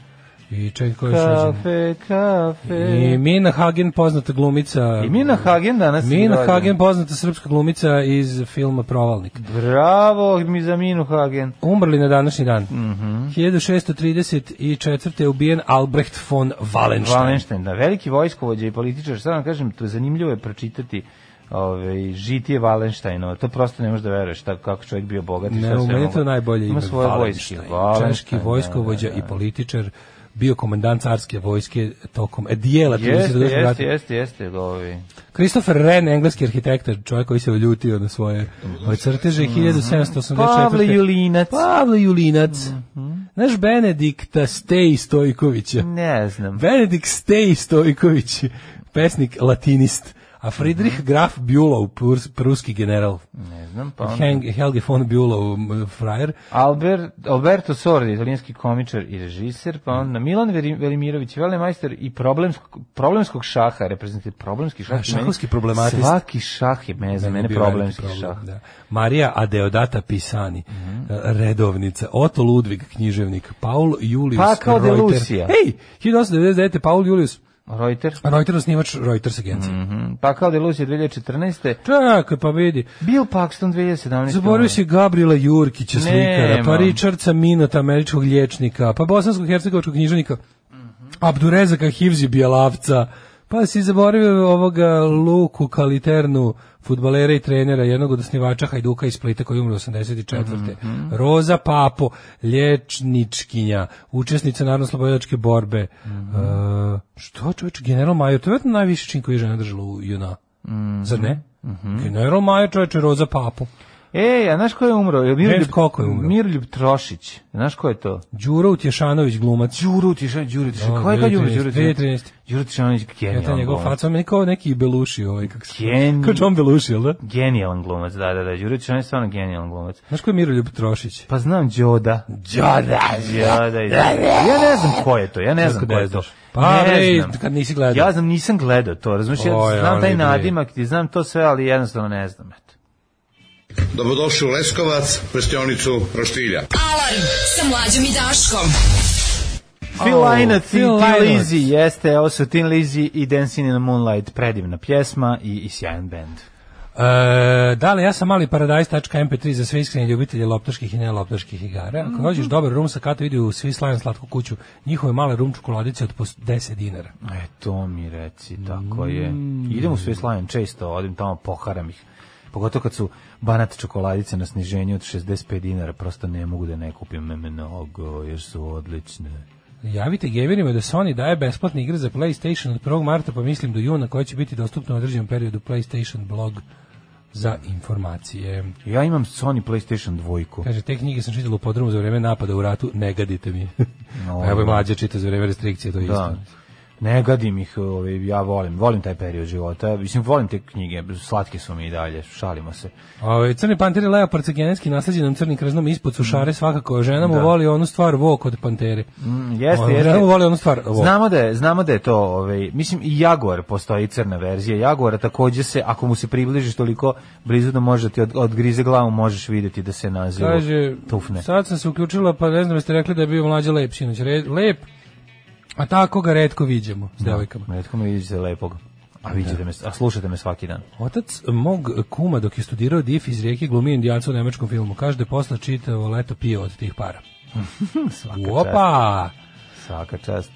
Speaker 6: I čekaj ko je još rođen.
Speaker 5: kafe, kafe.
Speaker 6: I Mina Hagen, poznata glumica.
Speaker 5: E. I Mina Hagen danas.
Speaker 6: Mina
Speaker 5: rođena.
Speaker 6: Hagen, poznata srpska glumica iz filma Provalnik.
Speaker 5: Bravo mi za Minu Hagen.
Speaker 6: Umrli na današnji dan. Mm
Speaker 5: Mhm.
Speaker 6: 1634. je ubijen Albrecht von Wallenstein.
Speaker 5: Valenštajn, da, veliki vojskovođa i političar. Sad vam kažem, to je zanimljivo je pročitati ove, žitije Valenštajnova. To prosto ne možeš da veruješ šta, kako čovjek bio bogat. i šta
Speaker 6: Ne,
Speaker 5: sve
Speaker 6: u meni je
Speaker 5: mogao.
Speaker 6: to najbolje
Speaker 5: Ima
Speaker 6: ime.
Speaker 5: svoje vojske.
Speaker 6: Wallenstein. Češki
Speaker 5: Valenštajn, da,
Speaker 6: vojskovođa i političar, bio komandant carske vojske tokom e, dijela 30.
Speaker 5: Jeste,
Speaker 6: godišnjeg rata.
Speaker 5: jeste, jeste, jeste, ovi.
Speaker 6: Christopher Wren, engleski arhitekta, čovjek koji se oljutio na svoje ove crteže, 1784.
Speaker 5: Mhm. Pavle Mhm. Julinac.
Speaker 6: Pavle Julinac. Znaš Benedikta Stej Stojkovića?
Speaker 5: Ne znam.
Speaker 6: Benedikt Stej Stojković, pesnik latinist. A Friedrich
Speaker 5: Mhm.
Speaker 6: Graf Bülow, prus- pruski general.
Speaker 5: Ne znam, pa onda.
Speaker 6: Heng- Helge von Bülow, m, frajer.
Speaker 5: Albert, Alberto Sordi, italijanski komičar i režiser, pa onda
Speaker 6: Mm.
Speaker 5: Milan Veri- Velimirović, velemajster i problemskog, problemskog šaha, reprezentativ problemski šah.
Speaker 6: Da, šahovski
Speaker 5: Meni-
Speaker 6: problematist.
Speaker 5: Svaki šah je, ne znam, mene
Speaker 6: bio veliki
Speaker 5: problemski
Speaker 6: problem,
Speaker 5: šah. Mhm.
Speaker 6: Da. Marija Adeodata Pisani, e, redovnica, Oto Ludvig, književnik, Paul Julius
Speaker 5: Pa kao de
Speaker 6: Reuter.
Speaker 5: Lucia.
Speaker 6: Ej, 1899. Paul Julius, pa
Speaker 5: Reuter,
Speaker 6: Reuter osnivač Reuters agencije. Mm
Speaker 5: mhm, pa kao Delusija 2014.
Speaker 6: Čekaj, pa vidi.
Speaker 5: Bill Paxton 2017.
Speaker 6: Zaboravio si Gabriela Jurkića
Speaker 5: Nema.
Speaker 6: slikara, pa Richardsa Minota, američkog liječnika, pa bosanskog hercegovačkog književnika, Abdurezaka Hivzi Bjelavca, pa si zaboravio ovoga Luku Kaliternu, futbalera i trenera, jednog od osnivača Hajduka iz Splita koji je umro 84. Roza Papo, lječničkinja, učesnica narodno-slobodačke borbe. E, što čovječ, general Major, to je vjerojatno najviše čin koji je žena držala u juna. Zar ne? General Major, čovječe, Roza Papo.
Speaker 5: E, a znaš ko je umro? Je Miroljub,
Speaker 6: Znaš koliko je umro?
Speaker 5: Miroljub Trošić. Znaš ko je to?
Speaker 6: Đuro Utješanović glumac.
Speaker 5: Đuro Tišan, Đuro Tišan.
Speaker 6: Da,
Speaker 5: Ko je kad je umro?
Speaker 6: 2013.
Speaker 5: Đuro Tišan. Đuro Tišanović,
Speaker 6: Ja to
Speaker 5: genijalan
Speaker 6: njegov
Speaker 5: glumac.
Speaker 6: faca, on meni kao neki Beluši ovaj, kako se...
Speaker 5: Geni-
Speaker 6: Kao John Beluši, jel da?
Speaker 5: Genijalan glumac, da, da, da. Đuro Tišan je stvarno genijalan glumac.
Speaker 6: Znaš ko je Miroljub Trošić? E,
Speaker 5: Pa znam Đoda. Đoda. Đoda. iz- Ja ne znam ko je to, ja ne znam
Speaker 6: Kako
Speaker 5: ko je
Speaker 6: ne
Speaker 5: to.
Speaker 6: znaš? Pa,
Speaker 5: ne
Speaker 6: bre,
Speaker 5: znam.
Speaker 6: kad nisi gledao.
Speaker 5: Ja znam, nisam gledao to, razumiješ, ja
Speaker 6: Oj,
Speaker 5: znam
Speaker 6: ali
Speaker 5: taj
Speaker 6: bre.
Speaker 5: nadimak, ti znam to sve, ali jednostavno ne znam, eto.
Speaker 7: Dobrodošli u Leskovac, prštionicu Roštilja.
Speaker 4: Alarm sa mlađom i Daškom.
Speaker 5: Phil
Speaker 6: Oh,
Speaker 5: Lynott i
Speaker 6: Phil
Speaker 5: Tin
Speaker 6: Lynott.
Speaker 5: Lizzy jeste, ovo su Tin Lizzy i Dancing in the Moonlight, predivna pjesma i, i sjajan band.
Speaker 6: E, da li ja sam mali paradajz.mp3 za sve iskrene ljubitelje loptaških i neloptaških igara. Ako hoćeš dobar rum sa kata vidi u Swiss Lion slatku kuću, njihove male rum čokoladice od po 10 dinara.
Speaker 5: E, to mi reci, tako je.
Speaker 6: Mm.
Speaker 5: Idem u Swiss Lion često, odim tamo, poharam ih. Pogotovo kad su banat čokoladice na sniženju od 65 dinara, prosto ne mogu da ne kupim me mnogo, jer su odlične.
Speaker 6: Javite geverima da Sony daje besplatne igre za PlayStation od 1. marta, pa mislim do juna, koja će biti dostupna u određenom periodu PlayStation blog za informacije.
Speaker 5: Ja imam Sony PlayStation dvojku.
Speaker 6: Kaže, te knjige sam čitala u podrumu za vreme napada u ratu, ne gadite mi.
Speaker 5: No.
Speaker 6: No, Evo je mlađa čita za vreme restrikcije, to je
Speaker 5: Da.
Speaker 6: isto.
Speaker 5: Ne gadim ih, ovaj, ja volim, volim taj period života, mislim, volim te knjige, slatke su mi i dalje, šalimo se.
Speaker 6: Ove, crni panter i leopard sa genetski nasleđenom crnim krznom ispod sušare svakako. Žena mu voli onu stvar vok od pantere. Mm,
Speaker 5: jeste, jeste.
Speaker 6: Žena mu voli onu stvar vok.
Speaker 5: Znamo da je, znamo da je to, ovaj, mislim i Jaguar postoji crna verzija. Jaguara takođe se ako mu se približiš toliko blizu da može da ti od, odgrize glavu, možeš videti da se nazivu
Speaker 6: Kaže,
Speaker 5: tufne.
Speaker 6: sad sam se uključila, pa ne znam, jeste rekli da je bio mlađa lep sinoć. Re, lep, a tako ga redko viđamo s devojkama.
Speaker 5: Redko me vidite lepog. A vidite me, a slušate me svaki dan.
Speaker 6: Otac mog kumma dok je studirao DIF iz rijeke glumi indijanca u nemačkom filmu. Kaže da je posle čitavo leto pije od tih para. Opa!
Speaker 5: Svaka čast.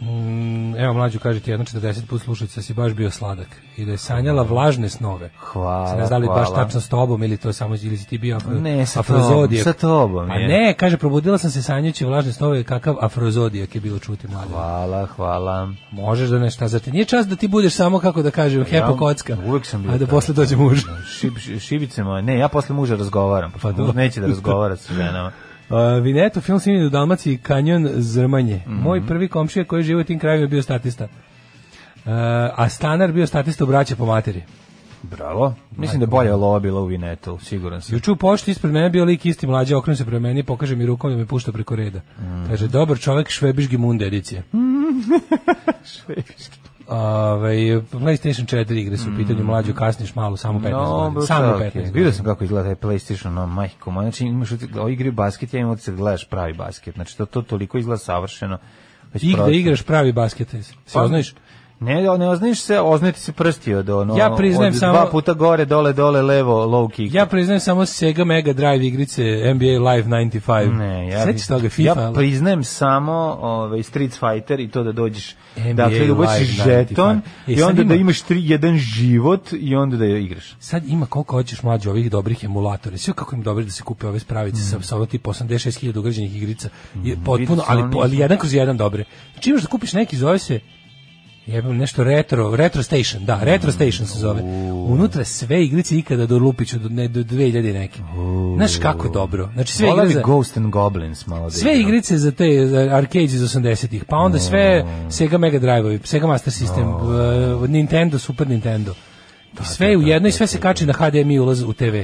Speaker 6: Mm, evo mlađu kaže ti jedno 40 put slušalica si baš bio sladak i da je sanjala vlažne snove.
Speaker 5: Hvala,
Speaker 6: Se ne znam da li baš
Speaker 5: hvala.
Speaker 6: tačno s tobom ili to samo ili si ti bio afro,
Speaker 5: Ne, sa
Speaker 6: afrozodijak.
Speaker 5: tobom, sa tobom,
Speaker 6: A
Speaker 5: je.
Speaker 6: ne, kaže probudila sam se sanjajući vlažne snove kakav afrozodijak je bilo čuti mlađe.
Speaker 5: Hvala, hvala.
Speaker 6: Možeš da nešto, zar ti nije čas da ti budeš samo kako da kažem hepo kocka.
Speaker 5: uvek sam bio
Speaker 6: A da
Speaker 5: tako.
Speaker 6: posle dođe muž.
Speaker 5: Šib, ši- šibice moje. Ne, ja posle muža razgovaram. Pa
Speaker 6: dobro.
Speaker 5: muž neće da razgovara sa ženama.
Speaker 6: Uh, Vineto, film snimljen u Dalmaciji, Kanjon Zrmanje.
Speaker 5: Mhm.
Speaker 6: Moj prvi komšija koji je živio u tim krajima je bio statista. Uh, a stanar bio statista u braća po materi.
Speaker 5: Bravo. Mislim da je bolja lova bila u Vinetu, siguran sam.
Speaker 6: Juče u pošti ispred mene bio lik isti mlađi, okrenu se prema meni, pokaže mi rukom da me pušta preko reda.
Speaker 5: Mm.
Speaker 6: Kaže, dobar čovek, švebiški munde edicija. Ove, Ovaj, PlayStation 4 igre su u pitanju mlađu, kasniš malo, samo 15
Speaker 5: Mm. No,
Speaker 6: godina. Samo 15
Speaker 5: 15.
Speaker 6: godina.
Speaker 5: Vidio sam kako izgleda taj PlayStation, no, majko moja. Znači, imaš, o igri basket, ja imam da gledaš pravi basket. Znači, to, to toliko izgleda savršeno. Već
Speaker 6: I
Speaker 5: prosto.
Speaker 6: gde igraš pravi basket, se
Speaker 5: Pa,
Speaker 6: oznaš?
Speaker 5: Ne, ne oznaješ se, oznaje ti se prsti od ono...
Speaker 6: Ja priznajem
Speaker 5: od
Speaker 6: samo-
Speaker 5: Dva puta gore, dole, dole, levo, low kick.
Speaker 6: Ja priznajem samo Sega Mega Drive igrice NBA Live 95.
Speaker 5: Ne, ja,
Speaker 6: Sećaš toga FIFA?
Speaker 5: ja priznajem samo ovaj, Street Fighter i to da dođeš
Speaker 6: NBA
Speaker 5: dakle da ubaciš
Speaker 6: Live 95.
Speaker 5: žeton
Speaker 6: E,
Speaker 5: i
Speaker 6: sad
Speaker 5: onda da
Speaker 6: ima-
Speaker 5: imaš tri, jedan život i onda da je igraš.
Speaker 6: Sad ima koliko hoćeš mlađe ovih dobrih emulatora. Sve kako im dobro da se kupe ove spravice sa sa ono tipa 86.000 ugrađenih igrica. Je potpuno,
Speaker 5: Vidi,
Speaker 6: ali
Speaker 5: stvarno
Speaker 6: po- ali jedan kroz jedan dobre. Znači imaš da kupiš neki zove se jebem nešto retro, retro station, da, retro station se zove. Unutra sve igrice ikada do Lupiću do, ne, do 2000 neke. Znaš kako je dobro. Znači sve
Speaker 5: Volao
Speaker 6: igre
Speaker 5: bi
Speaker 6: za,
Speaker 5: Ghost and Goblins malo da
Speaker 6: sve
Speaker 5: igram.
Speaker 6: igrice za te za arcade iz 80-ih, pa onda sve
Speaker 5: Mm.
Speaker 6: Sega Mega Drive-ovi, Sega Master System, eh, Nintendo, Super Nintendo. I sve u jedno i sve se kači na HDMI ulaz u TV.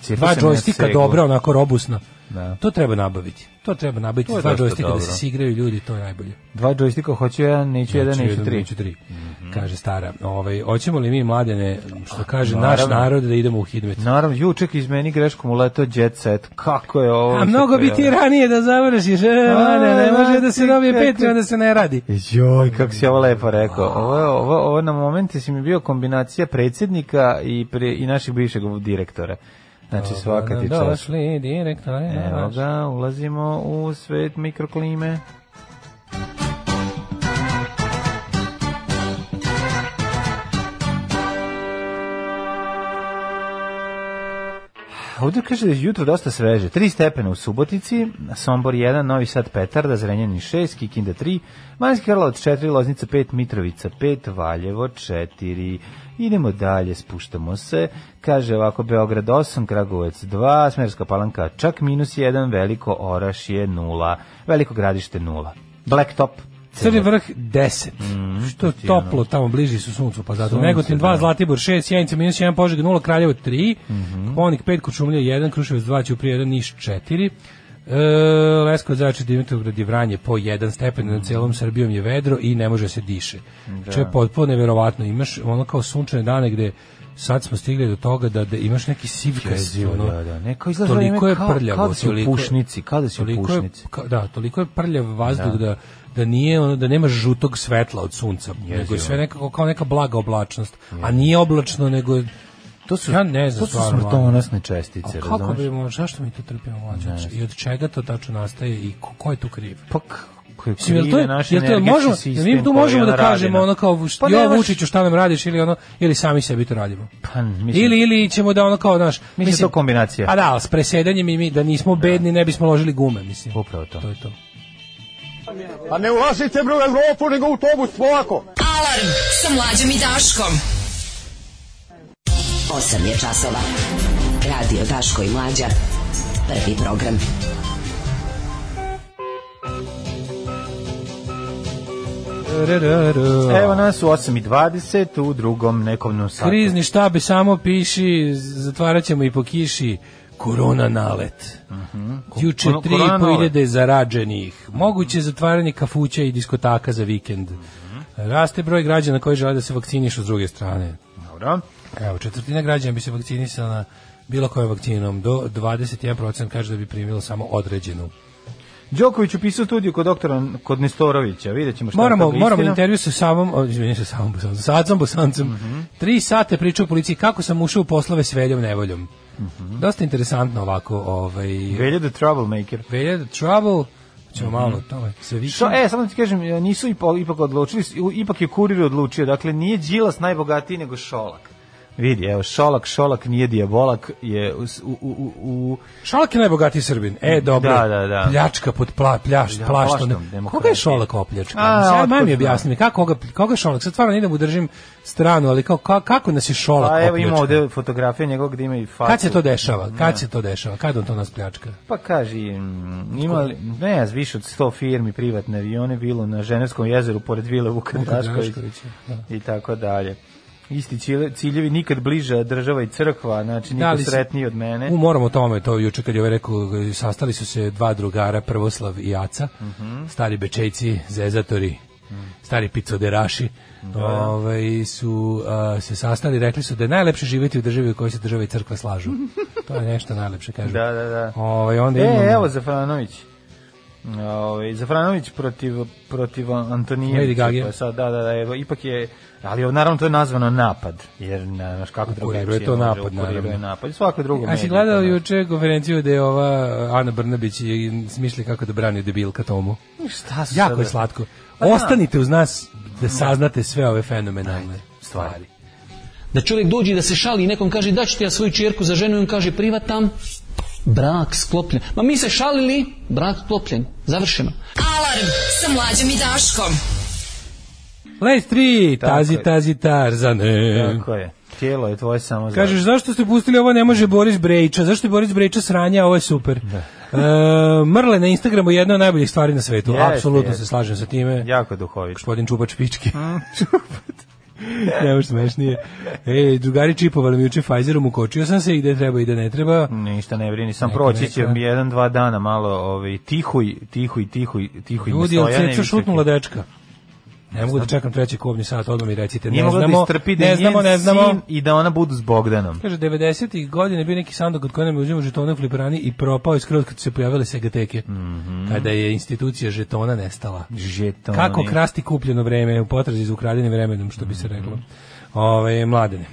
Speaker 5: Cijepio
Speaker 6: Dva
Speaker 5: sam ja
Speaker 6: džojstika
Speaker 5: Segu.
Speaker 6: dobra, onako robusno.
Speaker 5: Da.
Speaker 6: To treba nabaviti. To treba nabaviti.
Speaker 5: To je
Speaker 6: Dva
Speaker 5: dosta
Speaker 6: džojstika da
Speaker 5: dobro.
Speaker 6: se sigraju ljudi, to je najbolje.
Speaker 5: Dva džojstika hoću jedan, neću jedan, neću tri. Mhm.
Speaker 6: neću tri. Kaže stara, ovaj, hoćemo li mi mladene, što kaže naš
Speaker 5: naravno.
Speaker 6: narod, da idemo u hidmet?
Speaker 5: Naravno, juček iz meni greškom uletao jet set. Kako je ovo?
Speaker 6: A mnogo bi ti ranije da završiš, e, mlade, ne može da se
Speaker 5: ti
Speaker 6: dobije
Speaker 5: kako-
Speaker 6: Patreon da se ne radi.
Speaker 5: Joj, kako si ovo lepo rekao. Ovo, je- ovo, ovo na momente si mi bio kombinacija predsjednika i, pre, i našeg bivšeg direktora. Znači, svaka ti čast.
Speaker 6: Došli direktore.
Speaker 5: Evo
Speaker 6: naš.
Speaker 5: ga, ulazimo u svet mikroklime. Ovdje kaže da je jutro dosta sveže. 3 stepena u Subotici, Sombor 1, Novi Sad Petarda, Zrenjanin 6, Kikinda 3, Manjski Karlovac 4, Loznica 5, Mitrovica 5, Valjevo 4. Idemo dalje, spuštamo se. Kaže ovako, Beograd 8, Kragujevac 2, Smerska palanka čak minus 1, Veliko Oraš je 0, Veliko gradište 0. Blacktop
Speaker 6: Crni vrh 10. Što je
Speaker 5: Mm, ti je
Speaker 6: toplo, tamo bliži su suncu, pa zato.
Speaker 5: Sunce,
Speaker 6: Negotin 2,
Speaker 5: da.
Speaker 6: Zlatibor 6, Sjenica minus 1, Požeg 0, Kraljevo 3,
Speaker 5: Mhm.
Speaker 6: Koponik 5, Kočumlija 1, Kruševac 2, Ćuprije 1, Niš 4, E, Lesko zače Dimitrovgrad i Vranje po 1 stepen
Speaker 5: Mhm.
Speaker 6: na celom Srbijom je vedro i ne može se diše. Da. Če je potpuno neverovatno. Imaš ono kao sunčane dane gde sad smo stigli do toga da, da imaš neki sivkast,
Speaker 5: Jezivo,
Speaker 6: ono,
Speaker 5: da, da. Ne, kao izgleda
Speaker 6: toliko
Speaker 5: vreme
Speaker 6: je
Speaker 5: kao-
Speaker 6: prljavo,
Speaker 5: kao da si u
Speaker 6: toliko-
Speaker 5: pušnici, kao da si u
Speaker 6: toliko je-
Speaker 5: pušnici.
Speaker 6: ka- da, toliko je prljav vazduh da, da, nije ono da nema žutog svetla od sunca, nego je sve nekako kao neka blaga oblačnost, a nije oblačnost nego je- to su ja ne znam
Speaker 5: To su
Speaker 6: stvarno, mlađe.
Speaker 5: smrtonosne
Speaker 6: A
Speaker 5: čestice,
Speaker 6: kako
Speaker 5: razumeš?
Speaker 6: bi mo- zašto mi to trpimo mlađe? Znači, I od čega to tačno nastaje i ko, ko je tu kriv?
Speaker 5: Pa kako je
Speaker 6: Mislim, jel to,
Speaker 5: krive
Speaker 6: je,
Speaker 5: naš
Speaker 6: jel to je,
Speaker 5: energetski
Speaker 6: možemo, jel
Speaker 5: sistem
Speaker 6: mi tu
Speaker 5: koji
Speaker 6: možemo
Speaker 5: je
Speaker 6: da
Speaker 5: ono
Speaker 6: kažemo
Speaker 5: radimo?
Speaker 6: ono kao,
Speaker 5: Pa
Speaker 6: pa jo
Speaker 5: nemaš-
Speaker 6: Vučiću, šta nam radiš, ili ono, ili sami sebi to radimo.
Speaker 5: Pa, mislim-
Speaker 6: ili, ili ćemo da ono kao, znaš,
Speaker 5: Mislim, to kombinacija.
Speaker 6: A da, ali s presedanjem i mi, da nismo bedni, ne bismo ložili gume, mislim.
Speaker 5: Upravo to.
Speaker 6: To je to.
Speaker 8: A ne ulazite bre u Evropu, nego u autobus, polako.
Speaker 4: Alarm sa mlađom i Daškom.
Speaker 9: 8 je časova. Radio Daško i Mlađa. Prvi program.
Speaker 5: Evo nas u 8.20 u drugom nekom nam satu.
Speaker 6: Krizni štabi samo piši, zatvarat ćemo i po kiši. Korona nalet. Juče
Speaker 5: Ono,
Speaker 6: tri i
Speaker 5: korona
Speaker 6: po
Speaker 5: nalet.
Speaker 6: hiljade zarađenih. Moguće zatvaranje kafuća i diskotaka za vikend.
Speaker 5: Mhm.
Speaker 6: Raste broj građana koji žele da se vakcinišu s druge strane.
Speaker 5: Dobro.
Speaker 6: Evo, četvrtina građana bi se vakcinisala bilo kojom vakcinom. Do 21% kaže da bi primila samo određenu.
Speaker 5: Đoković upisao studiju kod doktora kod Nestorovića. Vidjet ćemo šta
Speaker 6: Moramo,
Speaker 5: je to
Speaker 6: moramo
Speaker 5: istina.
Speaker 6: intervju sa samom, o, izvinim se samom bosancem, sa Adzom bosancem.
Speaker 5: Mhm.
Speaker 6: Tri sate pričao u policiji kako sam ušao u poslove s veljom nevoljom.
Speaker 5: Mhm.
Speaker 6: Dosta interesantno ovako, ovaj...
Speaker 5: Velja the troublemaker.
Speaker 6: Velja the trouble, ćemo
Speaker 5: Mhm.
Speaker 6: malo o tome, sve više.
Speaker 5: Što, e, samo da ti kažem, nisu ipo- ipak odlučili, ipak je kurir odlučio, dakle nije Đilas najbogatiji nego Šolak. Vidi, evo, Šolak, Šolak nije dijabolak, je u, u, u, u
Speaker 6: Šolak je najbogatiji Srbin. E, dobro.
Speaker 5: e- Da, da, da.
Speaker 6: Pljačka pod pla, pljaš,
Speaker 5: Ja,
Speaker 6: plaštom.
Speaker 5: plaštom demokratije.
Speaker 6: Koga je Šolak opljačka?
Speaker 5: A,
Speaker 6: Sad maj
Speaker 5: otkud
Speaker 6: mi
Speaker 5: znam.
Speaker 6: objasni mi, kako, koga, koga je Šolak? Sad stvarno ne da mu držim stranu, ali kao, ka- kako nas je Šolak
Speaker 5: a Pa evo ima
Speaker 6: opljačkao?
Speaker 5: ovde fotografija njegovog gde ima i facu.
Speaker 6: Kad se to dešava? Kad se to dešava? Kad on to nas pljačka?
Speaker 5: Pa kaži, mm, ima li- ne, ja više od 100 firmi privatne avione, vilu na Ženevskom jezeru pored vile Vuka
Speaker 6: Vuka
Speaker 5: Draškovića
Speaker 6: Draškovića, da.
Speaker 5: i tako dalje. Isti cilje- ciljevi nikad bliža država i crkva, znači niko
Speaker 6: Da li si- Um-
Speaker 5: sretniji od mene.
Speaker 6: U, moramo o tome, to juče kad je ovaj rekao, sastali su se dva drugara, Prvoslav i Aca,
Speaker 5: Mhm.
Speaker 6: stari bečejci, zezatori, stari picoderaši, ovaj, su a, se sastali, rekli su da je najlepše živjeti u državi u kojoj se država i crkva slažu. to je nešto najlepše, kažem.
Speaker 5: Da, da, da.
Speaker 6: Ovaj, onda imamo-
Speaker 5: E, evo Zafranović. Ovaj Zafranović protiv protiv Antonije.
Speaker 6: Lady Gage.
Speaker 5: sad da da da, evo ipak je ali evo, naravno to je nazvano napad jer ne znaš kako
Speaker 6: U kuriru
Speaker 5: drugačije.
Speaker 6: je to
Speaker 5: može,
Speaker 6: napad,
Speaker 5: u kuriru
Speaker 6: naravno.
Speaker 5: je napad. Svako drugo.
Speaker 6: A si
Speaker 5: medije,
Speaker 6: gledao
Speaker 5: pa da.
Speaker 6: juče konferenciju da je ova Ana Brnabić i smišlja kako da brani debilka tomu.
Speaker 5: Šta su
Speaker 6: Jako
Speaker 5: sada?
Speaker 6: je slatko.
Speaker 5: Pa da.
Speaker 6: Ostanite uz nas da saznate sve ove fenomenalne stvari.
Speaker 10: Da čovjek dođe i da se šali i nekom kaže da ću ti ja svoju čerku za ženu i on kaže privatam, brak sklopljen. Ma mi se šalili, brak sklopljen, završeno.
Speaker 4: Alarm sa mlađom i Daškom.
Speaker 6: Let's three,
Speaker 5: Tako
Speaker 6: tazi,
Speaker 5: je.
Speaker 6: tazi, tarzane.
Speaker 5: Tako je. Tijelo je tvoje samo za.
Speaker 6: Kažeš, zašto ste pustili ovo, ne može Boris Brejča, zašto je Boris Brejča sranja, a ovo je super. E, mrle na Instagramu je jedna od najboljih stvari na svetu,
Speaker 5: Jeste,
Speaker 6: apsolutno
Speaker 5: jeste.
Speaker 6: se slažem sa time.
Speaker 5: jako je duhovit.
Speaker 6: Gospodin Čupač Pički. Nemaš smešnije. E, drugari čipovali mi juče Pfizerom, ukočio sam se i gde treba i gde ne treba.
Speaker 5: Ništa ne brini, sam
Speaker 6: Neka,
Speaker 5: proći će
Speaker 6: neka.
Speaker 5: mi jedan, dva dana malo ovaj, tihuj, tihuj, tihuj, tihuj.
Speaker 6: Ljudi,
Speaker 5: ne
Speaker 6: je
Speaker 5: stojane,
Speaker 6: ceca
Speaker 5: više-
Speaker 6: šutnula dečka? Ne mogu da čekam treći kobni sat, odmah mi recite.
Speaker 5: Nije
Speaker 6: ne
Speaker 5: mogla da
Speaker 6: znamo,
Speaker 5: istrpi da je
Speaker 6: ne znamo, ne
Speaker 5: njen
Speaker 6: znamo.
Speaker 5: sin i da ona budu s Bogdanom.
Speaker 6: Kaže, 90-ih godina je bio neki sandok od koje nam je uzimao žetone u fliperani i propao je skroz kad su se pojavile segateke. Kada je institucija žetona nestala.
Speaker 5: Mhm. Žetoni.
Speaker 6: Kako krasti kupljeno vreme u potrazi za ukradenim vremenom, što bi
Speaker 5: Mhm.
Speaker 6: se reklo. Ove, mladene.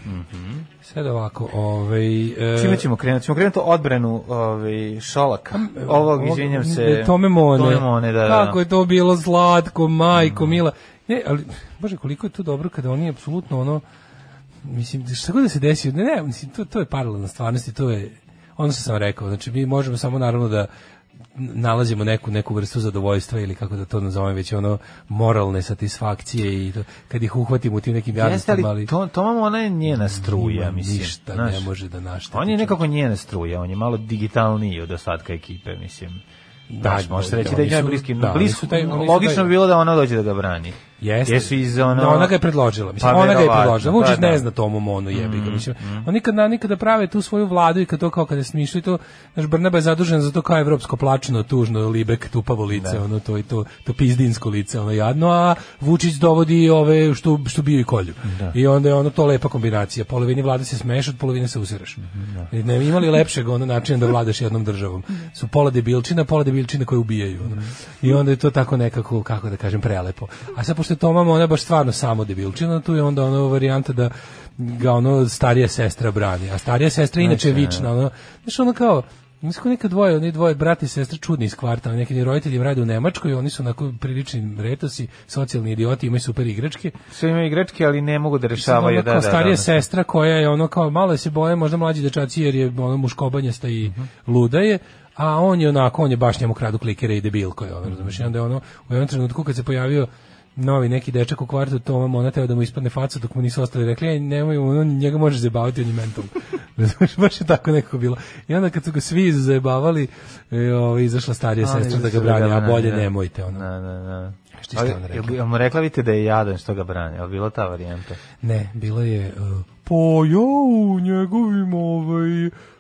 Speaker 6: Sad ovako, ove... e,
Speaker 5: Čime ćemo krenuti? Ćemo krenuti odbranu ovaj, Šolaka. Ovog, izvinjam se.
Speaker 6: Tome Mone.
Speaker 5: Tome Mone, da, Mm. da.
Speaker 6: Kako je to bilo slatko, majko, mila. Ne, ali, bože, koliko je to dobro kada oni apsolutno ono, mislim, šta god da se desi, ne, ne, mislim, to, to je paralelna stvarnost i to je, ono što sam rekao, znači mi možemo samo naravno da nalazimo neku neku vrstu zadovoljstva ili kako da to nazovem već ono moralne satisfakcije i to, kad ih uhvatimo u tim nekim
Speaker 5: Jeste,
Speaker 6: jadnostima
Speaker 5: ali
Speaker 6: ali
Speaker 5: to, Toma Mona je njena struja,
Speaker 6: Ima
Speaker 5: mislim.
Speaker 6: ništa
Speaker 5: znaš.
Speaker 6: ne može da našteti
Speaker 5: On je nekako njena struja, on je malo digitalniji od ostatka ekipe, mislim. Da,
Speaker 6: Da,
Speaker 5: može se reći
Speaker 6: oni
Speaker 5: da je njoj
Speaker 6: su-
Speaker 5: bliski.
Speaker 6: da, oni
Speaker 5: blisko,
Speaker 6: su taj- oni su
Speaker 5: logično
Speaker 6: taj-
Speaker 5: bi bilo da ona dođe da ga brani.
Speaker 6: Jeste.
Speaker 5: Jesu iz ono-
Speaker 6: Da, ona ga je predložila. Mislim,
Speaker 5: Pa,
Speaker 6: ona ga je
Speaker 5: verovatno,
Speaker 6: predložila. Vučić
Speaker 5: da, da. Mm-hmm,
Speaker 6: ne zna tomu Monu jebi ga. Mislim, on nikada, nikada prave tu svoju vladu i kad to kao kada smišljaju to, znaš, Brnaba je zadužen za to kao evropsko plačno, tužno, libek, tupavo lice, ono to i to, to pizdinsko lice, ono jadno, a Vučić dovodi ove što, što bio i kolju. I onda je ono to lepa kombinacija. Polovini vlade se smeješ, od polovine se usiraš. I Ne, imali lepšeg ono načina da vladaš jednom državom. Su pola debilčina, pola debilčina koje ubijaju. ono. I onda je to tako nekako, kako da kažem, prelepo. A sad pošto je Toma ona baš stvarno samo debilčina, tu je onda ono varijanta da ga ono starija sestra brani. A starija sestra je inače vična, ono, znaš ono kao, Mislim kao neka dvoje, oni dvoje brati i sestra čudni iz kvarta, ono, neki ni roditelji im rade u Nemačkoj, oni su onako prilični retosi, socijalni idioti, imaju super igračke.
Speaker 5: Sve imaju igračke, ali ne mogu da
Speaker 6: Mislim, ono
Speaker 5: rešavaju. Da,
Speaker 6: kao
Speaker 5: da,
Speaker 6: starija
Speaker 5: da.
Speaker 6: sestra koja je ono kao malo je se boje, možda mlađi dečaci jer je ono muškobanjasta i luda je, a on je onako, on je baš njemu kradu klikere i debil koji je ono, razumeš, i onda je ono, u jednom trenutku kad se pojavio novi neki dečak u kvartu, to vam ona teo da mu ispadne facu dok mu nisu ostali rekli, ej, nemoj, ono, njega možeš zabaviti, on je mental. Razumeš, baš je tako nekako bilo. I onda kad su ga svi zajebavali, e, ovo, izašla starija
Speaker 5: Ali
Speaker 6: sestra da ga
Speaker 5: su
Speaker 6: brani, a bolje
Speaker 5: da.
Speaker 6: nemojte, ono.
Speaker 5: Da, da, da.
Speaker 6: Šta ste onda
Speaker 5: Ali, jel,
Speaker 6: rekli?
Speaker 5: jel mu rekla vidite da je jadan što ga brani? Jel bila ta varijanta?
Speaker 6: Ne, bilo je
Speaker 5: e,
Speaker 6: uh, pa ja u njegovim ovaj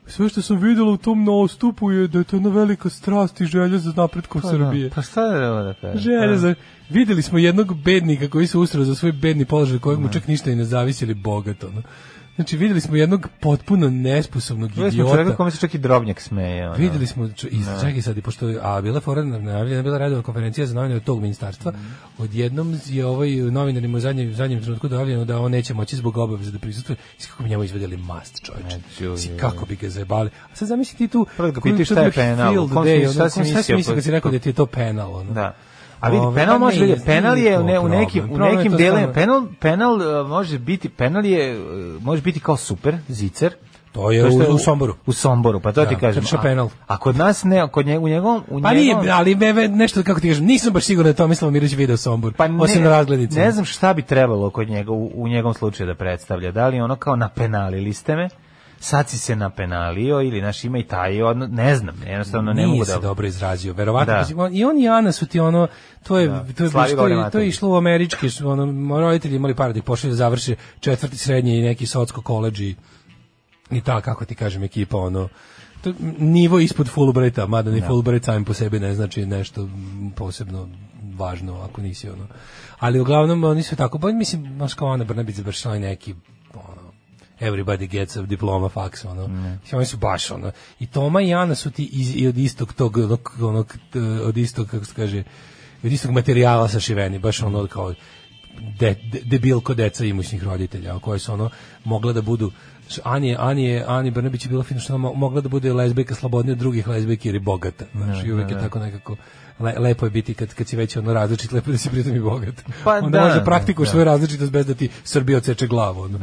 Speaker 6: sve što sam videla u tom nastupu je da je to jedna velika strast i želja za napretkom Srbije.
Speaker 5: Pa šta da treba da kažem? Pa,
Speaker 6: Želja za... Videli smo jednog bednika koji se ustrao za svoj bedni položaj kojeg mu čak ništa i ne zavisi ili bogato. No. Znači, videli smo jednog potpuno nesposobnog
Speaker 5: Videli smo
Speaker 6: idiota.
Speaker 5: čovjeka kome se čak i drobnjak smeje. Ono.
Speaker 6: Videli smo, ču- i čekaj sad, i pošto, je- a bila je fora, najavljena je bila radova konferencija za novinare tog ministarstva,
Speaker 5: Mhm.
Speaker 6: odjednom je ovaj novinarima u zadnjem, u zadnjem trenutku dojavljeno da on neće moći zbog obaveza da prisutuje, Mislim, kako bi njemu izvedeli mast, čovječe,
Speaker 5: čuj,
Speaker 6: Mislim,
Speaker 5: je.
Speaker 6: kako bi ga zajebali. A sad zamisli ti tu,
Speaker 5: Prvo da ga
Speaker 6: koju-
Speaker 5: pitaš
Speaker 6: to
Speaker 5: šta je
Speaker 6: je bio
Speaker 5: penal,
Speaker 6: field
Speaker 5: u kom
Speaker 6: day,
Speaker 5: smislu,
Speaker 6: ono,
Speaker 5: šta si
Speaker 6: u kom- šta si
Speaker 5: mislio
Speaker 6: mislio kad si
Speaker 5: pod-
Speaker 6: rekao da ti je to penal, ono?
Speaker 5: Da. A vidi,
Speaker 6: Ove,
Speaker 5: penal
Speaker 6: pa
Speaker 5: može
Speaker 6: nije
Speaker 5: vidjeti, penal je u, ne, u,
Speaker 6: problem.
Speaker 5: nekim, u
Speaker 6: Problem je
Speaker 5: nekim
Speaker 6: to
Speaker 5: delima,
Speaker 6: stvarno-
Speaker 5: penal, penal e, može biti, penal je, e, može biti kao super, zicer,
Speaker 6: To je
Speaker 5: To što
Speaker 6: u, u Somboru.
Speaker 5: U Somboru, pa to
Speaker 6: Da,
Speaker 5: ti kažem.
Speaker 6: krša
Speaker 5: A-
Speaker 6: penal.
Speaker 5: A kod nas ne, kod njeg, u njegovom... U
Speaker 6: Pa nije,
Speaker 5: njegovom-
Speaker 6: ali me, me- nešto, kako ti kažem, nisam baš siguran da je Tomislav Mirić video Sombor,
Speaker 5: Pa ne,
Speaker 6: osim na razglednici.
Speaker 5: Ne znam šta bi trebalo kod njega u, u njegovom slučaju da predstavlja. Da li ono kao napenalili ste me, sad si se napenalio ili naš ima i taj odnos, ne znam, jednostavno ono, ne
Speaker 6: Nije
Speaker 5: mogu
Speaker 6: se
Speaker 5: da...
Speaker 6: dobro izrazio. Verovatno
Speaker 5: Da.
Speaker 6: mislim, on- i on i Ana su ti ono to je to je
Speaker 5: Slavi
Speaker 6: to je,
Speaker 5: Gore
Speaker 6: to je
Speaker 5: Matović.
Speaker 6: išlo u američki su ono moji roditelji imali par da ih pošalju da završe četvrti srednji i neki sotsko koleđ i, i ta kako ti kažem ekipa ono to je nivo ispod Fulbrighta, mada ni Fulbright sam po sebi ne znači nešto mm, posebno važno ako nisi ono. Ali uglavnom oni su tako, pa mislim, baš kao Ana Brnabić završila je neki ono, everybody gets a diploma fax, ono. Mislim, oni su baš, ono. I Toma i Ana su ti iz, i od istog tog, onog, onog, t- od istog, kako se kaže, od istog materijala sašiveni, baš ono kao de, de, debilko deca imućnih roditelja, koje su ono mogle da budu š- Ani, je- Ani, je- Ani Brnabić je bila fino što ona mo- mogla da bude lezbijka slobodnija od drugih lezbijki jer je bogata. Znači, uvek je tako nekako le- lepo je biti kad, kad si već ono različit, lepo je da si pritom i bogat.
Speaker 5: Pa
Speaker 6: Onda
Speaker 5: da,
Speaker 6: možeš da praktikuješ
Speaker 5: da.
Speaker 6: svoju različitost bez da ti Srbija odseče glavu. ono.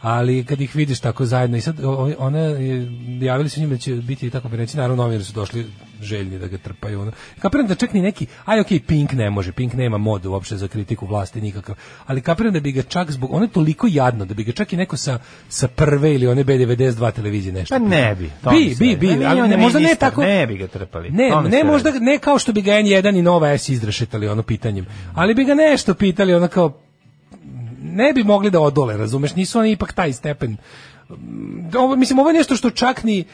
Speaker 6: Ali kad ih vidiš tako zajedno i sad o- o- ona je, javili su njima da će biti tako konferencija, naravno novinari su došli željni da ga trpaju. Ono. Kapiram da čak ni neki, aj okej, Pink ne može, Pink nema mod uopšte za kritiku vlasti nikakav, ali kapiram da bi ga čak zbog, ono je toliko jadno, da bi ga čak i neko sa, sa prve ili one B92 televizije nešto.
Speaker 5: Pa ne bi. to mi
Speaker 6: Bi,
Speaker 5: se
Speaker 6: bi,
Speaker 5: radi. Pa
Speaker 6: bi,
Speaker 5: nije
Speaker 6: ali
Speaker 5: on
Speaker 6: ne, možda ne
Speaker 5: ministar,
Speaker 6: tako.
Speaker 5: Ne bi ga trpali.
Speaker 6: Ne,
Speaker 5: to mi
Speaker 6: ne
Speaker 5: se
Speaker 6: možda
Speaker 5: radi.
Speaker 6: ne kao što bi ga N1 i Nova S izrešetali ono pitanjem, ali bi ga nešto pitali ono kao ne bi mogli da odole, razumeš, nisu oni ipak taj stepen. Mm, Ovo, mislim, ovo je nešto što čak ni e,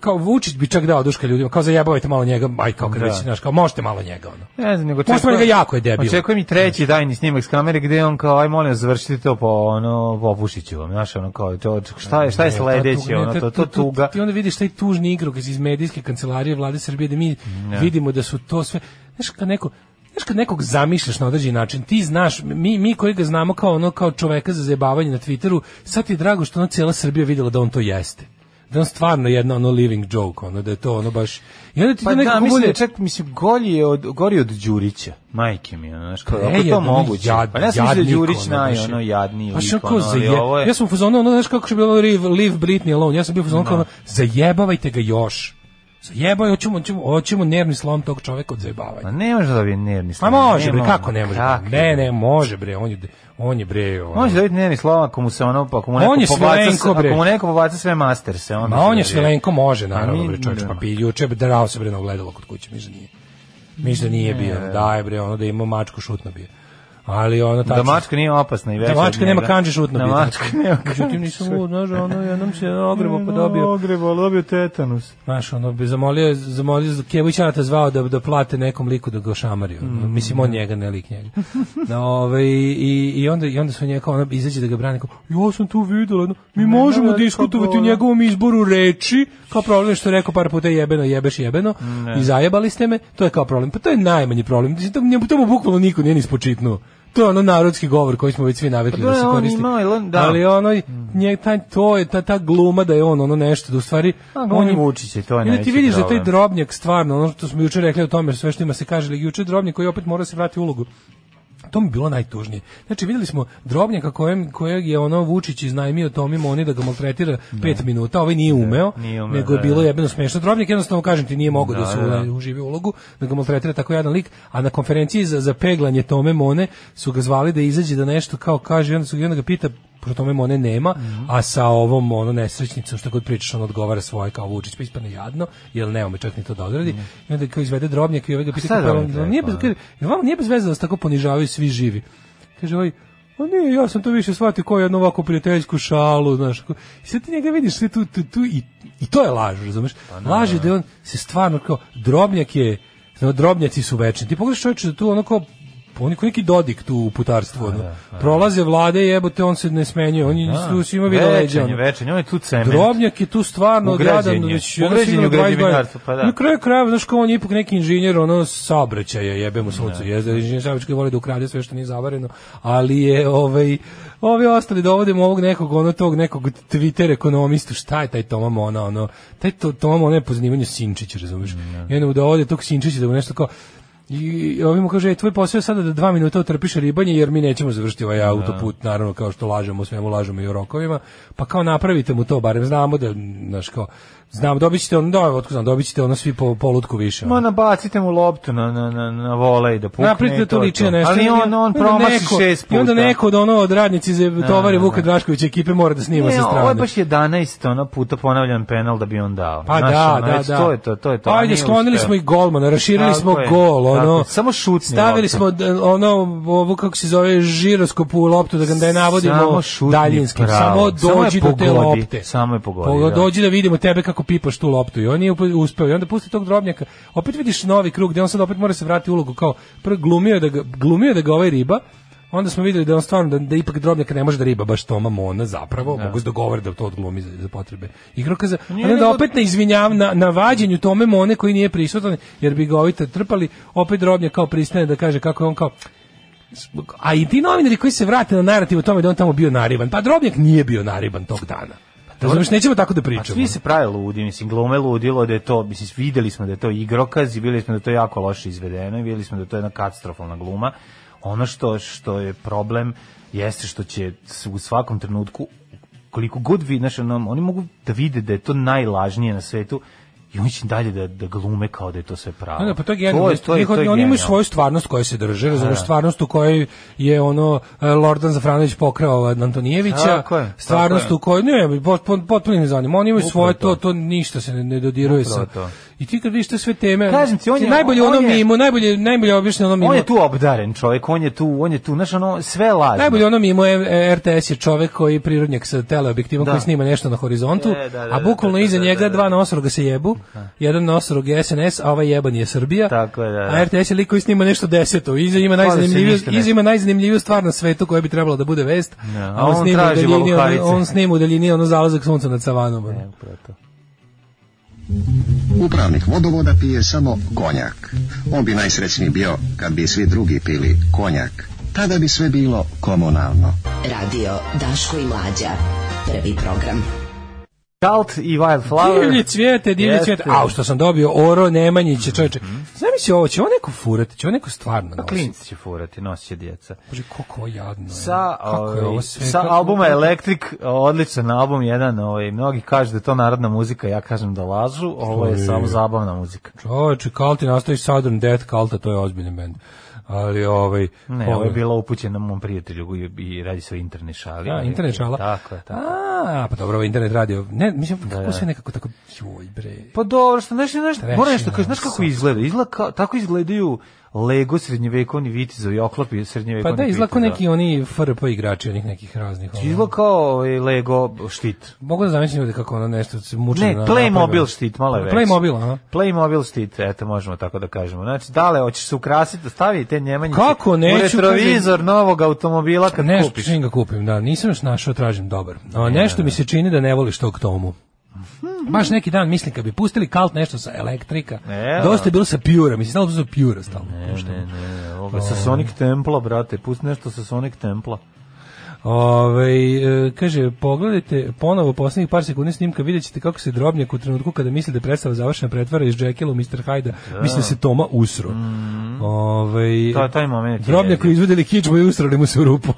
Speaker 6: kao Vučić bi čak dao duška ljudima, kao zajebavajte malo njega, aj kao kad
Speaker 5: Da.
Speaker 6: već, znaš, kao možete malo njega, ono.
Speaker 5: Ne znam, nego
Speaker 6: Možda
Speaker 5: očekujem-
Speaker 6: ga jako je debil.
Speaker 5: Očekujem i treći tajni snimak s kamere gde on kao aj molim vas, završite to po ono opušiću vam, znaš, ono kao to šta je šta je
Speaker 6: Ne, ta
Speaker 5: sledeće,
Speaker 6: tuga, ne,
Speaker 5: ono
Speaker 6: ta-
Speaker 5: to
Speaker 6: tu-
Speaker 5: to
Speaker 6: tu-
Speaker 5: tuga.
Speaker 6: Ti onda vidiš taj tužni igrokaz iz medijske kancelarije vlade Srbije da mi vidimo da su to sve, znaš kad neko Znaš kad nekog zamišljaš na određeni način, ti znaš, mi, mi koji ga znamo kao ono kao čoveka za zajebavanje na Twitteru, sad ti je drago što ono cijela Srbija videla da on to jeste. Da je on stvarno jedna ono living joke, ono da je to ono baš... I onda ti
Speaker 5: Pa
Speaker 6: to
Speaker 5: da,
Speaker 6: nekako
Speaker 5: mislim da
Speaker 6: bude-
Speaker 5: je čak mislim gori je od gori od Đurića. Majke mi, ono, znaš, kako
Speaker 6: Ne,
Speaker 5: je to
Speaker 6: jadno, ono
Speaker 5: moguće?
Speaker 6: jad-
Speaker 5: pa ja sam mislio da je
Speaker 6: jadnik,
Speaker 5: Đurić
Speaker 6: ono,
Speaker 5: naj
Speaker 6: baš je-
Speaker 5: ono jadni
Speaker 6: Baš
Speaker 5: lik,
Speaker 6: ono kao
Speaker 5: ono, ali
Speaker 6: zaje-
Speaker 5: ovo je.
Speaker 6: Ja sam u fazonu, ono, znaš kako što je bilo leave, leave Britney alone, ja sam bio u fazonu kao, ono, zajebavajte ga još. Zajebaj, hoćemo, hoćemo, hoćemo nervni slom tog čoveka od
Speaker 5: Ma
Speaker 6: zajebavanja.
Speaker 5: Pa ne može da bi nervni ono,
Speaker 6: Ma
Speaker 5: slom.
Speaker 6: može,
Speaker 5: ne
Speaker 6: bre,
Speaker 5: može.
Speaker 6: kako ne može?
Speaker 5: Kako?
Speaker 6: Ne, ne, može, bre, on je, on je bre, ono-
Speaker 5: Može da vidi nervni slom ako mu se ono, pa ako mu
Speaker 6: On
Speaker 5: neko
Speaker 6: je
Speaker 5: pobaca,
Speaker 6: Svilenko, bre.
Speaker 5: ako mu neko pobaca sve masterse,
Speaker 6: Ma
Speaker 5: onda. se
Speaker 6: on je
Speaker 5: dobije.
Speaker 6: Svilenko može, naravno,
Speaker 5: mi-
Speaker 6: bre, čovječ,
Speaker 5: da.
Speaker 6: pa bi juče bi drao se bre na ogledalo kod kuće, mislim da nije. Mislim da nije bio, daj bre, ono da je imao mačku šutno bio. Ali ono
Speaker 5: Da mačka nije opasna i veća
Speaker 6: Da mačka
Speaker 5: od
Speaker 6: nema
Speaker 5: njega.
Speaker 6: kanđe šutno.
Speaker 5: Da
Speaker 6: pitanje.
Speaker 5: mačka nema kanđe.
Speaker 6: Međutim, nisam lud, znaš, ono, jednom se ogrebo podobio.
Speaker 5: Ogrebo, dobio tetanus.
Speaker 6: Znaš, ono, bi zamolio, zamolio, Kević Anata zvao da, da plate nekom liku da ga ošamari.
Speaker 5: Mm.
Speaker 6: ono. Mislim, on njega, ne lik njega. Da, ove, i, i, onda, I onda sve njega, ono, izađe da ga brane, kao, ja sam tu videla, ono, mi možemo
Speaker 5: da,
Speaker 6: diskutovati
Speaker 5: kako
Speaker 6: o
Speaker 5: ono.
Speaker 6: njegovom izboru reči, kao problem je što je rekao par puta jebeno, jebeš, jebeno, i zajebali ste me, to je kao problem. Pa to je najmanji problem, Mislim, to, njemu- to mu bukvalno niko nije ni spočitnuo. To je ono narodski govor koji smo već svi navikli
Speaker 5: Pa to
Speaker 6: da se
Speaker 5: je on
Speaker 6: koristi.
Speaker 5: imao, jel on- da. Mm.
Speaker 6: Ali ono, nje, taj, to je, ta, ta gluma da je on ono nešto, da u stvari
Speaker 5: A, glumi Vučića i to Pa, je
Speaker 6: I onda
Speaker 5: najveći
Speaker 6: ti vidiš da taj
Speaker 5: problem.
Speaker 6: drobnjak stvarno, ono što smo juče rekli o tome, sve što ima se kaže, ali juče drobnjak koji opet mora se vratiti u ulogu. To mi je bilo najtužnije. Znači, vidjeli smo drobnjaka kojem, kojeg je ono Vučić iznajmio Tomi Moni da ga maltretira pet minuta, ovaj nije umeo,
Speaker 5: nije umeo,
Speaker 6: nego je
Speaker 5: da,
Speaker 6: bilo
Speaker 5: da.
Speaker 6: jebeno smešno. Drobnjak jednostavno, kažem ti, nije mogao da,
Speaker 5: Da,
Speaker 6: se
Speaker 5: da.
Speaker 6: uživi ulogu, da ga maltretira tako jedan lik, a na konferenciji za, za peglanje Tome Mone su ga zvali da izađe da nešto kao kaže, i onda, su, i onda ga pita, pošto Tome Mone nema,
Speaker 5: Mhm.
Speaker 6: a sa ovom ono nesrećnicom što god pričaš, on odgovara svoje kao Vučić, pa ispadne jadno, jer nema me čak ni to da odradi. I onda kao izvede drobnjak i ovaj ga pita,
Speaker 5: Mhm. šta je
Speaker 6: kao, pa,
Speaker 5: drobnjak
Speaker 6: jel nije,
Speaker 5: rekao,
Speaker 6: bez, kaže,
Speaker 5: ono?
Speaker 6: jel vama nije bez veze da se tako ponižavaju svi živi. Kaže ovaj, a nije, ja sam to više shvatio kao jednu ovako prijateljsku šalu, znaš. ako- I sad ti njega vidiš sve tu, tu, tu i, i to je laž, razumeš? laž je da je on se stvarno kao, drobnjak je, znaš, drobnjaci su večni. Ti pogledaš čovječe da tu ono kao, oni kao neki dodik tu u putarstvu, ono. Prolaze vlade, jebote, on se ne smenjuje, on je tu svima vidio leđa,
Speaker 5: Večanje,
Speaker 6: ono.
Speaker 5: večanje, on je tu cement.
Speaker 6: Drobnjak je tu stvarno
Speaker 5: Ugrađen
Speaker 6: gradan,
Speaker 5: je.
Speaker 6: već ono
Speaker 5: Ugrađen je
Speaker 6: sigurno
Speaker 5: u
Speaker 6: 22.
Speaker 5: građevinarstvo, pa da.
Speaker 6: Na kraju krajeva, znaš kao on je ipak neki inženjer, ono, saobraćaja, jebe mu sunce, jezda, inženjer saobraćaja koji voli da ukrade sve što nije zavareno, ali je, ovaj, ovi ostali dovodimo ovog nekog, ono, tog nekog Twitter ekonomistu, šta je taj Toma Mona, ono, taj to, Toma Mona je po zanimanju Sinčić, razumiješ, i onda mu dovode tog Sinčića da mu nešto kao, i ovi mu kaže, e, tvoj posao je sada da dva minuta utrpiš ribanje, jer mi nećemo završiti ovaj autoput, naravno, kao što lažemo, svemu lažemo i o rokovima, pa kao napravite mu to, barem znamo da, znaš, kao, znamo, dobit ćete ono, da, otko znam, dobit ćete ono svi po, polutku više. ono.
Speaker 5: Ma nabacite mu loptu na, na, na, na volej da pukne.
Speaker 6: Napravite
Speaker 5: i
Speaker 6: da to liči na nešto.
Speaker 5: Ali
Speaker 6: I
Speaker 5: on,
Speaker 6: onda
Speaker 5: on promaši
Speaker 6: neko-
Speaker 5: šest puta.
Speaker 6: I onda neko od ono od radnici za tovare
Speaker 5: da,
Speaker 6: Vuka
Speaker 5: da.
Speaker 6: Draškovića ekipe mora da snima
Speaker 5: Ne,
Speaker 6: sa strane.
Speaker 5: ovo je baš 11 ono puta ponavljan penal da bi on dao.
Speaker 6: Pa
Speaker 5: Znaš,
Speaker 6: da,
Speaker 5: ono,
Speaker 6: da,
Speaker 5: već
Speaker 6: da.
Speaker 5: To je to, to je to. a
Speaker 6: Ajde,
Speaker 5: nije
Speaker 6: sklonili
Speaker 5: uspeo.
Speaker 6: smo i golmana, raširili
Speaker 5: Tako
Speaker 6: smo
Speaker 5: je,
Speaker 6: gol,
Speaker 5: tako
Speaker 6: ono.
Speaker 5: je. Samo šutni
Speaker 6: Stavili
Speaker 5: loptu.
Speaker 6: smo d- ono ovo kako se zove žiroskop u loptu da ga da je navodimo
Speaker 5: Samo šutni,
Speaker 6: daljinski.
Speaker 5: bravo.
Speaker 6: Samo
Speaker 5: Samo je
Speaker 6: dođi do te
Speaker 5: pogodi,
Speaker 6: lopte.
Speaker 5: samo je pogodi,
Speaker 6: Pogo-
Speaker 5: da.
Speaker 6: Dođi da vidimo tebe kako pipaš tu loptu i on je upe- uspeo i onda pusti tog drobnjaka. Opet vidiš novi krug gde on sad opet mora se vratiti u ulogu kao prvo glumio je da ga glumio je da ga ovaj riba onda smo vidjeli da on stvarno da, da ipak drobnjaka ne može da riba baš Toma Mona zapravo mogu se dogovore da to odglumi za, za potrebe igrokaza
Speaker 5: Nije
Speaker 6: onda
Speaker 5: nego-
Speaker 6: opet na izvinjavam na, na vađenju Tome Mone koji nije prisutan jer bi ga ovi trpali opet drobnjak kao pristaje da kaže kako je on kao a i ti novinari koji se vrate na narativ o tome da je on tamo bio nariban pa drobnjak nije bio nariban tog dana Razumeš, nećemo tako da
Speaker 5: A
Speaker 6: pričamo.
Speaker 5: Pa svi se prave ludi, mislim, glume ludilo da je to, mislim, videli smo da je to igrokaz i videli smo da je to jako loše izvedeno i videli smo da je to jedna katastrofalna gluma. Ono što, što je problem jeste što će s- u svakom trenutku koliko god vi, znaš, ono, oni mogu da vide da je to najlažnije na svetu i oni će dalje da, da glume kao da je to sve pravo.
Speaker 6: Ne, ne, pa to je genijalno.
Speaker 5: je- to je-
Speaker 6: Njihovi-
Speaker 5: to je
Speaker 6: oni imaju
Speaker 5: genijalno.
Speaker 6: svoju stvarnost koju se drže, razumeš, stvarnost u kojoj je ono e, Lordan Zafranović pokrao od Antonijevića,
Speaker 5: Tako je, tako
Speaker 6: stvarno
Speaker 5: je.
Speaker 6: u kojoj ne, pot- pot- potpuno ih ne zanima. Oni imaju
Speaker 5: Upravo
Speaker 6: svoje to,
Speaker 5: to.
Speaker 6: to ništa se ne, ne dodiruje
Speaker 5: Upravo
Speaker 6: sa.
Speaker 5: to.
Speaker 6: I ti kad vidiš te sve teme,
Speaker 5: Kažem ti, on je-
Speaker 6: najbolje
Speaker 5: on
Speaker 6: ono
Speaker 5: je-
Speaker 6: mimo, najbolje najbolje objašnjeno ono mimo.
Speaker 5: On je tu obdaren čovjek, on je tu, on je tu, znaš, ono, sve lažno.
Speaker 6: Najbolje ono mimo je- e, RTS je čovek koji je prirodnjak sa teleobjektivom
Speaker 5: Da.
Speaker 6: koji snima nešto na horizontu,
Speaker 5: E, da, da,
Speaker 6: a
Speaker 5: da,
Speaker 6: bukvalno
Speaker 5: da, da,
Speaker 6: iza
Speaker 5: da,
Speaker 6: njega
Speaker 5: da, da.
Speaker 6: dva nosoroga se jebu, jedan nosorog je SNS, a ovaj jeban je Srbija,
Speaker 5: Tako je, da, da.
Speaker 6: a RTS je lik koji snima nešto deseto, iza ima
Speaker 5: Hvali se
Speaker 6: najzanimljiviju,
Speaker 5: ništa ne.
Speaker 6: iza ima najzanimljiviju stvar na svetu koja bi trebala da bude vest,
Speaker 5: Ja,
Speaker 6: a on,
Speaker 5: a on
Speaker 6: snima u
Speaker 5: traži
Speaker 6: daljini, on,
Speaker 5: valukavice.
Speaker 6: on snima u daljini ono zalazak sunca nad savanom. ono.
Speaker 5: E, upravo to.
Speaker 3: Upravnik vodovoda pije samo konjak. On bi najsrećniji bio kad bi svi drugi pili konjak. Tada bi sve bilo komunalno.
Speaker 9: Radio Daško i Mlađa. Prvi program.
Speaker 5: Cult i Wildflower.
Speaker 6: Divlje cvijete, divlje
Speaker 5: Jeste. Mhm.
Speaker 6: cvijete. Au, što sam dobio, Oro Nemanjiće, čovječe. Zamisli ovo, će ovo neko furati, će ovo neko stvarno nositi.
Speaker 5: Pa Klinci će furati, nosit će djeca.
Speaker 6: Bože, koliko ovo jadno je.
Speaker 5: Sa,
Speaker 6: Kako je
Speaker 5: ovaj,
Speaker 6: ovo sve,
Speaker 5: sa
Speaker 6: kako-
Speaker 5: albuma Electric, odličan album jedan, ovaj, mnogi kažu da je to narodna muzika, ja kažem da lažu, ovo je
Speaker 6: Oj.
Speaker 5: samo zabavna muzika.
Speaker 6: Čoveče, Kalti nastavi Southern Death Kalta, to je ozbiljan bend. Ali ovaj...
Speaker 5: Ne, ovo je bila upućena mom prijatelju i, i radi se o internet šali.
Speaker 6: A,
Speaker 5: ali-
Speaker 6: internet šala.
Speaker 5: Tako je, tako.
Speaker 6: A, pa dobro, ovaj internet radio. Ne, mislim, kako sve nekako tako... Joj, bre.
Speaker 5: Pa dobro, što znaš, znaš,
Speaker 6: Trešina,
Speaker 5: mora nešto kažeš, znaš kako
Speaker 6: sad.
Speaker 5: izgleda? Izgleda kao, tako izgledaju Lego srednjevekovni vitizovi, oklopi
Speaker 6: Pa
Speaker 5: srednjevekovni
Speaker 6: da, izlako
Speaker 5: viteza.
Speaker 6: neki oni FRP igrači, onih nekih raznih. ono.
Speaker 5: Izgleda kao ovaj, Lego štit.
Speaker 6: Mogu da zamislim ljudi kako ono nešto se muče.
Speaker 5: Ne,
Speaker 6: na-
Speaker 5: Playmobil
Speaker 6: napravio.
Speaker 5: štit, malo je veći.
Speaker 6: Playmobil, aha.
Speaker 5: Playmobil štit, eto možemo tako da kažemo. Znači, dale, hoćeš se ukrasiti, stavi te njemanjice
Speaker 6: Kako neću,
Speaker 5: u retrovizor novog automobila kad
Speaker 6: Nešto
Speaker 5: kupiš.
Speaker 6: čim ga kupim, da, nisam još našao, tražim dobar. A, nešto mi se čini da ne voliš tog tomu.
Speaker 5: Mhm.
Speaker 6: Baš neki dan mislim kad bi pustili kalt nešto sa elektrika.
Speaker 5: Evo.
Speaker 6: Dosta je bilo sa Pura, mislim stalno su Pura stalno. puštamo.
Speaker 5: Ovoga, sa Sonic Templa, brate, pusti nešto sa Sonic Templa.
Speaker 6: Ovaj, e, kaže, pogledajte ponovo poslednjih par sekundi snimka, vidjet ćete kako se drobnjak u trenutku kada misli da je predstava završena pretvara iz Jekyll u Mr. Hyde, mislim da se Toma usro. Ovaj,
Speaker 5: Mm. To je taj moment. je
Speaker 6: Drobnjak koji
Speaker 5: jeziv.
Speaker 6: izvedeli kičmu i usrali mu se u rupu.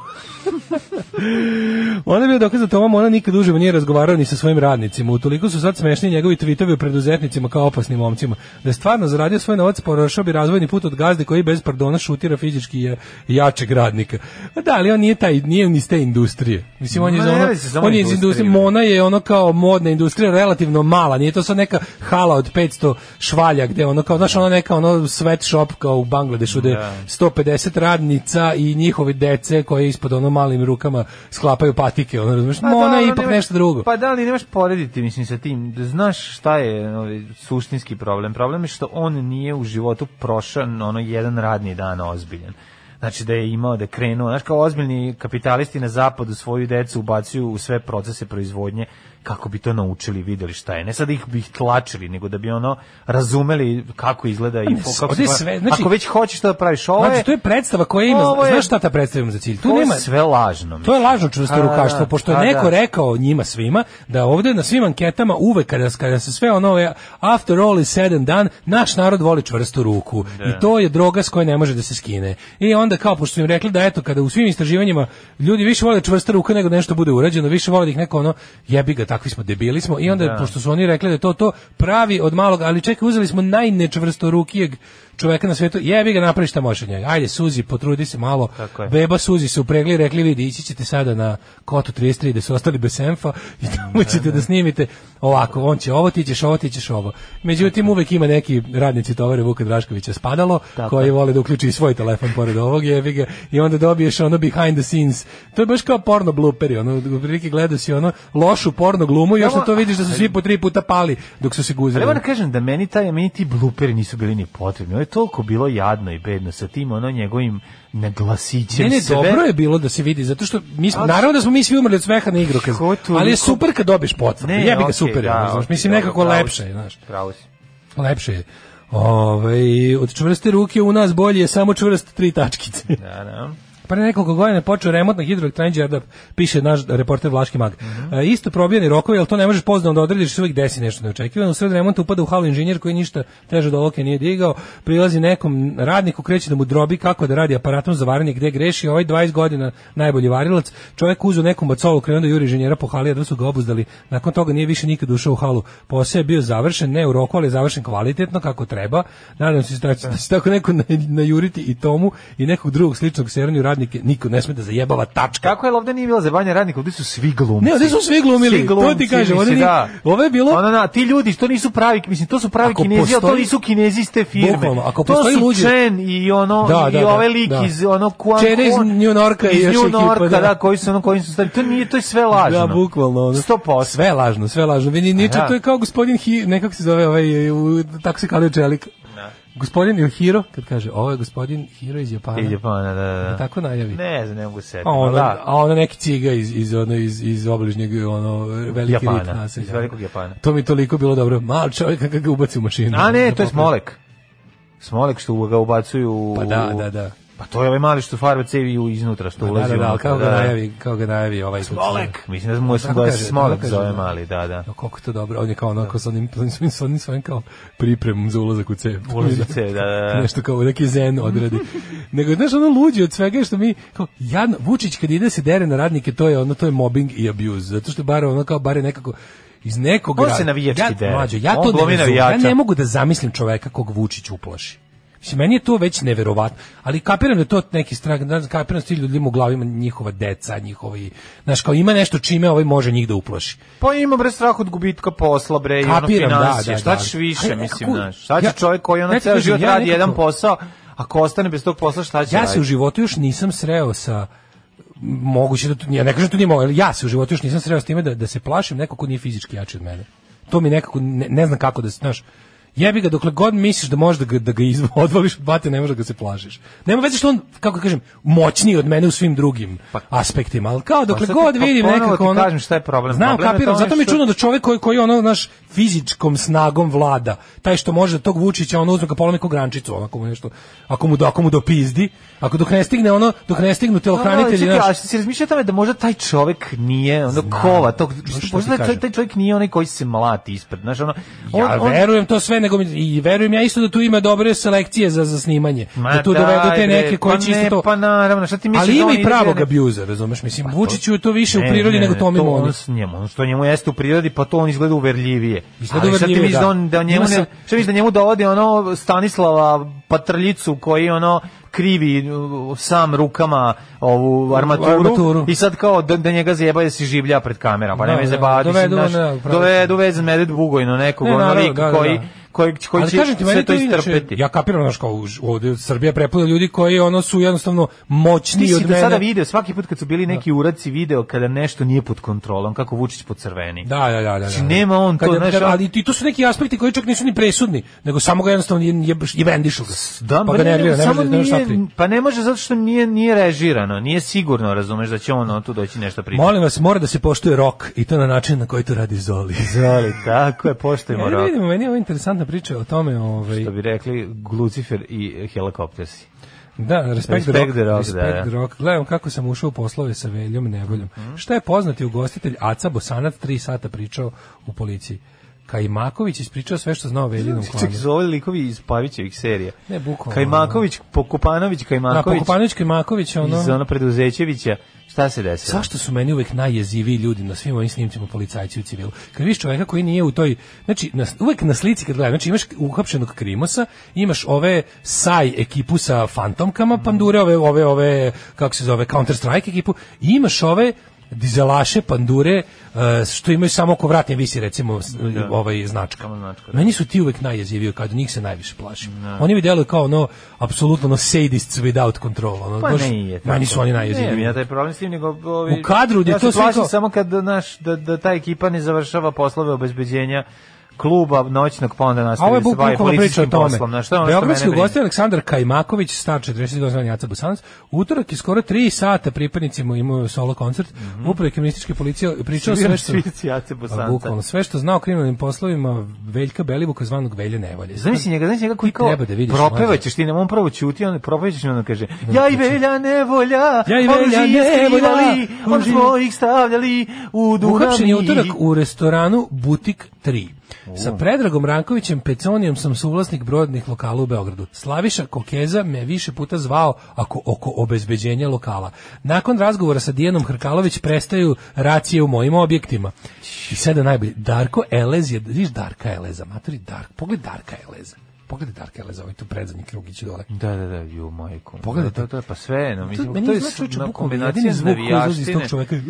Speaker 6: Ona je bio dokaz da Toma ona nikad uživo nije razgovarao ni sa svojim radnicima. Utoliko su sad smešni njegovi tvitovi o preduzetnicima kao opasnim momcima. Da je stvarno zaradio svoj novac, porošao bi razvojni put od gazde koji bez pardona šutira fizički je jačeg radnika. Pa da, ali on nije, taj, nije ni iz te industrije. Mislim, on je,
Speaker 5: Ma
Speaker 6: za
Speaker 5: ne
Speaker 6: ono-
Speaker 5: radi se samo
Speaker 6: on je iz
Speaker 5: industrije.
Speaker 6: industrije, Mona je ono kao modna industrija relativno mala, nije to sad neka hala od 500 švalja gde ono kao, znaš, ono neka ono sweatshop kao u Bangladešu gde 150 radnica i njihove dece koje ispod ono malim rukama sklapaju patike, ono razumeš,
Speaker 5: Pa
Speaker 6: Mona
Speaker 5: da,
Speaker 6: je
Speaker 5: ono,
Speaker 6: ipak
Speaker 5: nemaš-
Speaker 6: nešto drugo.
Speaker 5: Pa da, ali nemaš porediti, mislim, sa tim. Znaš šta je ovaj, suštinski problem? Problem je što on nije u životu prošao ono jedan radni dan ozbiljan. Znači da je imao da je krenuo, znaš kao ozbiljni kapitalisti na zapadu svoju decu ubacuju u sve procese proizvodnje kako bi to naučili, videli šta je. Ne sad da ih bi ih tlačili, nego da bi ono razumeli kako izgleda i
Speaker 6: ne,
Speaker 5: fo- kako
Speaker 6: ovdje je
Speaker 5: se-
Speaker 6: sve, znači-
Speaker 5: Ako već hoćeš to da praviš, ovo je,
Speaker 6: Znači, to je predstava koja ima,
Speaker 5: ovo je-
Speaker 6: znaš šta ta predstava ima za cilj? Tu
Speaker 5: ovo je
Speaker 6: nema,
Speaker 5: sve lažno.
Speaker 6: To je
Speaker 5: mislim.
Speaker 6: lažno čvrsto
Speaker 5: A,
Speaker 6: rukaštvo, pošto je
Speaker 5: a,
Speaker 6: neko
Speaker 5: da.
Speaker 6: rekao njima svima da ovde na svim anketama uvek kada, kada se sve ono je after all is said and done, naš narod voli čvrstu ruku i to je droga s koje ne može da se skine. I onda kao pošto su im rekli da eto kada u svim istraživanjima ljudi više vole čvrsta ruka nego da nešto bude urađeno, više vole da ih neko ono jebi ga, takvi smo, debili smo i onda pošto su oni rekli da je to to pravi od malog, ali čekaj, uzeli smo najnečvrstorukijeg čoveka na svetu, jebi ga, napravi šta možeš od njega. Ajde, suzi, potrudi se malo,
Speaker 5: Tako je.
Speaker 6: Beba Suzi se upregli i rekli vidi ići ćete sada na kotu 33 da su ostali bez senfa i tamo ćete da snimite ovako, on će ovo, ti ćeš ovo, ti ćeš ovo. Međutim, uvek ima neki radnici tovare Vuka Draškovića spadalo, koji vole da uključi i svoj telefon pored ovog jebi ga, i onda dobiješ ono behind the scenes. To je baš kao porno bluperi, ono, u prilike gledao si ono lošu porno glumu i još
Speaker 5: Samo-
Speaker 6: na to vidiš da su svi po tri puta pali dok su se
Speaker 5: Ali
Speaker 6: guzili.
Speaker 5: moram da kažem da meni taj, meni ti bluperi nisu bili ni potrebni. Ovo je toliko bilo jadno i bedno sa tim ono njegovim naglasićem
Speaker 6: Ne, ne,
Speaker 5: sebe.
Speaker 6: dobro je bilo da se vidi, zato što mi smo,
Speaker 5: Ali-
Speaker 6: naravno da smo mi svi umrli od sveha na igrokaz,
Speaker 5: Ko tu-
Speaker 6: ali je
Speaker 5: ko-
Speaker 6: super kad dobiš potvrdu,
Speaker 5: Ne,
Speaker 6: jebi ga
Speaker 5: okej,
Speaker 6: super, je, ono, znaš,
Speaker 5: okej,
Speaker 6: mislim
Speaker 5: dobro,
Speaker 6: nekako
Speaker 5: pravo si.
Speaker 6: lepše, je, znaš,
Speaker 5: Pravo si.
Speaker 6: lepše je. Ovaj, od čvrste ruke u nas bolje je samo čvrst tri tačkice.
Speaker 5: Da, da.
Speaker 6: Pre nekoliko godina je počeo remont na hidroelektrani Đerdap, piše naš reporter Vlaški mag.
Speaker 5: Mhm.
Speaker 6: E, isto probijeni rokovi, ali to ne možeš pozdano da odrediš, se uvijek desi nešto neočekivano. U sred remonta upada u halu inženjer koji ništa teže do oke nije digao, prilazi nekom radniku, kreće da mu drobi kako da radi aparatom za varanje gde greši, ovaj 20 godina najbolji varilac, čovjek uzeo neku macolu, krenuo da juri inženjera po hali, da su ga obuzdali. Nakon toga nije više nikad ušao u halu. Posao je bio završen, ne u roku, ali je završen kvalitetno kako treba. Nadam se da će da će tako neko na- najuriti i tomu i nekog drugog sličnog seranju radnike niko ne sme da zajebava tačka.
Speaker 5: Kako je, ali ovde nije bilo zebanja radnika, ovde su svi glumci.
Speaker 6: Ne, ovde su svi glumili,
Speaker 5: Svi
Speaker 6: to ti kažem,
Speaker 5: mislim,
Speaker 6: ovde nije- ovo je bilo-
Speaker 5: Ono, na, ti ljudi, što nisu pravi, mislim, to su pravi
Speaker 6: Ako
Speaker 5: kinezi, ali to
Speaker 6: postoji-
Speaker 5: nisu kinezi iz te firme.
Speaker 6: Bukvalno, ako
Speaker 5: to
Speaker 6: postoji
Speaker 5: su
Speaker 6: luđe-
Speaker 5: Chen i ono,
Speaker 6: Da,
Speaker 5: i
Speaker 6: da, da,
Speaker 5: ovaj lik
Speaker 6: da.
Speaker 5: iz ono, Kuan
Speaker 6: Čede iz New Yorka i
Speaker 5: iz
Speaker 6: još
Speaker 5: New
Speaker 6: ekipa,
Speaker 5: Yorka,
Speaker 6: da.
Speaker 5: da. koji su, ono, koji su stari. To nije, to je sve lažno.
Speaker 6: Da, bukvalno. ono.
Speaker 5: 100%.
Speaker 6: Sve je lažno, sve je lažno. Vi ni- niče,
Speaker 5: da.
Speaker 6: to je kao gospodin Hi, nekako se zove ovaj, u- tako se kalio čelik. Gospodin ili Hiro, kad kaže, ovo je gospodin Hiro iz Japana.
Speaker 5: Iz Japana, da, da, da.
Speaker 6: Da tako najavi.
Speaker 5: Ne znam, ne mogu se.
Speaker 6: A ono,
Speaker 5: da.
Speaker 6: a ono neki ciga iz, iz, ono, iz, iz obližnjeg ono, veliki
Speaker 5: Japana,
Speaker 6: rit naselja.
Speaker 5: iz velikog Japana.
Speaker 6: To mi je toliko bilo dobro. Mal čovjek kako ga ubaci u mašinu.
Speaker 5: A ne, to je
Speaker 6: Popne.
Speaker 5: Smolek. Smolek što ga ubacuju u...
Speaker 6: Pa da, da, da. Pa
Speaker 5: Pa to je ovaj mali što farba cevi u- iznutra, što
Speaker 6: Da,
Speaker 5: ulazi.
Speaker 6: da, da, ali
Speaker 5: unutra,
Speaker 6: kako ga
Speaker 5: da.
Speaker 6: najavi, kako ga najavi ovaj...
Speaker 5: Smolek. Mislim da mu je
Speaker 6: Tako
Speaker 5: da
Speaker 6: kaže,
Speaker 5: se Smolek
Speaker 6: tako kaže,
Speaker 5: zove
Speaker 6: da.
Speaker 5: mali, da, da.
Speaker 6: Jo, koliko je to dobro. On je kao onako s onim, s onim, s onim svojim kao pripremom za ulazak u cev.
Speaker 5: Ulazak u cev, da, da, da.
Speaker 6: Nešto kao neki zen odradi. Nego, znaš, ono luđe od svega je što mi, kao, jadno, Vučić kad ide se dere na radnike, to je ono, to je mobbing i abuse. Zato što je bar ono kao, bar je nekako iz nekog
Speaker 5: On se
Speaker 6: rad-
Speaker 5: navijački
Speaker 6: ja,
Speaker 5: dere.
Speaker 6: Mlađo, ja
Speaker 5: On
Speaker 6: to
Speaker 5: glumi
Speaker 6: ne razumem. Ja
Speaker 5: navijača.
Speaker 6: ne mogu da zamislim čoveka kog Vučić uplaši. Mislim, meni je to već neverovatno, ali kapiram da je to neki strah, da kapiram da su ti ljudima u glavima njihova deca, njihovi, znaš, kao ima nešto čime ovaj može njih da uplaši.
Speaker 5: Pa ima bre strah od gubitka posla bre i ono
Speaker 6: Kapiram, da,
Speaker 5: financije.
Speaker 6: da,
Speaker 5: Šta
Speaker 6: da.
Speaker 5: ćeš više,
Speaker 6: Aj,
Speaker 5: mislim,
Speaker 6: nekako-
Speaker 5: znaš. Šta će
Speaker 6: ja-
Speaker 5: čovjek koji ono
Speaker 6: ne,
Speaker 5: ceo
Speaker 6: kažem,
Speaker 5: život
Speaker 6: ja
Speaker 5: radi
Speaker 6: nekako-
Speaker 5: jedan posao, ako ostane bez tog posla, šta će
Speaker 6: Ja se
Speaker 5: raditi?
Speaker 6: u životu još nisam sreo sa moguće da to ja ne kažem da to nije moguće, ali ja se u životu još nisam sreo s time da, da se plašim neko ko nije fizički jači od mene. To mi nekako ne, ne znam kako da se, znaš, jebi ga dokle god misliš da možeš da ga, da ga iz- odvališ od bate, ne možeš da ga se plašiš. Nema veze što on, kako da kažem, moćniji od mene u svim drugim aspektima, ali kao dokle
Speaker 5: Pa, sad ti
Speaker 6: god
Speaker 5: po-
Speaker 6: vidim
Speaker 5: ponovo
Speaker 6: nekako
Speaker 5: ti
Speaker 6: ono...
Speaker 5: kažem šta je problem.
Speaker 6: Znam,
Speaker 5: Problem je
Speaker 6: kapiram,
Speaker 5: to
Speaker 6: zato mi je
Speaker 5: što-
Speaker 6: čudno da čovjek koji, koji ono, znaš, fizičkom snagom vlada, taj što može tog Vučića, ono uzme ga polomi ko grančicu, ono, ako mu nešto, ako mu, do, ako mu dopizdi, ako dok ne stigne ono, dok ne stignu telohranitelji,
Speaker 5: čekaj,
Speaker 6: znaš,
Speaker 5: a si razmišljao o tome da možda taj čovek nije ono kova, tog,
Speaker 6: Znaš šta ti
Speaker 5: možda taj,
Speaker 6: kažem?
Speaker 5: taj čovek nije onaj koji se mlati ispred, znaš, ono, on,
Speaker 6: Ja
Speaker 5: on-
Speaker 6: verujem to sve, nego mi, i verujem ja isto da tu ima dobre selekcije za, za snimanje.
Speaker 5: Ma
Speaker 6: da tu
Speaker 5: daj,
Speaker 6: dovedu te
Speaker 5: bre,
Speaker 6: neke koji
Speaker 5: pa
Speaker 6: će isto
Speaker 5: ne,
Speaker 6: to...
Speaker 5: pa naravno, šta ti misliš
Speaker 6: Ali
Speaker 5: da
Speaker 6: ima i
Speaker 5: on ide
Speaker 6: pravog
Speaker 5: gdje-
Speaker 6: abuza, razumeš? Mislim,
Speaker 5: Pa to-
Speaker 6: Vučiću je to više u
Speaker 5: Ne,
Speaker 6: prirodi
Speaker 5: ne,
Speaker 6: nego
Speaker 5: ne,
Speaker 6: Tomi
Speaker 5: to
Speaker 6: Moni.
Speaker 5: Ono, s njemu, ono što njemu jeste u prirodi, pa to on izgleda uverljivije.
Speaker 6: Izgleda
Speaker 5: Ali šta ti
Speaker 6: uverljivije,
Speaker 5: misliš
Speaker 6: da.
Speaker 5: on, da njemu,
Speaker 6: Ima
Speaker 5: ne,
Speaker 6: se-
Speaker 5: šta misliš da njemu dovodi ono Stanislava Patrljicu koji ono krivi uh, sam rukama ovu armaturu,
Speaker 6: Armaturu.
Speaker 5: i sad kao da, da njega zjeba da si življa pred kamerom, pa
Speaker 6: Da,
Speaker 5: nema
Speaker 6: da,
Speaker 5: zebati.
Speaker 6: dovedu,
Speaker 5: Dovedu,
Speaker 6: da, u pravu
Speaker 5: dovedu vezan medet bugojno nekog,
Speaker 6: Ne,
Speaker 5: ono
Speaker 6: naravno,
Speaker 5: lik
Speaker 6: da, da,
Speaker 5: koji,
Speaker 6: da.
Speaker 5: koji, koji
Speaker 6: Ali
Speaker 5: će
Speaker 6: kažem ti, meni
Speaker 5: sve to
Speaker 6: je inače-
Speaker 5: istrpeti.
Speaker 6: Ja kapiram, znaš, kao už- ovdje Srbija prepuja ljudi koji ono su jednostavno
Speaker 5: Ti
Speaker 6: moćniji
Speaker 5: si
Speaker 6: od
Speaker 5: do
Speaker 6: mene.
Speaker 5: sada video, svaki put kad su bili neki uraci video kada nešto nije pod kontrolom, kako Vučić pocrveni.
Speaker 6: Da, da, da, da. da.
Speaker 5: Znači, Nema on to,
Speaker 6: Kad je-
Speaker 5: znaš,
Speaker 6: kad-
Speaker 5: on-
Speaker 6: ali i to su neki aspekti koji čak nisu ni presudni, nego samo ga jednostavno je je jebendišu ga.
Speaker 5: Da,
Speaker 6: pa
Speaker 5: bre,
Speaker 6: ga nervira, ne
Speaker 5: samo
Speaker 6: može da ne može šta
Speaker 5: nije-
Speaker 6: pri-
Speaker 5: Pa ne može zato što nije nije režirano, nije sigurno, razumeš da će on tu doći nešto pričati.
Speaker 6: Molim vas, mora da se poštuje rok i to na način na koji to radi Zoli.
Speaker 5: Zoli, tako je, poštojmo
Speaker 6: Ja
Speaker 5: rok.
Speaker 6: vidimo, meni je ovo interesantna priča o tome, ovaj,
Speaker 5: Što bi rekli Glucifer i helikoptersi.
Speaker 6: da, respekt,
Speaker 5: Respekt the
Speaker 6: rock,
Speaker 5: Rock,
Speaker 6: respekt
Speaker 5: da, Mhm. da.
Speaker 6: the rock. Gledam kako sam ušao u poslove sa Veljom Nevoljom. Šta je poznati ugostitelj Aca Bosanac tri sata pričao u policiji? Kajmaković ispričao sve što znao o Veljinom klanu.
Speaker 5: Znači, Čekaj, su ovo likovi iz Pavićevih serija.
Speaker 6: Pa Ne, bukvalno.
Speaker 5: Kajmaković, Pokupanović,
Speaker 6: Da,
Speaker 5: Kajmaković.
Speaker 6: Pokopanović Kajmaković, ono...
Speaker 5: Iz ono preduzećevića. Šta se desilo?
Speaker 6: Zašto su meni uvek najjeziviji ljudi na svim ovim snimcima policajci u civilu? Kad vidiš čoveka koji nije u toj, znači na, uvek na slici kad gledam, znači imaš uhapšenog Krimosa, imaš ove saj ekipu sa
Speaker 5: Mhm.
Speaker 6: fantomkama, pandure, ove ove ove kako se zove Counter Strike ekipu, i imaš ove dizelaše, pandure, eh, što imaju samo oko vratne visi, recimo, s- ovaj, značka.
Speaker 5: Samo značka, da.
Speaker 6: Meni su ti uvek najjeziviji, kad njih se najviše plašim. Oni mi deluju kao ono, apsolutno ono sadists without control. Ono,
Speaker 5: Pa
Speaker 6: baš-
Speaker 5: nije tako.
Speaker 6: meni su oni najjeziviji.
Speaker 5: Ne, ja taj problem s tim, nego... Ovi,
Speaker 6: U kadru gdje
Speaker 5: ja se
Speaker 6: to sve
Speaker 5: plašim
Speaker 6: kao-
Speaker 5: samo kad naš, da, da ta ekipa ne završava poslove obezbeđenja kluba noćnog pa onda
Speaker 6: A ovo
Speaker 5: nastavi
Speaker 6: je
Speaker 5: se bavi
Speaker 6: bukvalno priča o
Speaker 5: policijskim
Speaker 6: tome.
Speaker 5: poslom. Znaš, što je ono što mene
Speaker 6: Beogradski
Speaker 5: brine?
Speaker 6: ugosti Aleksandar Kajmaković, star 42 godina Jaca Bosanac, utorak je skoro 3 sata pripadnicima imao solo koncert,
Speaker 5: Mhm.
Speaker 6: upravo kriminalističke policije pričao sve
Speaker 5: Svirao
Speaker 6: što...
Speaker 5: Švic Jace Bosanca.
Speaker 6: A, Bukvalno, sve što znao o kriminalnim poslovima Veljka Belivuka zvanog Velje Nevolje.
Speaker 5: Zamisli njega, znači njega koji kao
Speaker 6: treba da vidiš,
Speaker 5: propevaćeš ti, on prvo ćuti, on propevaćeš i onda kaže Ja i velja nevolja,
Speaker 6: Ja i
Speaker 5: on
Speaker 6: velja
Speaker 5: živ
Speaker 6: nevolja,
Speaker 5: skrivali,
Speaker 6: on
Speaker 5: on
Speaker 6: živ-
Speaker 5: smo ih stavljali u Dunav.
Speaker 6: Uhapšen je utorak u restoranu Butik 3. Sa Predragom Rankovićem Peconijom sam suvlasnik brodnih lokala u Beogradu. Slaviša Kokeza me više puta zvao ako oko obezbeđenja lokala. Nakon razgovora sa Dijanom Hrkalović prestaju racije u mojim objektima. I sada najbolje, Darko Elez je, viš Darka Eleza, maturi Dark, pogled Darka Eleza. Pogledaj Darka Eleza, ovaj tu predzadnji krugić dole.
Speaker 5: Da, da, da, ju majko.
Speaker 6: Pogledaj
Speaker 5: Da,
Speaker 6: to.
Speaker 5: da, da, pa sve, no,
Speaker 6: To,
Speaker 5: mislim,
Speaker 6: meni
Speaker 5: to je
Speaker 6: izgleda, čovječe,
Speaker 5: na
Speaker 6: bukvalno jedini
Speaker 5: kombinacija
Speaker 6: zvuk koji izlazi iz tog
Speaker 5: navijaštine.
Speaker 6: čoveka. je,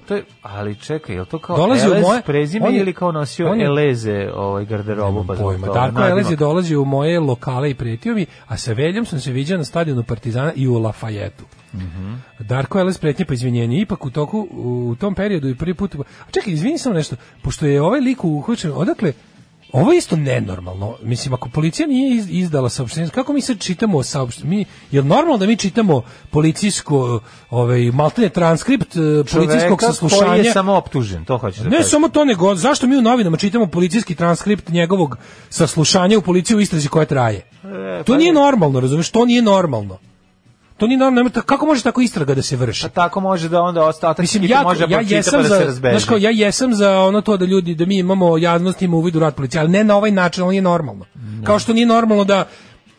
Speaker 6: "Uh,
Speaker 5: To je, ali čekaj, je li to kao
Speaker 6: Dolazi u
Speaker 5: Elez
Speaker 6: moje-
Speaker 5: prezime
Speaker 6: on je-
Speaker 5: ili kao nosio
Speaker 6: on je-
Speaker 5: Eleze ovaj garderobu? Pa zbog
Speaker 6: pojma.
Speaker 5: toga,
Speaker 6: Darko
Speaker 5: nadimak.
Speaker 6: Elez je dolazio u moje lokale i pretio mi, a sa Veljom sam se viđao na stadionu Partizana i u Lafajetu.
Speaker 5: Mhm.
Speaker 6: Darko Elez pretnje pa izvinjenje. Ipak u toku, u tom periodu i prvi put... A čekaj, izvini samo nešto. Pošto je ovaj lik uhvaćen, odakle... Ovo je isto nenormalno. Mislim, ako policija nije iz- izdala saopštenje, kako mi sad čitamo saopštenje? Mi, je li normalno da mi čitamo policijsko, ovaj, maltene transkript eh, policijskog
Speaker 5: Čoveka
Speaker 6: saslušanja?
Speaker 5: koji je samo optužen, to hoćeš da
Speaker 6: Ne
Speaker 5: kažeš.
Speaker 6: samo to, nego zašto mi u novinama čitamo policijski transkript njegovog saslušanja u policiji u istrazi koja traje?
Speaker 5: E, pa
Speaker 6: to nije normalno, razumeš? To nije normalno. To nije normalno. nema ta- Kako može tako istraga da se vrši?
Speaker 5: A tako može da onda ostatak
Speaker 6: Mislim,
Speaker 5: ekipe
Speaker 6: ja,
Speaker 5: Pa, može da
Speaker 6: ja
Speaker 5: pročita
Speaker 6: jesam
Speaker 5: pa da se
Speaker 6: za,
Speaker 5: razbeže.
Speaker 6: znaš kao, ja jesam za ono to da ljudi, da mi imamo javnost ima uvid u rad policije, ali ne na ovaj način, ali nije normalno. Kao što nije normalno da,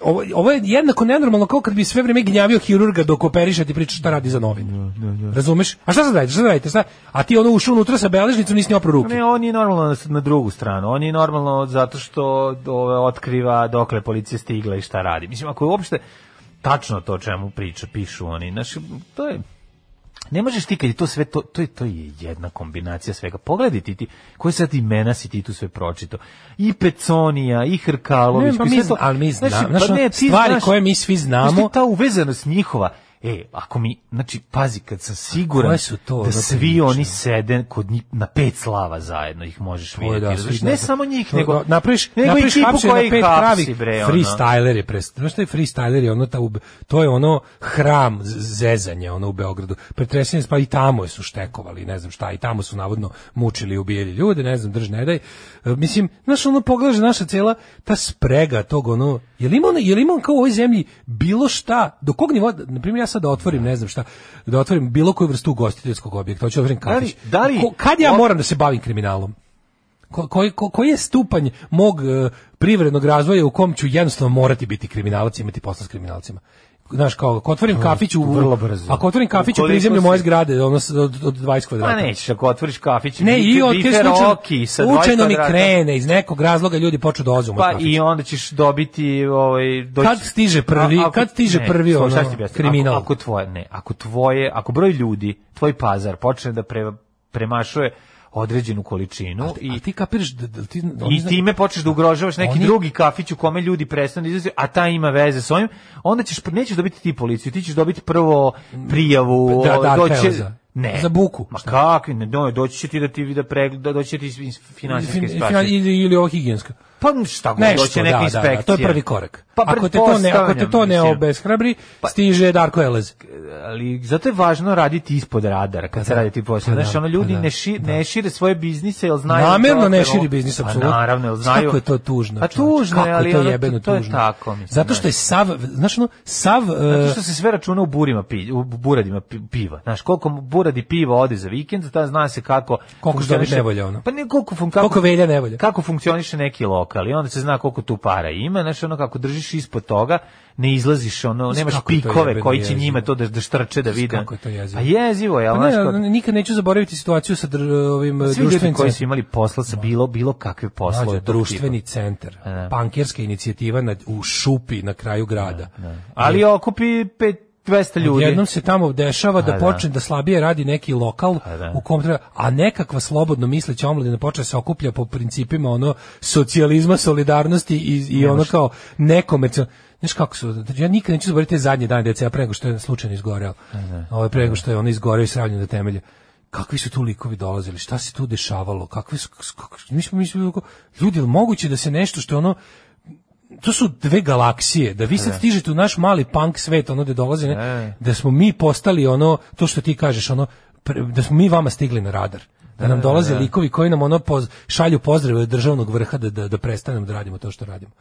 Speaker 6: ovo, ovo je jednako nenormalno kao kad bi sve vrijeme gnjavio hirurga dok operiše a ti pričaš šta radi za novinu. Razumeš? A šta sad radite? Šta sad radite? Šta? A ti ono ušao unutra sa beležnicom, nisi ni oprao ruke.
Speaker 5: Ne, on je normalno na, na drugu stranu. On je normalno zato što ove, otkriva dokle policija stigla i šta radi. Mislim, ako je uopšte tačno to o čemu priča, pišu oni. Znaš, to je... ne možeš ti kad je to sve to to je to je jedna kombinacija svega. Pogledaj ti ti koje sad imena si ti tu sve pročito. I Peconija, i Hrkalović,
Speaker 6: Ne, pa
Speaker 5: i
Speaker 6: mi
Speaker 5: sve to.
Speaker 6: zna- ali mi
Speaker 5: Znaš,
Speaker 6: znamo,
Speaker 5: pa
Speaker 6: znaš,
Speaker 5: ne,
Speaker 6: ono,
Speaker 5: ti
Speaker 6: stvari
Speaker 5: znaš-
Speaker 6: koje mi svi znamo-
Speaker 5: Znaš ti ta uvezanost njihova. E, ako mi, znači, pazi, kad sam siguran
Speaker 6: koje su to, ono,
Speaker 5: da svi
Speaker 6: priče?
Speaker 5: oni sede kod njih, na pet slava zajedno ih možeš
Speaker 6: Ovo je
Speaker 5: vidjeti.
Speaker 6: svi
Speaker 5: razumeš? ne
Speaker 6: znaju.
Speaker 5: samo njih,
Speaker 6: No,
Speaker 5: nego,
Speaker 6: no, napraviš,
Speaker 5: nego
Speaker 6: napraviš
Speaker 5: ekipu
Speaker 6: hapšenje
Speaker 5: koja
Speaker 6: na
Speaker 5: ih
Speaker 6: pet
Speaker 5: hapsi,
Speaker 6: pravih
Speaker 5: bre, ono.
Speaker 6: freestyler je pres, znaš šta je freestyler je ono ta ub- to je ono hram z- zezanja ono u Beogradu. Pretresanje pa i tamo su štekovali, ne znam šta, i tamo su navodno mučili i ubijali ljude, ne znam, drž ne daj. E, Mislim, znaš ono pogledaš naša cela ta sprega tog ono, je li ima ono- je li ima kao u ovoj zemlji bilo šta, do kog nivoa, na primjer ja sad da otvorim, ne znam šta, da otvorim bilo koju vrstu ugostiteljskog objekta, hoću da otvorim
Speaker 5: li-
Speaker 6: kafić.
Speaker 5: da li-
Speaker 6: Ko- kad ja
Speaker 5: o-
Speaker 6: moram da se bavim kriminalom? Ko- koji ko, koji je stupanj mog e, privrednog razvoja u kom ću jednostavno morati biti kriminalac i imati posla s kriminalcima znaš kao ako otvorim kafić u
Speaker 5: vrlo brzo.
Speaker 6: ako otvorim kafić u
Speaker 5: Ukoliko
Speaker 6: prizemlju
Speaker 5: si-
Speaker 6: moje zgrade ono s- od, od 20
Speaker 5: Pa
Speaker 6: kvadrata
Speaker 5: nećeš, ako otvoriš kafić,
Speaker 6: ne i
Speaker 5: bife-
Speaker 6: od
Speaker 5: bife roki sa 20
Speaker 6: slučajno mi
Speaker 5: kvadrata.
Speaker 6: krene iz nekog razloga ljudi počnu da odzum
Speaker 5: Pa i onda ćeš dobiti ovaj doći-
Speaker 6: Kad stiže prvi- kad stiže
Speaker 5: ne,
Speaker 6: prvi,
Speaker 5: slušaj,
Speaker 6: ono,
Speaker 5: šta ću ti objasniti?
Speaker 6: kriminal?
Speaker 5: Ako, ako tvoje, ne, ako tvoje, ako broj ljudi, tvoj pazar počne da pre, premašuje određenu količinu
Speaker 6: i
Speaker 5: i
Speaker 6: ti kapiraš da, da ti oni
Speaker 5: I
Speaker 6: zna-
Speaker 5: time počneš da ugrožavaš neki
Speaker 6: Oni-
Speaker 5: drugi kafić u kome ljudi prestanu da izlaze, a ta ima veze s ovim, onda ćeš, nećeš dobiti ti policiju, ti ćeš dobiti prvo prijavu,
Speaker 6: Da, da,
Speaker 5: doći će-
Speaker 6: teo za-
Speaker 5: ne.
Speaker 6: za buku.
Speaker 5: Ma
Speaker 6: Šta?
Speaker 5: kakvi, ne, no, doći će ti da ti da pregleda, doći će ti iz- iz finansijske
Speaker 6: fin-
Speaker 5: situacije.
Speaker 6: ili, ili ovo higijenska
Speaker 5: Pa šta god,
Speaker 6: Nešto,
Speaker 5: doći će neka
Speaker 6: da, da,
Speaker 5: inspekcija.
Speaker 6: da, to je prvi korak.
Speaker 5: Pa
Speaker 6: ako te to ne, ako te to ne
Speaker 5: pretpostavljam, Pa-
Speaker 6: obeshrabri, stiže Darko Elez.
Speaker 5: mislim, Ali zato je važno raditi ispod radara kad se radi ti posao.
Speaker 6: Pa
Speaker 5: Znaš,
Speaker 6: da,
Speaker 5: ono ljudi
Speaker 6: pa da,
Speaker 5: ne, šir, ne šire svoje biznise, jel znaju...
Speaker 6: Namerno
Speaker 5: da-
Speaker 6: ne širi biznis,
Speaker 5: Pa
Speaker 6: apsolutno.
Speaker 5: naravno, jel znaju...
Speaker 6: Kako je to tužno.
Speaker 5: Pa
Speaker 6: čoveče,
Speaker 5: tužno je,
Speaker 6: kako
Speaker 5: ali
Speaker 6: je to
Speaker 5: ono,
Speaker 6: jebeno
Speaker 5: to je
Speaker 6: tužno.
Speaker 5: tako, mislim,
Speaker 6: Zato što je sav, znaš ono, sav...
Speaker 5: Zato
Speaker 6: e,
Speaker 5: što se sve računa u burima pi, u buradima pi- piva. Znaš, koliko buradi piva ode za vikend, ta zna se kako
Speaker 6: Koliko će dobiti
Speaker 5: funkcioniše-
Speaker 6: nevolja, ono.
Speaker 5: Pa ne koliko fun,
Speaker 6: Koliko velja nevolja.
Speaker 5: Kako funkcioniše neki lokal i onda se zna koliko tu para ima, znaš, ono kako držiš ispod toga, ne izlaziš ono,
Speaker 6: Znaš
Speaker 5: nemaš
Speaker 6: kako je to
Speaker 5: pikove
Speaker 6: jebeno
Speaker 5: koji će
Speaker 6: jezivo.
Speaker 5: njima to da da štrče da vide.
Speaker 6: kako je to jezivo.
Speaker 5: Pa jezivo je, al
Speaker 6: Pa
Speaker 5: znaš,
Speaker 6: ne,
Speaker 5: kod- Pa
Speaker 6: ne, nikad neću zaboraviti situaciju sa dr, ovim e,
Speaker 5: svi ljudi
Speaker 6: društvenim
Speaker 5: koji
Speaker 6: centrom.
Speaker 5: su imali posla sa bilo bilo kakve poslove,
Speaker 6: Mlađo,
Speaker 5: tog tipa. E.
Speaker 6: društveni centar,
Speaker 5: da.
Speaker 6: pankirska inicijativa na, u Šupi na kraju grada.
Speaker 5: Ali okupi pet 200 ljudi.
Speaker 6: Jednom se tamo dešava da,
Speaker 5: A, da.
Speaker 6: počne da slabije radi neki lokal
Speaker 5: A, da.
Speaker 6: u kom treba, a nekakva slobodno misleća omladina počne se okuplja po principima ono socijalizma, solidarnosti i, i ono kao nekomercijalno. Znaš kako su, znači, ja nikad neću zaboraviti te zadnje dane dece, ja pre nego što je slučajno izgoreo, ovaj, pre nego što je ono izgoreo i sravljeno do temelja. Kakvi su tu likovi dolazili, šta se tu dešavalo, kakvi su, kako, mi smo mislili, ovako, ljudi, je moguće da se nešto što je ono, to su dve galaksije, da vi
Speaker 5: E.
Speaker 6: sad stižete u naš mali punk svet, ono gde dolaze, ne, da smo mi postali ono, to što ti kažeš, ono, pre- da smo mi vama stigli na radar. Da
Speaker 5: E,
Speaker 6: nam dolaze likovi koji nam ono poz- šalju pozdrave od državnog vrha da, da, da prestanemo da radimo to što radimo.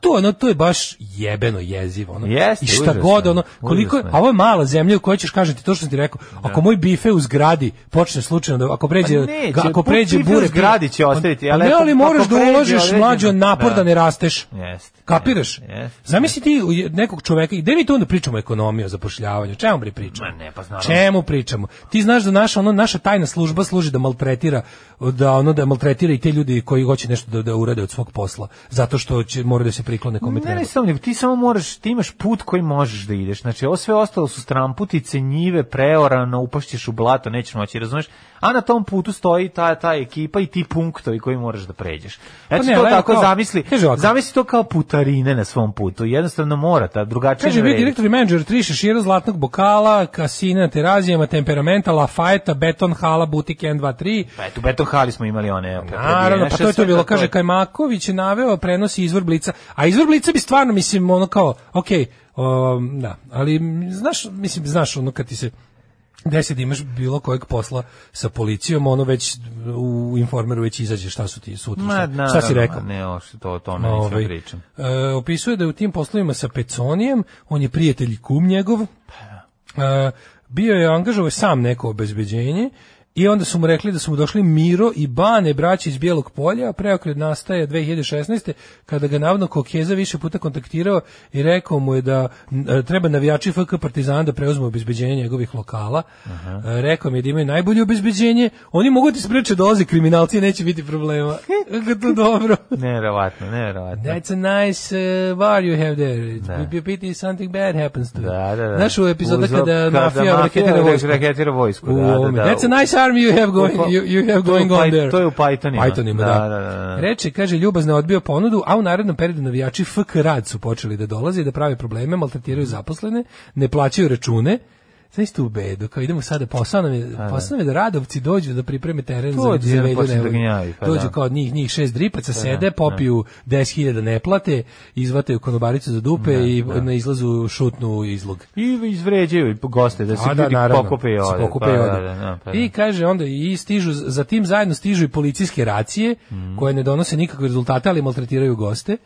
Speaker 6: To, ono, to je baš jebeno jezivo. Ono.
Speaker 5: E. Jeste,
Speaker 6: I šta
Speaker 5: užasno
Speaker 6: god,
Speaker 5: je,
Speaker 6: ono, koliko,
Speaker 5: užasno je.
Speaker 6: a ovo je mala zemlja u kojoj ćeš kažeti to što sam ti rekao. Ako moj bife u zgradi počne slučajno, da, ako pređe,
Speaker 5: Pa neće,
Speaker 6: ga- ako
Speaker 5: bu-
Speaker 6: pređe
Speaker 5: bife u
Speaker 6: bure...
Speaker 5: zgradi će ostaviti,
Speaker 6: Pa
Speaker 5: ali
Speaker 6: ne,
Speaker 5: ako-
Speaker 6: ali moraš
Speaker 5: ako
Speaker 6: da
Speaker 5: pređe
Speaker 6: uložiš
Speaker 5: određeno-
Speaker 6: mlađo napor da
Speaker 5: Da.
Speaker 6: ne rasteš.
Speaker 5: Jeste.
Speaker 6: Kapiraš?
Speaker 5: Jeste.
Speaker 6: Zamisli ti u- nekog čoveka, i gde mi tu onda pričamo o ekonomiji, o zapošljavanju, o čemu bre pričamo?
Speaker 5: Ma ne, pa naravno.
Speaker 6: Čemu pričamo? Ti znaš da naša, ono, naša tajna služba služi da maltretira, da ono da maltretira i te ljudi koji hoće nešto da, da urade od svog posla, zato što će, mora da se priklone kome
Speaker 5: Ne,
Speaker 6: treba.
Speaker 5: ne, samo, nego ti samo moraš, ti imaš put koji možeš da ideš. Znači, ovo sve ostalo su stramputice, njive, preorano, upašćeš u blato, nećeš moći, razumeš? A na tom putu stoji ta, ta ekipa i ti punktovi koji moraš da pređeš. Eto,
Speaker 6: Pa ne,
Speaker 5: to
Speaker 6: ali
Speaker 5: tako
Speaker 6: kao-
Speaker 5: zamisli,
Speaker 6: kaže ovako.
Speaker 5: zamisli to kao putarine na svom putu. Jednostavno mora, ta drugačije
Speaker 6: Kaže,
Speaker 5: ne
Speaker 6: bio
Speaker 5: vredi.
Speaker 6: direktor i menadžer tri šešira, zlatnog bokala, kasina na terazijama, temperamenta, lafajta, beton hala, butik 1, 2, 3,
Speaker 5: Pa eto, u Beton Hali smo imali one. evo,
Speaker 6: Naravno, pa
Speaker 5: znaš,
Speaker 6: to je to
Speaker 5: sve
Speaker 6: bilo,
Speaker 5: tako
Speaker 6: kaže
Speaker 5: je.
Speaker 6: Kajmaković je naveo prenosi izvor blica, a izvor blica bi stvarno, mislim, ono kao, ok, um, da, ali m, znaš, mislim, znaš ono kad ti se deset imaš bilo kojeg posla sa policijom, ono već u informeru već izađe šta su ti sutra,
Speaker 5: Ma,
Speaker 6: šta, šta si
Speaker 5: naravno,
Speaker 6: rekao.
Speaker 5: Ne, o, što to, o tome nisam
Speaker 6: Ovaj,
Speaker 5: pričam.
Speaker 6: e, opisuje da je u tim poslovima sa Peconijem, on je prijatelj i kum njegov, E, bio je angažovao sam neko obezbeđenje I onda su mu rekli da su mu došli Miro i Bane, braći iz Bijelog polja, a preokret nastaje 2016. kada ga navodno Kokeza više puta kontaktirao i rekao mu je da e, treba navijači FK Partizana da preuzmu obezbeđenje njegovih lokala. E, Rekao mi je da imaju najbolje obezbeđenje, oni mogu ti spreče dolaze kriminalci i neće biti problema. Kako je to dobro.
Speaker 5: Neverovatno, neverovatno.
Speaker 6: That's a nice uh, bar you have there. It's
Speaker 5: Da.
Speaker 6: da. pity something bad happens to you.
Speaker 5: Da, da, da.
Speaker 6: Znaš u epizoda
Speaker 5: Uzo-
Speaker 6: kada
Speaker 5: kada
Speaker 6: mafija reketira vojsku.
Speaker 5: reketira vojsku,
Speaker 6: U
Speaker 5: da, da,
Speaker 6: ovome.
Speaker 5: da.
Speaker 6: That's a nice army you have going,
Speaker 5: To je-
Speaker 6: you, you have
Speaker 5: to je u
Speaker 6: going on
Speaker 5: Pyth-
Speaker 6: there.
Speaker 5: to je u Pythonima.
Speaker 6: Pythonima, da.
Speaker 5: Da, da, da, da.
Speaker 6: Reče, kaže, ljubazno je odbio ponudu, a u narednom periodu navijači FK rad su počeli da dolaze i da prave probleme, maltretiraju
Speaker 5: Mhm.
Speaker 6: zaposlene, ne plaćaju račune, Znaš tu u bedu, kao idemo sada, posao nam je, posao nam je da radovci dođu da pripreme teren za-
Speaker 5: Dođu,
Speaker 6: za
Speaker 5: jedan
Speaker 6: Velju
Speaker 5: počne da
Speaker 6: Nevolju.
Speaker 5: gnjavi, pa
Speaker 6: Dođu
Speaker 5: da. Pa
Speaker 6: kao od njih, njih šest dripaca, sede, popiju 10.000 ne plate, izvataju konobaricu za dupe i na izlazu šutnu izlog.
Speaker 5: I izvređaju goste da se
Speaker 6: A,
Speaker 5: ljudi
Speaker 6: naravno,
Speaker 5: pokupe i
Speaker 6: se
Speaker 5: ode.
Speaker 6: pokupe
Speaker 5: Pa,
Speaker 6: i
Speaker 5: da,
Speaker 6: ode.
Speaker 5: da, da, pa da.
Speaker 6: I kaže onda i stižu za tim zajedno stižu i policijske racije
Speaker 5: Mhm.
Speaker 6: koje ne donose nikakve rezultate, ali maltretiraju goste.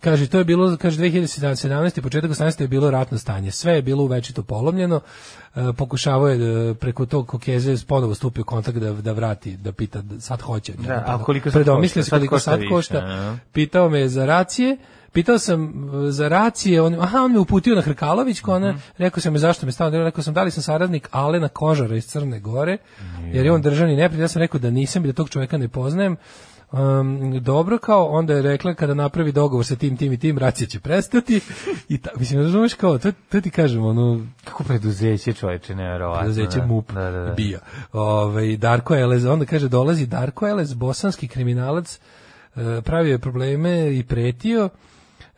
Speaker 6: Kaže to je bilo kaže 2017. početak 18. je bilo ratno stanje. Sve je bilo večito polomljeno. E, pokušavao je e, preko tog kokeze ponovo stupio u kontakt da da vrati, da pita da sad hoće.
Speaker 5: Da, a koliko sad
Speaker 6: Predomislio
Speaker 5: košta?
Speaker 6: se
Speaker 5: Sad
Speaker 6: koliko
Speaker 5: košta
Speaker 6: sad
Speaker 5: više,
Speaker 6: košta.
Speaker 5: a?
Speaker 6: Pitao me je za racije. Pitao sam e, za racije, on, aha, on me uputio na Hrkalović, ko
Speaker 5: Mhm.
Speaker 6: ona, rekao sam mi zašto me stavio, rekao sam da li sam saradnik Alena Kožara iz Crne Gore, jer je on državni neprijatelj, ja sam rekao da nisam i da tog čovjeka ne poznajem. Um, dobro kao, onda je rekla kada napravi dogovor sa tim, tim i tim, racija će prestati i ta, mislim, razumeš kao, to, to ti kažem, ono,
Speaker 5: Kako preduzeće čoveče, neverovatno.
Speaker 6: preduzeće
Speaker 5: da.
Speaker 6: MUP
Speaker 5: Da, da, da.
Speaker 6: bio. Ovaj Darko Elez, onda kaže dolazi Darko Elez, bosanski kriminalac, e, pravio je probleme i pretio.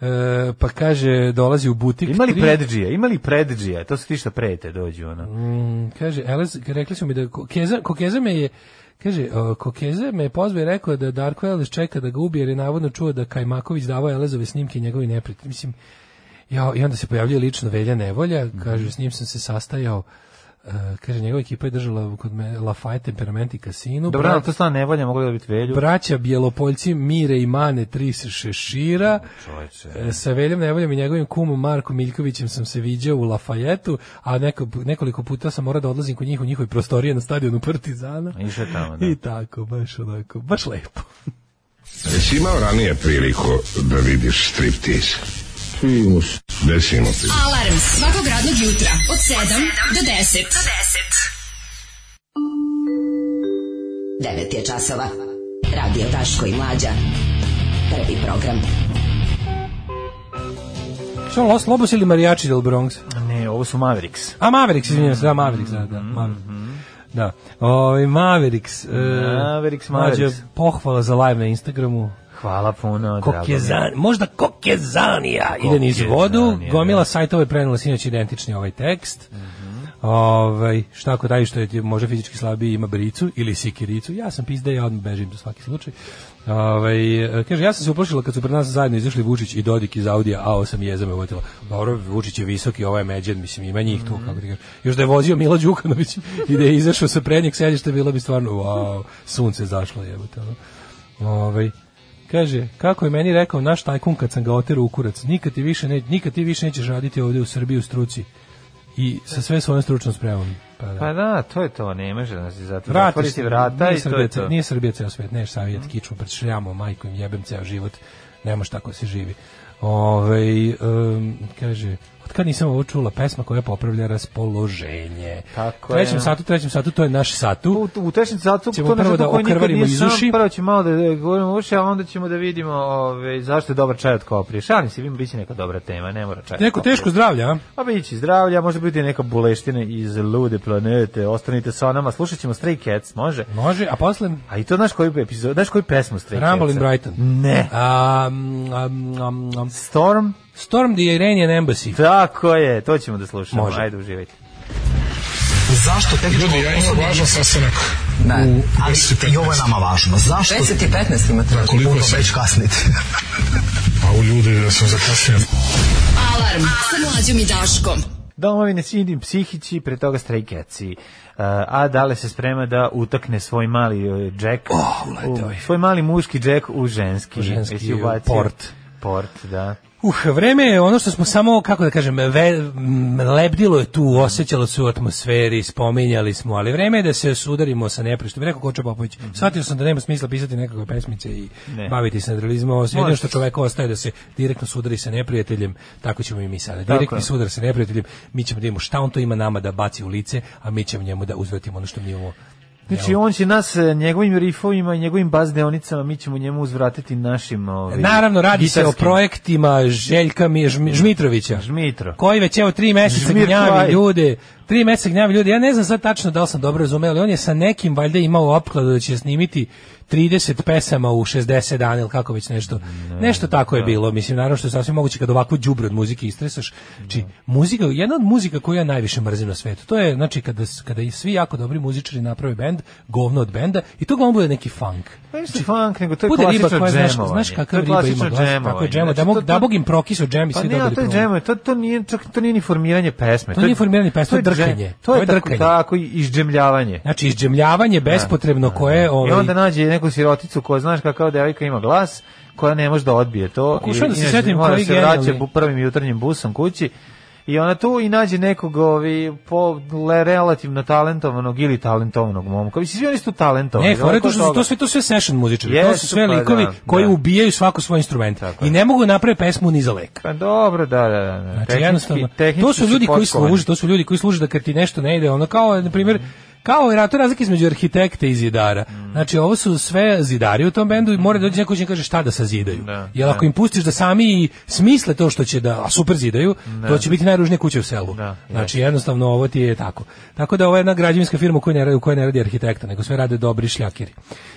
Speaker 6: e, pa kaže dolazi u butik.
Speaker 5: Ima li
Speaker 6: tri-
Speaker 5: predđija? Ima li predđija? To su ti što prete dođu, ono.
Speaker 6: Mm, kaže Elez, rekli su mi da Kokeza, Kokeza me je Kaže, o, Kokeza me je pozvao i rekao da Darko Elez čeka da ga ubije jer je navodno čuo da Kajmaković davao Elezove snimke i njegovi neprijatelji. Mislim, ja, I onda se pojavljuje lično Velja Nevolja, kaže, s njim sam se sastajao, e, kaže, njegova ekipa je držala kod me Lafayette temperament i kasinu.
Speaker 5: Dobro,
Speaker 6: Brat-
Speaker 5: ali to stvarno nevolja, moglo da biti velju.
Speaker 6: braća Bjelopoljci Mire i Mane tri se šešira. E, Sa Veljom Nevoljom i njegovim kumom Markom Miljkovićem sam se viđao u Lafajetu, a neko, nekoliko puta sam morao da odlazim kod njih u njihove prostorije na stadionu Partizana.
Speaker 5: Išao je tamo, da.
Speaker 6: I tako, baš onako, baš lepo.
Speaker 7: Jesi imao ranije priliku da vidiš striptease? Imao se. Desimo ti.
Speaker 4: Alarm svakog radnog jutra od 7 do 10.
Speaker 9: 9 je časova. Radio Daško i Mlađa. Prvi program.
Speaker 6: Što Los Lobos ili Marijači del Bronx?
Speaker 5: Ne, ovo su Mavericks.
Speaker 6: A Mavericks, izvinjam se, da, Mavericks, da, da, Mavericks. Da, Ovaj, Mavericks. e,
Speaker 5: Mavericks,
Speaker 6: mlađe,
Speaker 5: Mavericks.
Speaker 6: pohvala za live na Instagramu.
Speaker 5: Hvala puno, drago mi je.
Speaker 6: Kokezan, možda Kokezanija ide niz vodu,
Speaker 5: Kokezanija,
Speaker 6: gomila sajtova je prenela sinoć identični ovaj tekst. Ovaj šta ako taj što je ti može fizički slabiji ima bricu ili sikiricu. Ja sam pizda ja odmah bežim za svaki slučaj. Ovaj e, kaže ja sam se uplašila kad su pred nas zajedno izašli Vučić i Dodik iz Audija A8 jeza me uvatila. Dobro, Vučić je visoki, ovaj je međen, mislim ima njih tu kako ti kažeš. Još da je vozio Milo Đukanović i da je izašao sa prednjeg sedišta bilo bi stvarno wow, sunce zašlo jebote. ono. Ovaj Kaže, kako je meni rekao naš tajkun kad sam ga oterao u kurac, nikad ti više, ne, nikad ti više nećeš raditi ovdje u Srbiji u struci i sa sve svojom stručnom spremom. Pa da.
Speaker 5: Pa da, to je to, ne može da se zato
Speaker 6: Vratiš
Speaker 5: zatvoriti
Speaker 6: se,
Speaker 5: vrata
Speaker 6: nije
Speaker 5: i to Mhm.
Speaker 6: Srbija,
Speaker 5: je
Speaker 6: ce-
Speaker 5: to.
Speaker 6: Nije Srbija ceo svet, neš savjet kičmu pred šljamom, majkom, jebem ceo život, ne može tako se živi. Ove, kaže, od kad nisam ovo čula, pesma koja popravlja raspoloženje.
Speaker 5: Tako je.
Speaker 6: trećem satu, trećem satu, to je naš satu.
Speaker 5: U, u trećem satu
Speaker 6: Ćemo
Speaker 5: to ne
Speaker 6: prvo
Speaker 5: znam
Speaker 6: da
Speaker 5: kako nikad
Speaker 6: okrvarimo
Speaker 5: nije
Speaker 6: iz
Speaker 5: sam,
Speaker 6: uši.
Speaker 5: Prvo ćemo malo da, da govorimo uši, a onda ćemo da vidimo ove, zašto je dobar čaj od koprije. Šalim se, biće neka dobra tema, ne mora čaj od
Speaker 6: Neko
Speaker 5: koprije.
Speaker 6: teško zdravlje, a?
Speaker 5: A bići zdravlja, možda biti neka buleština iz lude planete. Ostanite sa nama, slušat ćemo Stray Cats, može?
Speaker 6: Može, a posle...
Speaker 5: A i to znaš koju epizod, znaš koju pesmu Stray Cats?
Speaker 6: Rumble in Brighton.
Speaker 5: Ne.
Speaker 6: Um, um, um, um,
Speaker 5: Storm?
Speaker 6: Storm the Iranian Embassy.
Speaker 5: Tako je, to ćemo da slušamo.
Speaker 6: Može.
Speaker 5: Ajde, uživajte.
Speaker 7: Ljudi, ja imam važan sastanak.
Speaker 11: Ne, ali
Speaker 7: 10-15.
Speaker 11: i ovo je nama važno. Zašto?
Speaker 9: 10 i 15 imate.
Speaker 7: Koliko je sad?
Speaker 11: Već kasnite.
Speaker 7: A u ljudi da sam zakasnio.
Speaker 4: Alarm sa mlađom i Daškom.
Speaker 5: Domovine Sindim Psihići, pre toga Stray Catsi. Uh, a Dale se sprema da utakne svoj mali uh, džek,
Speaker 6: Oh, uleteo
Speaker 5: u-
Speaker 6: je.
Speaker 5: svoj mali muški džek u ženski,
Speaker 6: U ženski
Speaker 5: Jesi ubacio?
Speaker 6: port.
Speaker 5: Port, da.
Speaker 6: Uh, vreme je ono što smo samo, kako da kažem, ve, m, lebdilo je tu, osjećalo se u atmosferi, spominjali smo, ali vreme je da se sudarimo sa neprištom. Rekao Koča Popović, shvatio sam da nema smisla pisati nekakve pesmice i
Speaker 5: Mhm. Ne.
Speaker 6: baviti se nadrealizmom, ovo jedino
Speaker 5: Može.
Speaker 6: što čovek ostaje da se direktno sudari sa neprijateljem, tako ćemo i mi sada.
Speaker 5: Tako
Speaker 6: Direktni
Speaker 5: je.
Speaker 6: sudar sa neprijateljem, mi ćemo da imamo šta on to ima nama da baci u lice, a mi ćemo njemu da uzvratimo ono što mi imamo.
Speaker 5: Znači, on će nas e, njegovim rifovima i njegovim bazdeonicama, mi ćemo njemu uzvratiti našim... Ovaj,
Speaker 6: Naravno, radi se o
Speaker 5: gitarskim.
Speaker 6: projektima Željka Mi- Žmi- Žmitrovića.
Speaker 5: Žmitro.
Speaker 6: koji već evo tri meseca
Speaker 5: Žmir
Speaker 6: gnjavi
Speaker 5: Klaj.
Speaker 6: ljude, tri meseca gnjavi ljude, ja ne znam sad tačno da li sam dobro razumeo, ali on je sa nekim valjda imao opkladu da će snimiti 30 pesama u 60 dana ili kako već nešto. nešto tako je bilo, mislim, naravno što je sasvim moguće kad ovako đubre od muzike istresaš. Znači, muzika, jedna od muzika koju ja najviše mrzim na svetu, to je, znači, kada, s- kada i svi jako dobri muzičari naprave bend, govno od benda, i to glavno bude neki funk.
Speaker 5: Pa ništa funk, nego to je
Speaker 6: Bude riba
Speaker 5: klasično
Speaker 6: koja, znaš,
Speaker 5: džemovanje.
Speaker 6: znaš
Speaker 5: To
Speaker 6: kakav
Speaker 5: je
Speaker 6: riba ima
Speaker 5: klasično
Speaker 6: glas, tako je
Speaker 5: džemovanje.
Speaker 6: džemo, da,
Speaker 5: Znači,
Speaker 6: mog,
Speaker 5: to-
Speaker 6: da bog im prokisao džem i
Speaker 5: Pa
Speaker 6: svi
Speaker 5: ne, ali
Speaker 6: dobili
Speaker 5: to je
Speaker 6: promo.
Speaker 5: džem, to, to, nije, čak, to nije ni formiranje pesme.
Speaker 6: To nije formiranje pesme, to je
Speaker 5: džem-
Speaker 6: drkanje.
Speaker 5: To je,
Speaker 6: To je
Speaker 5: tako,
Speaker 6: drkanje.
Speaker 5: tako i izđemljavanje.
Speaker 6: Znači, izđemljavanje bespotrebno koje... Ovaj,
Speaker 5: I onda nađe neku siroticu koja, znaš kakao devojka ima glas, koja ne može da odbije to.
Speaker 6: Pokušavam da se
Speaker 5: inače
Speaker 6: setim
Speaker 5: mora
Speaker 6: koji
Speaker 5: se vraća
Speaker 6: genijalni.
Speaker 5: bu- prvim jutarnjim busom kući. I ona tu i nađe nekog ovi, po, le, relativno talentovanog ili talentovanog momka. Mislim, svi oni su tu talentovani.
Speaker 6: Ne, fora je to što su to
Speaker 5: Toga.
Speaker 6: sve to sve session muzičari. to su
Speaker 5: Jesu,
Speaker 6: sve
Speaker 5: pa
Speaker 6: likovi
Speaker 5: da,
Speaker 6: koji
Speaker 5: da.
Speaker 6: ubijaju svako svoj instrument
Speaker 5: Tako
Speaker 6: i
Speaker 5: je.
Speaker 6: ne mogu napraviti pesmu ni za lek.
Speaker 5: Pa dobro, da, da, da. da.
Speaker 6: Znači
Speaker 5: Tehnički-
Speaker 6: jednostavno to
Speaker 5: tehnički
Speaker 6: su ljudi koji
Speaker 5: potkovani.
Speaker 6: služe, to su ljudi koji služe da kad ti nešto ne ide, ono kao na primjer kao je to je razlika između arhitekta i zidara.
Speaker 5: Mm.
Speaker 6: Znači ovo su sve zidari u tom bendu i mora da dođe neko ko će im kaže šta da sazidaju.
Speaker 5: Da,
Speaker 6: Jer ako
Speaker 5: da.
Speaker 6: im pustiš da sami i smisle to što će da a super zidaju, to će biti najružnije kuće u selu.
Speaker 5: Da,
Speaker 6: znači jednostavno ovo ti je tako. Tako da ovo je jedna građevinska firma u kojoj ne radi, u kojoj ne radi arhitekta, nego sve rade dobri šljakiri.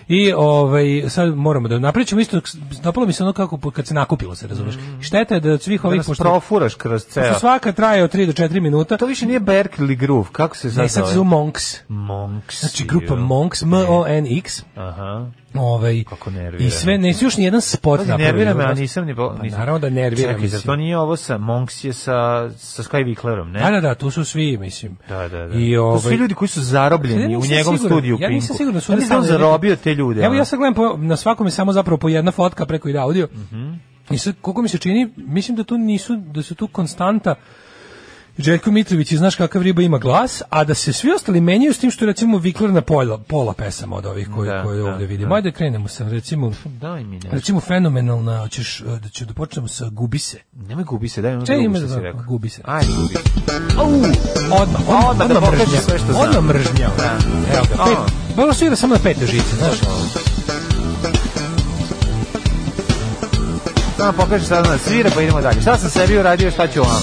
Speaker 6: I ovaj sad moramo da napričamo isto dopalo mi se ono kako kad se nakupilo se, razumeš. Šteta je da od svih
Speaker 5: Mm. Da
Speaker 6: ovih
Speaker 5: nas profuraš kroz ceo.
Speaker 6: Pošto svaka traje od 3 do 4 minuta.
Speaker 5: To više nije Berkeley Groove, kako se
Speaker 6: Ne,
Speaker 5: sad
Speaker 6: sad
Speaker 5: zove?
Speaker 6: se zove Monks.
Speaker 5: Monks.
Speaker 6: Znači grupa
Speaker 5: jo.
Speaker 6: Monks, M-O-N-X.
Speaker 5: Aha.
Speaker 6: Ovaj,
Speaker 5: Kako nervira.
Speaker 6: I sve, ne još ni jedan spot
Speaker 5: Pazi,
Speaker 6: napravili,
Speaker 5: nervira me,
Speaker 6: ono,
Speaker 5: a
Speaker 6: znaš.
Speaker 5: nisam ni... Po,
Speaker 6: Pa
Speaker 5: nisam.
Speaker 6: naravno da nervira,
Speaker 5: Čekaj, zar
Speaker 6: mislim.
Speaker 5: to nije ovo sa... Monks je sa, sa Sky Wicklerom, ne?
Speaker 6: Da, da, da, tu su svi, mislim.
Speaker 5: Da, da, da.
Speaker 6: I
Speaker 5: To su svi
Speaker 6: ovaj,
Speaker 5: ljudi koji su
Speaker 6: Ja
Speaker 5: zarobljeni u
Speaker 6: nisam
Speaker 5: njegovom
Speaker 6: siguran,
Speaker 5: studiju u
Speaker 6: Ja nisam
Speaker 5: Pinku.
Speaker 6: siguran da su
Speaker 5: Ja
Speaker 6: oni
Speaker 5: mislim da on
Speaker 6: sami-
Speaker 5: zarobio te ljude.
Speaker 6: Evo
Speaker 5: ono.
Speaker 6: ja sad gledam po, na svakom je samo zapravo po jedna fotka preko ide audio.
Speaker 5: Mhm.
Speaker 6: I sad koliko mi se čini, mislim da tu nisu da su tu konstanta Željko Mitrović i znaš kakav riba ima glas, a da se svi ostali menjaju s tim što je recimo Vikler na pola, pola pesama od ovih koje,
Speaker 5: Da,
Speaker 6: koje
Speaker 5: da,
Speaker 6: ovdje vidimo.
Speaker 5: da.
Speaker 6: Ajde krenemo sa recimo
Speaker 5: Daj mi nešto.
Speaker 6: Pa recimo fenomenalna, hoćeš e, da ću da počnemo sa Gubi se.
Speaker 5: Nemoj gubi se, daj mi ono
Speaker 6: Čekaj, ima
Speaker 5: drugo
Speaker 6: da
Speaker 5: što si rekao.
Speaker 6: Gubi se.
Speaker 5: Ajde, gubi se.
Speaker 6: Au, odmah, odmah,
Speaker 5: Odmah da
Speaker 6: odmah
Speaker 5: pokaže
Speaker 6: mržnja.
Speaker 5: sve što zna.
Speaker 6: Odmah mržnja. Evo ga, pet,
Speaker 5: A.
Speaker 6: Bolo svira samo na pete žice, znaš.
Speaker 5: Samo pokaži šta zna, svira pa idemo dalje. Šta sam sebi uradio, šta ću vama?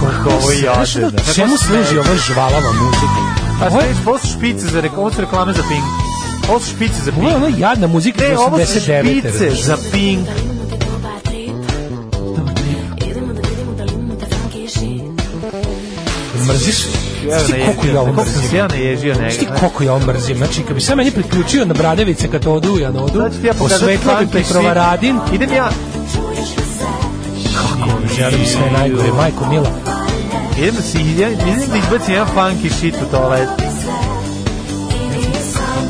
Speaker 5: Koliko ovo je
Speaker 6: Znaš ono
Speaker 5: jadno.
Speaker 6: Čemu služi ova žvalava muzika?
Speaker 5: Pa
Speaker 6: Ovo je,
Speaker 5: stage, ovo su špice za reklame, ovo su reklame za Pink. Ovo su špice za
Speaker 6: ovo je
Speaker 5: Pink.
Speaker 6: ona jadna muzika iz
Speaker 5: Ne, ovo su
Speaker 6: 89.
Speaker 5: špice
Speaker 6: razumeš?
Speaker 5: za Pink.
Speaker 6: Mrziš?
Speaker 5: Ja
Speaker 6: Znaš ti koliko ja ovo
Speaker 5: Koliko sam se
Speaker 6: mrzim?
Speaker 5: ja naježio
Speaker 6: Znaš ti
Speaker 5: negdje.
Speaker 6: koliko ja ovo mrzim? Znači, kad bi sam meni priključio na Bradavice kad odu, ja na odu,
Speaker 5: Znači ti ja pokazati
Speaker 6: osvetla bi
Speaker 5: i
Speaker 6: Petrovaradin,
Speaker 5: Idem ja,
Speaker 6: želim sve najgore, majko mila.
Speaker 5: idem da si, idem, idem da izbacim jedan funky shit u ovaj. toalet.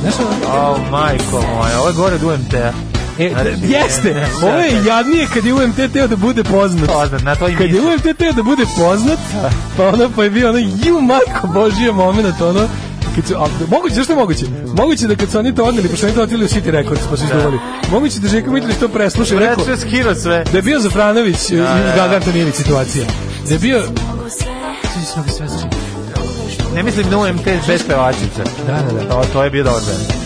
Speaker 6: Znaš, ono,
Speaker 5: O, majko moja, ovo je gore od UMT-a.
Speaker 6: E,
Speaker 5: Znači,
Speaker 6: d- jeste, ovo je jadnije kad je UMT teo da bude poznat.
Speaker 5: Poznat, na to i
Speaker 6: Kad je
Speaker 5: mislim.
Speaker 6: UMT teo da bude poznat, pa ono pa je bio ono, ju majko božija moment, ono, kad su, a, moguće, zašto je moguće? Moguće da kad su oni to odneli, pošto oni to odneli u City Records, pa su izduvali. Moguće da Željko Mitrović to presluša i rekao,
Speaker 5: Vreću je skiro sve.
Speaker 6: da je bio Zafranović i
Speaker 5: da, da.
Speaker 6: Gaga Antonijević situacija. Da je bio... Sviđa se mnogo sve znači.
Speaker 5: Ne mislim na UMT bez pevačice.
Speaker 6: Da, da, da.
Speaker 5: To, to je bio dobar band.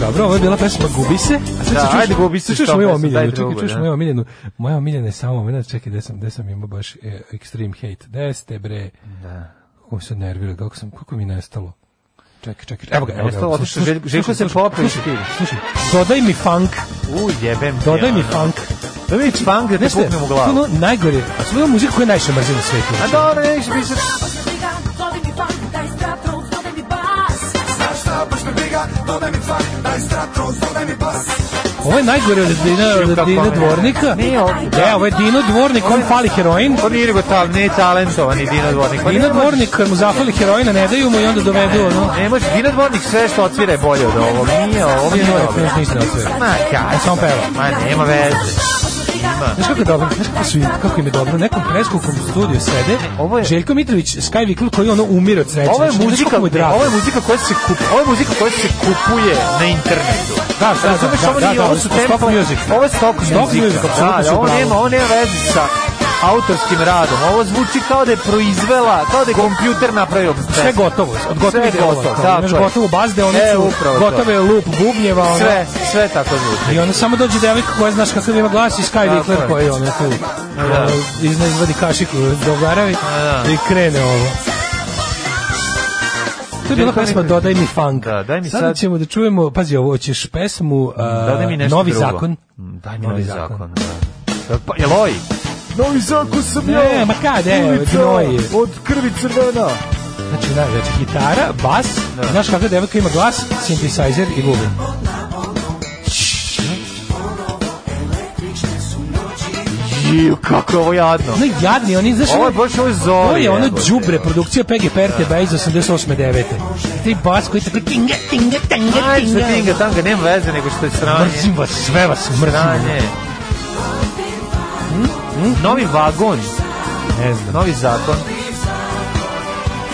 Speaker 6: Dobro, ovo je bila pesma Gubi se. A sad
Speaker 5: Da,
Speaker 6: ću čuš-
Speaker 5: ajde, Gubi se,
Speaker 6: sad Čuš
Speaker 5: što
Speaker 6: moju
Speaker 5: pesma, daj
Speaker 6: omiljenu, čekaj,
Speaker 5: drugu,
Speaker 6: čuš
Speaker 5: da.
Speaker 6: moju omiljenu. Moja omiljena je samo moment, čekaj, gde sam, gde sam imao baš e, extreme hate. Gde ste, bre? Da. Kako se nervira, kako sam, kako mi je nestalo. Čekaj, čekaj, evo ga, evo ga.
Speaker 5: Nestalo,
Speaker 6: evo ga.
Speaker 5: otišao,
Speaker 6: Slušaj,
Speaker 5: Željko- Željko
Speaker 6: slušaj,
Speaker 5: se popeo i
Speaker 6: slušaj,
Speaker 5: ti.
Speaker 6: Slušaj, dodaj mi funk,
Speaker 5: U, jebem. ti,
Speaker 6: dodaj mi
Speaker 5: ono.
Speaker 6: funk.
Speaker 5: Ja. Da vidiš funk da te
Speaker 6: Znaš šta je,
Speaker 5: puknem u
Speaker 6: to je
Speaker 5: glavu.
Speaker 6: ono najgore, a to je ono muzika koju je najviše mrzim na svetu.
Speaker 5: A dobro, neće biti
Speaker 6: Ovo je najgore od Dina, od
Speaker 5: Kako
Speaker 6: Dina
Speaker 5: ne?
Speaker 6: Dvornika.
Speaker 5: Nije ovo.
Speaker 6: E, ovo je Dino Dvornik, on fali heroin.
Speaker 5: On Pa nije nego tal, ne talentovani Dino Dvornik. Pa
Speaker 6: Dino
Speaker 5: ne može-
Speaker 6: Dvornik, kad mu zafali heroina, ne daju mu i onda dovedu ono.
Speaker 5: Ne može, Dino Dvornik sve što odsvira je bolje od ovog. Nije ovo,
Speaker 6: Ovo je
Speaker 5: nije
Speaker 6: Dino
Speaker 5: dobro.
Speaker 6: Dvornik, ništa ne odsvira.
Speaker 5: Ma, kaj,
Speaker 6: Samo peva. Znači,
Speaker 5: Ma, nema veze.
Speaker 6: Znaš kako je dobro? Znaš kako, su, kako im je dobro? U nekom preskupom studiju sede
Speaker 5: Ovo je-
Speaker 6: Željko Mitrović, Sky Vikl, koji ono umire od sreće.
Speaker 5: Ovo je
Speaker 6: Znaš kako
Speaker 5: muzika,
Speaker 6: mu je drago?
Speaker 5: ovo je muzika koja se kupuje, ovo je muzika koja se kupuje na internetu.
Speaker 6: Da, da, da,
Speaker 5: Razumeš,
Speaker 6: da,
Speaker 5: ovo
Speaker 6: da,
Speaker 5: nije,
Speaker 6: da,
Speaker 5: ovo su
Speaker 6: stock
Speaker 5: tempo,
Speaker 6: music.
Speaker 5: ovo je stock
Speaker 6: Stock music,
Speaker 5: muzika.
Speaker 6: apsolutno
Speaker 5: Da,
Speaker 6: si
Speaker 5: da,
Speaker 6: u
Speaker 5: ovo
Speaker 6: pravu.
Speaker 5: nema, ovo nema veze sa autorskim radom. Ovo zvuči kao da je proizvela, kao da je kompjuter napravio.
Speaker 6: sve gotovo, od gotovih
Speaker 5: Sve je
Speaker 6: golova.
Speaker 5: gotovo,
Speaker 6: Tako,
Speaker 5: tako
Speaker 6: imaš
Speaker 5: je.
Speaker 6: gotovu bas
Speaker 5: E,
Speaker 6: deonicu,
Speaker 5: upravo to.
Speaker 6: gotove lup bubnjeva, ono.
Speaker 5: Sve, sve tako zvuči.
Speaker 6: I onda samo dođe devojka koja znaš kakav ima glas i Sky
Speaker 5: Tako
Speaker 6: Winkler
Speaker 5: je.
Speaker 6: koji ono tu
Speaker 5: Da.
Speaker 6: ono, izne izvadi kašiku do garavi
Speaker 5: Da.
Speaker 6: i krene ovo. To je bila
Speaker 5: Željko
Speaker 6: pesma
Speaker 5: Mitrović.
Speaker 6: Dodaj mi funk.
Speaker 5: Da, daj mi
Speaker 6: Sada
Speaker 5: sad-
Speaker 6: ćemo da čujemo, pazi ovo, hoćeš pesmu a,
Speaker 5: Dodaj mi nešto
Speaker 6: Novi
Speaker 5: drugo.
Speaker 6: zakon.
Speaker 5: Mm, Daj mi novi zakon. da. Pa, jel ovi? Novi zakon sam
Speaker 6: Ne, ma kad, e, gnoji.
Speaker 5: od krvi crvena.
Speaker 6: Znači, da, znači, gitara, bas,
Speaker 5: Da.
Speaker 6: znaš kakva devojka ima glas, synthesizer i bubin.
Speaker 5: Ju, kako je ovo jadno.
Speaker 6: Ono jadni, oni, znaš,
Speaker 5: Ovo je
Speaker 6: ono-
Speaker 5: baš ovo je zori.
Speaker 6: To je ono
Speaker 5: jebote.
Speaker 6: đubre produkcija PGP RTB iz 88. 9. Taj bas koji tako tinga, tinga, tinga,
Speaker 5: Ajde sa
Speaker 6: tinga.
Speaker 5: tinga tanga, nema veze nego što je sranje.
Speaker 6: Mrzim vas, sve vas mrzim.
Speaker 5: Sranje. Novi vagon,
Speaker 6: Ne znam.
Speaker 5: novi zakon,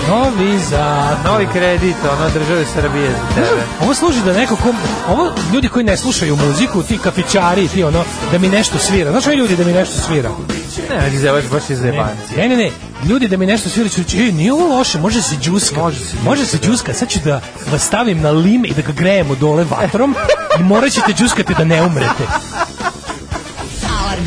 Speaker 6: Novi za...
Speaker 5: novi kredit, ono države Srbije za tebe.
Speaker 6: Ovo služi da neko kom, ovo ljudi koji ne slušaju muziku, ti kafićari, ti ono, da mi nešto svira. Znaš ovi ljudi da mi nešto svira?
Speaker 5: Ne, ali zevaš baš iz zebancije.
Speaker 6: Ne, ne, ne, ljudi da mi nešto svira ću reći, ej, nije ovo loše, može se džuska.
Speaker 5: Može se džuska,
Speaker 6: može se džuska. sad ću da vas stavim na lim i da ga grejemo dole vatrom i morat ćete džuskati da ne umrete.
Speaker 4: Alarm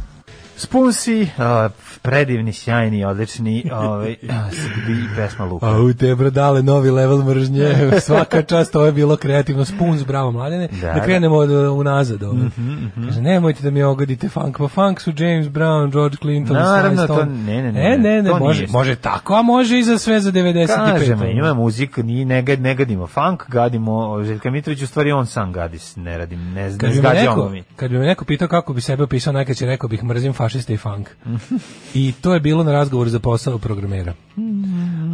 Speaker 5: Spunsi, a, predivni, sjajni, odlični, ovaj, a, i pesma Luka.
Speaker 6: A u te brodale novi level mržnje. Svaka čast, ovo je bilo kreativno. Spuns, bravo mladene. Da,
Speaker 5: Da, Mhm,
Speaker 6: da krenemo od, uh, unazad. Ovaj. Kaže, nemojte da mi ogodite funk. Pa funk su James Brown, George Clinton,
Speaker 5: Naravno,
Speaker 6: Sly Stone.
Speaker 5: to ne, ne, ne,
Speaker 6: E, ne, ne,
Speaker 5: to
Speaker 6: može,
Speaker 5: nije.
Speaker 6: može tako, a može i za sve za 95.
Speaker 5: Kažemo, ima muzika, ni ne, gad- ne gadimo funk, gadimo Željka Mitrović, u stvari on sam gadi, ne radim, ne,
Speaker 6: Kad bi,
Speaker 5: ne
Speaker 6: me
Speaker 5: zgađamo
Speaker 6: neko,
Speaker 5: mi.
Speaker 6: kad bi me neko pitao kako bi sebe opisao, najkraće rekao bih mrzim fašiste i funk. I to je bilo na razgovoru za posao programera.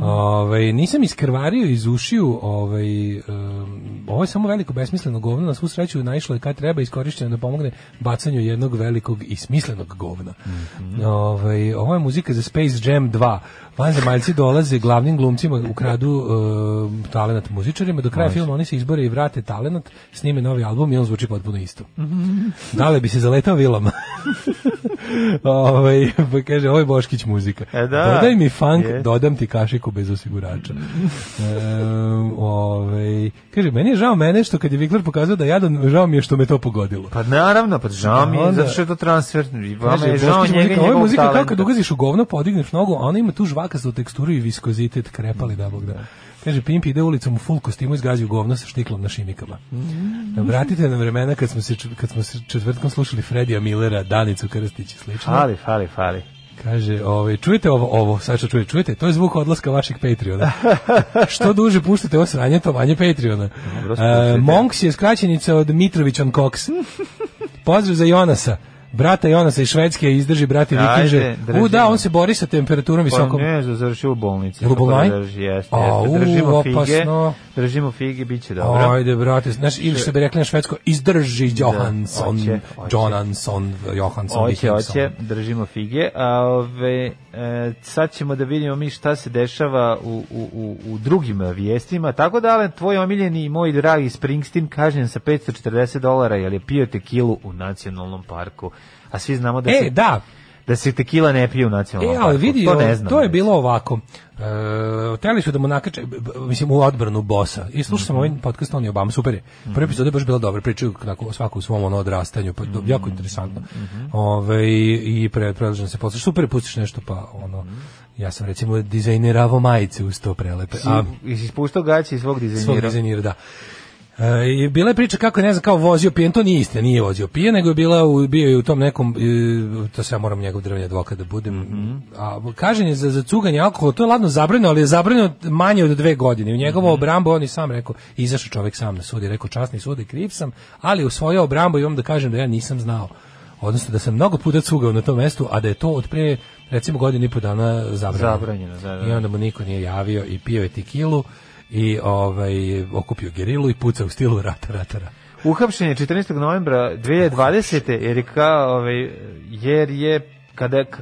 Speaker 6: Ovaj nisam iskrvario iz ušiju, ovaj em, ovo je samo veliko besmisleno govno, na svu sreću naišlo je kad treba iskorišćeno da pomogne bacanju jednog velikog i smislenog govna. Ovaj ovo je muzika za Space Jam 2. Vanzemaljci dolaze glavnim glumcima ukradu e, talenat muzičarima, do kraja filma oni se izbore i vrate talenat, snime novi album i on zvuči potpuno isto. Dale bi se zaletao vilama. ovaj, pa kaže, ovo je Boškić muzika.
Speaker 5: E, da.
Speaker 6: Dodaj mi funk,
Speaker 5: Je.
Speaker 6: dodam ti kašiku bez osigurača. Ehm, ovaj, kaže, meni je žao mene što kad je Vikler pokazao da je jadan, žao mi je što me to pogodilo.
Speaker 5: Pa naravno, pa žao mi je,
Speaker 6: Onda-
Speaker 5: zato što je to transfer, i vama
Speaker 6: Kaže,
Speaker 5: je žao
Speaker 6: Boškić
Speaker 5: njega i
Speaker 6: muzika, ovo je
Speaker 5: njegovog
Speaker 6: muzika kao
Speaker 5: talenta.
Speaker 6: kad ugaziš u govno, podigneš nogu, a ona ima tu žvakastu teksturu i viskozitet, krepali da bog da. Kaže, Pimp ide ulicom u full kostimu i zgazi u govno sa štiklom na šimikama.
Speaker 5: Mm.
Speaker 6: Vratite na vremena kad smo se, čet- kad smo se četvrtkom slušali Fredija Millera, Danicu Krstić i slično.
Speaker 5: Fali, fali, fali. Pa
Speaker 6: Kaže, ovaj, čujete ovo, ovo, sad što čujete, čujete, to je zvuk odlaska vaših Patreona. što duže puštate ovo sranje, to manje Patreona.
Speaker 5: slušajte.
Speaker 6: E, Monks je skraćenica od Mitrović on Cox. Pozdrav za Jonasa. Brata Jonasa iz Švedske, izdrži brati
Speaker 5: Ajde,
Speaker 6: vikinže. U,
Speaker 5: držimo.
Speaker 6: da, on se bori sa temperaturom
Speaker 5: Pa
Speaker 6: visokom.
Speaker 5: ne, znam, završio u bolnici.
Speaker 6: Jel u
Speaker 5: tako da
Speaker 6: Bolonji?
Speaker 5: drži, Jeste,
Speaker 6: Au,
Speaker 5: jeste. Držimo fige,
Speaker 6: opasno.
Speaker 5: držimo fige, bit će dobro.
Speaker 6: Ajde, brate, znaš, ili što bi rekli na švedsko, izdrži Johansson,
Speaker 5: hoće, hoće.
Speaker 6: Johansson, Johansson,
Speaker 5: Oće,
Speaker 6: Vikingsson.
Speaker 5: oće, držimo fige. A, ove, e, sad ćemo da vidimo mi šta se dešava u, u, u, u drugim vijestima. Tako da, Alen, tvoj omiljeni i moj dragi Springsteen kažnjen sa 540 dolara jer je pio tekilu u nacionalnom parku. A svi znamo da,
Speaker 6: E,
Speaker 5: se,
Speaker 6: da,
Speaker 5: da se tekila ne pije u nacionalnom
Speaker 6: E, ali
Speaker 5: parku.
Speaker 6: vidi,
Speaker 5: Znači, ono, to,
Speaker 6: o,
Speaker 5: ne znam,
Speaker 6: to je
Speaker 5: već.
Speaker 6: bilo ovako. E, teli su da mu nakače, b- b- mislim, u odbranu bosa. I slušao sam
Speaker 5: Mhm.
Speaker 6: ovaj podcast, on je Obama, super je. Prvi epizod je baš bila dobra priča, onako, svako u svom ono odrastanju, pa, to,
Speaker 5: Mhm.
Speaker 6: jako interesantno. Ove, i, i pre, predlažem se posle, super je, pustiš nešto, pa ono,
Speaker 5: Mhm.
Speaker 6: ja sam recimo dizajniravao majice uz to prelepe. A,
Speaker 5: Si ispuštao gaće iz svog
Speaker 6: svog
Speaker 5: dizajnira.
Speaker 6: dizajnira, da. E, i bila je priča kako je, ne znam, kao vozio pijen, to nije istina, nije vozio pijen, nego je bila u, bio je u tom nekom, e, to sam moram njegov drvni advokat da budem, a kažen je za, za cuganje alkohola, to je ladno zabranjeno, ali je zabranjeno manje od dve godine. U njegovo obrambo on i sam rekao, izašao čovek sam na sud i rekao, časni sud i kriv sam, ali u svoje obrambo imam da kažem da ja nisam znao odnosno da sam mnogo puta cugao na tom mestu, a da je to od pre recimo godinu i po dana zabranjeno.
Speaker 5: Zabranjeno, da, da.
Speaker 6: I onda mu niko nije javio i pio je tekilu i ovaj, okupio gerilu i pucao u stilu rata, rata, rata.
Speaker 5: Uhapšen je 14. novembra 2020. jer je kao, ovaj, jer je kada, k-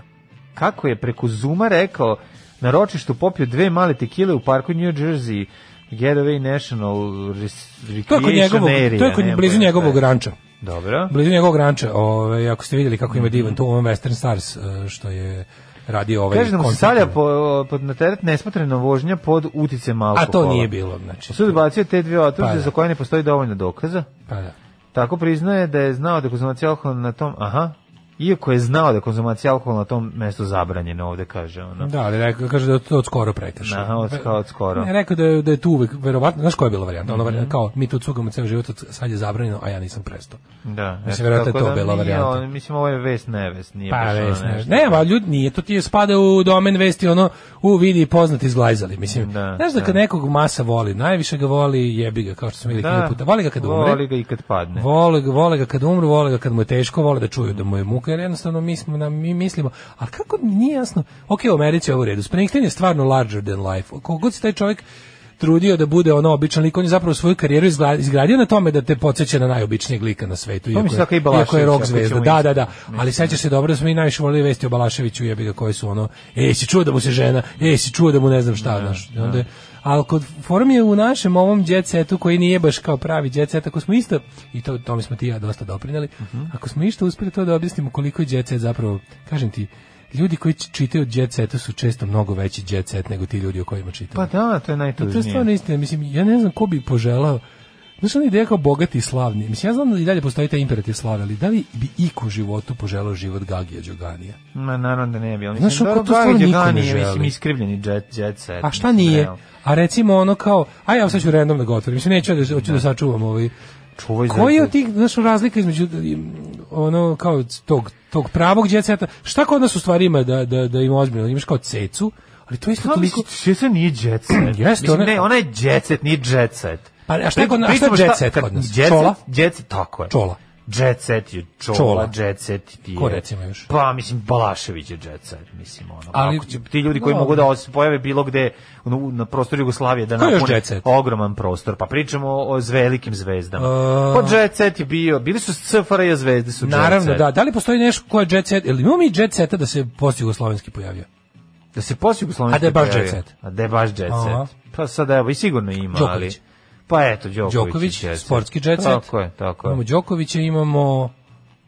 Speaker 5: kako je preko Zuma rekao, na ročištu popio dve male tekile u parku New Jersey, Getaway National Res- Recreation
Speaker 6: To je kod njegovog,
Speaker 5: Area,
Speaker 6: to je kod
Speaker 5: nemam
Speaker 6: blizu
Speaker 5: pojma šta
Speaker 6: njegovog
Speaker 5: je.
Speaker 6: ranča.
Speaker 5: Dobro.
Speaker 6: Blizu njegovog ranča, ovaj, ako ste vidjeli
Speaker 5: Mhm.
Speaker 6: kako ima divan, to u ovom Western Stars eh, što je radio ovaj
Speaker 5: Kaže da mu se
Speaker 6: koncert.
Speaker 5: stavlja po, pod na teret nesmotrena vožnja pod uticajem
Speaker 6: A
Speaker 5: alkohola.
Speaker 6: to nije bilo, znači.
Speaker 5: Sud bacio te dvije optužbe
Speaker 6: Pa da.
Speaker 5: za koje ne postoji dovoljno dokaza.
Speaker 6: Pa da.
Speaker 5: Tako priznaje da je znao da je konzumacija alkohola na tom, aha, iako je znao da je konzumacija alkohola na tom mestu zabranjena ovde, kaže ono.
Speaker 6: Da, ali rekao, kaže da je to od skoro prekršaj.
Speaker 5: Aha, od, kao od skoro.
Speaker 6: Ne, rekao da je, da je tu uvek, verovatno, znaš koja je bila varijanta? Ona
Speaker 5: Mhm.
Speaker 6: varijanta kao, mi tu cugamo ceo život, od- sad je zabranjeno, a ja nisam prestao.
Speaker 5: Da,
Speaker 6: Mislim,
Speaker 5: eto,
Speaker 6: verovatno je
Speaker 5: tako
Speaker 6: to bila
Speaker 5: nije,
Speaker 6: varijanta.
Speaker 5: on- Mislim, ovo je vest, ne vest, nije
Speaker 6: Pa,
Speaker 5: baš ono
Speaker 6: ves, ne,
Speaker 5: nešto.
Speaker 6: ne, ma ljudi, nije, to ti je spada u domen vesti, ono, u vidi i poznati izglajzali, mislim,
Speaker 5: Da,
Speaker 6: znaš da,
Speaker 5: da.
Speaker 6: kad nekog masa voli, najviše ga voli, jebi ga, kao što smo vidjeli da, puta, voli ga kad umre,
Speaker 5: Voli ga i kad padne.
Speaker 6: Vole, ga- vole ga kad umru, vole ga kad mu je teško, vole da čuju da mu je muka, jer jednostavno mi, smo, na, mi mislimo, ali kako mi nije jasno, ok, u Americi je ovo u redu, Springsteen je stvarno larger than life, kogod se taj čovjek trudio da bude ono običan lik, on je zapravo svoju karijeru izgla- izgradio na tome da te podsjeća na najobičnijeg lika na svetu, iako
Speaker 5: mislim da kao i
Speaker 6: je,
Speaker 5: Balašević,
Speaker 6: iako je rock
Speaker 5: ako
Speaker 6: zvezda,
Speaker 5: ćemo
Speaker 6: da,
Speaker 5: isto.
Speaker 6: da, da, ali sećaš se dobro da smo mi najviše volili vesti o Balaševiću, jebi ga, koji su ono, ej, si čuo da mu se žena, ej, si čuo da mu ne znam šta, znaš, i onda je, ali kod form je u našem ovom jet setu koji nije baš kao pravi jet set, ako smo isto, i to, tome smo ti i ja dosta doprinjeli, ako smo isto uspeli to da objasnimo koliko je jet set zapravo, kažem ti, ljudi koji č- čitaju jet setu su često mnogo veći jet set nego ti ljudi o kojima čitaju.
Speaker 5: Pa da, to je
Speaker 6: Pa to je
Speaker 5: najtužnije.
Speaker 6: stvarno istina, mislim, ja ne znam ko bi poželao Znaš, ona ideja kao bogati i slavni. Mislim, ja znam da i dalje postoji taj imperativ slave, ali da li bi iko u životu poželao život Gagija Đoganija?
Speaker 5: Ma, naravno da ne bi. ali
Speaker 6: Znaš,
Speaker 5: Mislim,
Speaker 6: ono,
Speaker 5: dobro,
Speaker 6: to stvarno
Speaker 5: Gagi
Speaker 6: niko ne
Speaker 5: Đogani je,
Speaker 6: želi.
Speaker 5: mislim, iskrivljeni jet, jet set.
Speaker 6: A šta
Speaker 5: mislim,
Speaker 6: nije?
Speaker 5: realno.
Speaker 6: A recimo ono kao, a ja sad ću random da ga otvorim. Mislim, neću ja da, hoću da sačuvam ovaj.
Speaker 5: Čuvaj za-
Speaker 6: Koji je od tih, znaš, razlika između mm, ono kao tog, tog pravog djeceta? Šta kod nas u stvari ima da, da, da ima ozbiljno? Imaš kao cecu, ali to je isto
Speaker 5: Pa
Speaker 6: toliko...
Speaker 5: mislim, jet set nije jet set.
Speaker 6: Jeste,
Speaker 5: Mislim,
Speaker 6: ona-
Speaker 5: ne, ona je jet set, nije jet set.
Speaker 6: Pa, a šta je kod nas-
Speaker 5: Pričamo
Speaker 6: šta je jet set kod nas?
Speaker 5: Jet set-
Speaker 6: Čola?
Speaker 5: Jet set, tako je.
Speaker 6: Čola.
Speaker 5: Jet set je čola,
Speaker 6: Čola.
Speaker 5: jet set ti je...
Speaker 6: Ko recimo još?
Speaker 5: Pa, mislim, Balašević je jet set, mislim, ono.
Speaker 6: Ali-
Speaker 5: Ali, Ako će ti ljudi koji
Speaker 6: Dobro.
Speaker 5: mogu da se pojave bilo gde u- na prostoru Jugoslavije da
Speaker 6: Ko je još
Speaker 5: napune
Speaker 6: jet set?
Speaker 5: ogroman prostor. Pa pričamo o, o z- velikim zvezdama.
Speaker 6: A-
Speaker 5: Pa jet set je bio, bili su CFRJ zvezde su jet
Speaker 6: E- Naravno,
Speaker 5: set.
Speaker 6: da. Da li postoji nešto ko je jet set? Ili imamo mi jet seta da se post-jugoslovenski pojavio?
Speaker 5: Da se poslije Jugoslovenski
Speaker 6: A da je baš
Speaker 5: pojavio.
Speaker 6: jet set.
Speaker 5: A da je baš jet
Speaker 6: Aha.
Speaker 5: set. Pa sad evo, i sigurno ima, ali...
Speaker 6: Đoković.
Speaker 5: Pa eto, Đoković, je
Speaker 6: Đoković,
Speaker 5: jet set.
Speaker 6: sportski jet set.
Speaker 5: Tako je, tako
Speaker 6: Imamo
Speaker 5: je.
Speaker 6: Đokovića, imamo...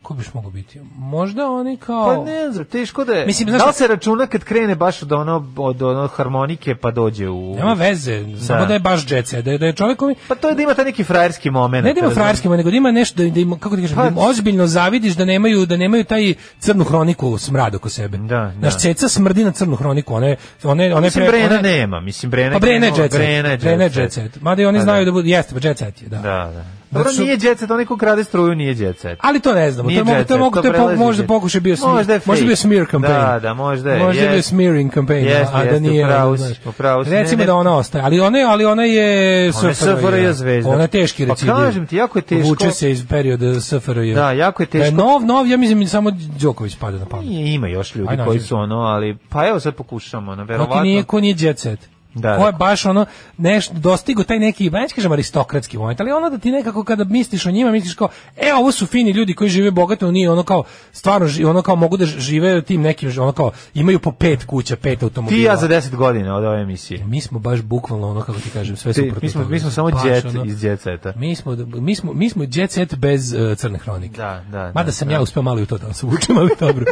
Speaker 6: Ko biš mogu biti? Možda oni kao...
Speaker 5: Pa ne znam, teško da je.
Speaker 6: Mislim,
Speaker 5: Mislim,
Speaker 6: znaš
Speaker 5: da li
Speaker 6: šta-
Speaker 5: se računa kad krene baš od ono, od ono harmonike pa dođe u...
Speaker 6: Nema veze, samo da je baš jet set, da je, da je čovjek koji...
Speaker 5: Pa to je da ima taj neki frajerski moment.
Speaker 6: Ne da ima
Speaker 5: razumeš?
Speaker 6: frajerski, nego da ima nešto da, da ima, kako ti kažem,
Speaker 5: Pa-
Speaker 6: da im ozbiljno zavidiš da nemaju da nemaju taj crnu hroniku smrad oko sebe.
Speaker 5: Da,
Speaker 6: Naš
Speaker 5: da.
Speaker 6: ceca smrdi na crnu hroniku, one one one
Speaker 5: Mislim, Brena nema. Mislim, Brena
Speaker 6: Pa Brena je jet set.
Speaker 5: Brena je jet,
Speaker 6: Brena je
Speaker 5: set.
Speaker 6: jet set. Mada i oni
Speaker 5: Pa
Speaker 6: znaju da budu, jeste, pa jet set je, da.
Speaker 5: Da, da. Dobro,
Speaker 6: su-
Speaker 5: nije jet set, onaj ko krade struju nije jet set.
Speaker 6: Ali to ne znamo, to
Speaker 5: Nije
Speaker 6: je mogu,
Speaker 5: jet
Speaker 6: to je
Speaker 5: set,
Speaker 6: mogu,
Speaker 5: to
Speaker 6: to je po-
Speaker 5: prelazi
Speaker 6: možda
Speaker 5: jet.
Speaker 6: pokušaj bio smear,
Speaker 5: Možda je fake.
Speaker 6: bio smear campaign.
Speaker 5: Da, da, možda je,
Speaker 6: Možda je bio
Speaker 5: jest.
Speaker 6: smearing campaign,
Speaker 5: Jeste,
Speaker 6: a da
Speaker 5: jeste,
Speaker 6: nije.
Speaker 5: upravo
Speaker 6: da,
Speaker 5: si,
Speaker 6: znaš.
Speaker 5: upravo si. Ne,
Speaker 6: Recimo
Speaker 5: ne.
Speaker 6: da ona ostaje, ali ona je, ali ona je
Speaker 5: Ona je SFRJ zvezda.
Speaker 6: Ona je teški
Speaker 5: Pa
Speaker 6: recidiv.
Speaker 5: kažem ti, jako je teško.
Speaker 6: Vuče se iz perioda SFRJ.
Speaker 5: Da, jako je
Speaker 6: Da je
Speaker 5: teško.
Speaker 6: nov, nov, ja mislim da samo Đoković pada na pamet.
Speaker 5: Nije, Ima još ljudi
Speaker 6: Ajde,
Speaker 5: koji
Speaker 6: nađi.
Speaker 5: su ono, ali pa evo sad pokušamo, ono,
Speaker 6: Ko
Speaker 5: verovatno.
Speaker 6: ti Znači, nije, ko nije jet set.
Speaker 5: Da,
Speaker 6: ko je
Speaker 5: da.
Speaker 6: baš ono, nešto, dostigo taj neki, ba neću kažem aristokratski moment, ali ono da ti nekako kada misliš o njima, misliš kao, e, ovo su fini ljudi koji žive bogato, nije ono kao, stvarno, ži- ono kao mogu da ž- žive tim nekim, ž- ono kao, imaju po pet kuća, pet automobila.
Speaker 5: Ti i ja za 10 godina od ove emisije.
Speaker 6: Mi smo baš bukvalno ono, kako ti kažem, sve
Speaker 5: Ti,
Speaker 6: suprotno.
Speaker 5: mi, smo,
Speaker 6: toga.
Speaker 5: mi smo samo
Speaker 6: Baš
Speaker 5: jet
Speaker 6: ono-
Speaker 5: iz jet seta.
Speaker 6: Mi smo, mi smo, mi smo jet set bez uh, crne hronike.
Speaker 5: Da, da,
Speaker 6: Mada
Speaker 5: da,
Speaker 6: sam
Speaker 5: da.
Speaker 6: ja uspeo malo i u to da se učim, ali dobro.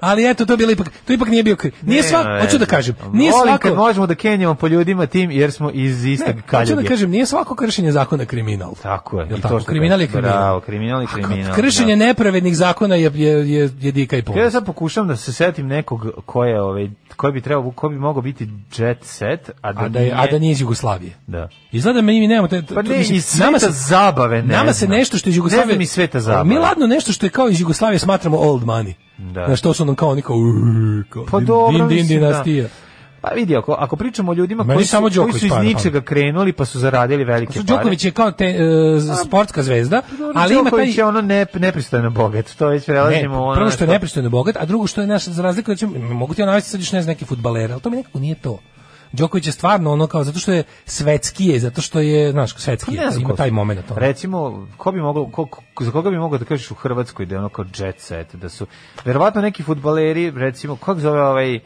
Speaker 6: ali eto to je bilo ipak to ipak nije bio kri- nije svako hoću da kažem nije
Speaker 5: Volim
Speaker 6: svako
Speaker 5: kad možemo da kenjamo po ljudima tim jer smo iz istog
Speaker 6: Ne,
Speaker 5: kaljuge.
Speaker 6: hoću da kažem, nije svako kršenje zakona kriminal.
Speaker 5: Tako je.
Speaker 6: Jel
Speaker 5: i
Speaker 6: tako?
Speaker 5: što
Speaker 6: Kriminal je
Speaker 5: kažeš.
Speaker 6: kriminal.
Speaker 5: Bravo, kriminal je kriminal.
Speaker 6: Kršenje
Speaker 5: da.
Speaker 6: nepravednih zakona je, je, je, je dika i pol.
Speaker 5: Ja sad pokušam da se setim nekog ko je, ovaj, ko bi trebao, ko bi mogao biti jet set, a da,
Speaker 6: A da, je, a da nije iz Jugoslavije.
Speaker 5: Da.
Speaker 6: Izgleda mi mi nemamo te, to-
Speaker 5: Pa ne,
Speaker 6: mislim,
Speaker 5: iz sveta zabave ne
Speaker 6: Nama se
Speaker 5: znam.
Speaker 6: nešto što iz
Speaker 5: Ne
Speaker 6: Jugoslavije...
Speaker 5: znam iz sveta zabave.
Speaker 6: Mi ladno nešto što je kao iz Jugoslavije smatramo old money.
Speaker 5: Da.
Speaker 6: Na što su nam kao oni kao... "Uuu", kao
Speaker 5: Pa
Speaker 6: din-
Speaker 5: dobro,
Speaker 6: din, din,
Speaker 5: mislim, da.
Speaker 6: dinastija.
Speaker 5: Pa vidi, ako, ako pričamo o ljudima
Speaker 6: Meni
Speaker 5: koji su,
Speaker 6: samo
Speaker 5: koji
Speaker 6: Đoković
Speaker 5: su iz
Speaker 6: pada,
Speaker 5: ničega krenuli pa su zaradili velike
Speaker 6: Su
Speaker 5: pare. pa
Speaker 6: Đoković je kao te, e, z- sportska zvezda, ali ima taj...
Speaker 5: Đoković je ono ne, nepristojno bogat, to već
Speaker 6: Ne,
Speaker 5: prelazimo u ono...
Speaker 6: prvo što je nepristojno bogat, a drugo što je naš za razliku recimo, mogu ti ja navesti sad još ne znam neki fudbalere, ali to mi nekako nije to. Đoković je stvarno ono kao zato što je svetski je, zato što je, znaš, svetski je, pa ima
Speaker 5: Pa ko
Speaker 6: taj
Speaker 5: su.
Speaker 6: momenat. ono.
Speaker 5: Recimo, ko bi mogao, ko, ko- za koga bi mogao da kažeš u Hrvatskoj da je ono kao jet set, da su verovatno neki futbaleri, recimo, kako zove ovaj,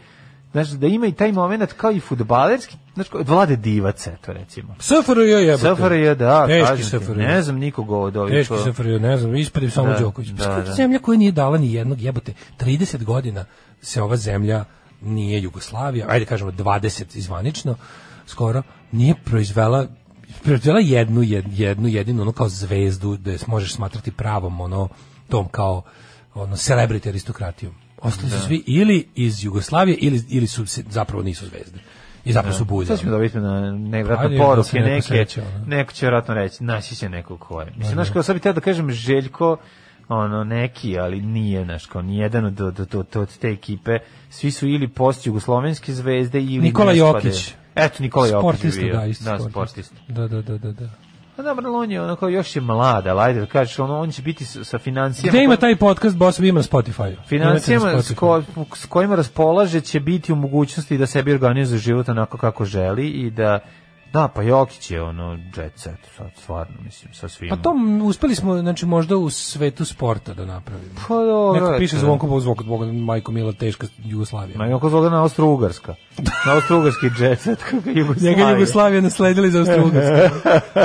Speaker 5: znaš, da ima i taj moment kao i futbalerski, znaš, kao od vlade divac, eto, recimo.
Speaker 6: SFRJ je.
Speaker 5: SFRJ, da,
Speaker 6: Teški
Speaker 5: kažem ti,
Speaker 6: SFRJ.
Speaker 5: ne znam nikoga od ovih.
Speaker 6: Teški
Speaker 5: ko-
Speaker 6: SFRJ, ne znam, ispadim samo
Speaker 5: Da,
Speaker 6: Đoković.
Speaker 5: da,
Speaker 6: Da,
Speaker 5: da.
Speaker 6: Zemlja koja nije dala ni jednog jebote. 30 godina se ova zemlja nije Jugoslavija, ajde kažemo 20 izvanično, skoro, nije proizvela proizvela jednu, jed- jednu jedinu ono kao zvezdu da je možeš smatrati pravom ono tom kao ono celebrity aristokratijom. Ostali su svi ili iz Jugoslavije ili, ili su se- zapravo nisu zvezde. I zapravo su ono. buze.
Speaker 5: Sad ćemo dobiti na nevratno
Speaker 6: Ajde, da se
Speaker 5: poruke
Speaker 6: neko
Speaker 5: neke.
Speaker 6: seća, ono.
Speaker 5: neko će vjerojatno reći, naći će neko ko je. Mislim, znaš, kao sad bih teo da kažem Željko, ono, neki, ali nije, znaš, kao nijedan od, od, od, od, od te ekipe. Svi su ili post-jugoslovenske zvezde ili...
Speaker 6: Nikola
Speaker 5: ne spadaju.
Speaker 6: Jokić.
Speaker 5: Eto, Nikola Jokić je
Speaker 6: Sportista,
Speaker 5: bio.
Speaker 6: da, isto
Speaker 5: Da,
Speaker 6: sportista.
Speaker 5: sportista.
Speaker 6: Da, da, da, da, da.
Speaker 5: A da, ali on je onako još je mlad, ali ajde da kažeš, ono, on će biti sa, sa financijama...
Speaker 6: Gde ima taj podcast, boss, vi ima na Spotify.
Speaker 5: Financijama s, ko- s kojima raspolaže će biti u mogućnosti da sebi organizuje život onako kako želi i da da pa Jokić je ono jet set sad stvarno mislim sa svim.
Speaker 6: Pa to m, uspeli smo, znači možda u svetu sporta da napravimo.
Speaker 5: pa dobro.
Speaker 6: Neko
Speaker 5: eto,
Speaker 6: piše
Speaker 5: da.
Speaker 6: zvonko po zvonko, Boga, majko Mila, teška Jugoslavija.
Speaker 5: Ma kako zove na Austrougarska. Na Austrougarski jet set kako je Jugoslavija.
Speaker 6: Njega je Jugoslavija nasledila iz Austro-Ugarske.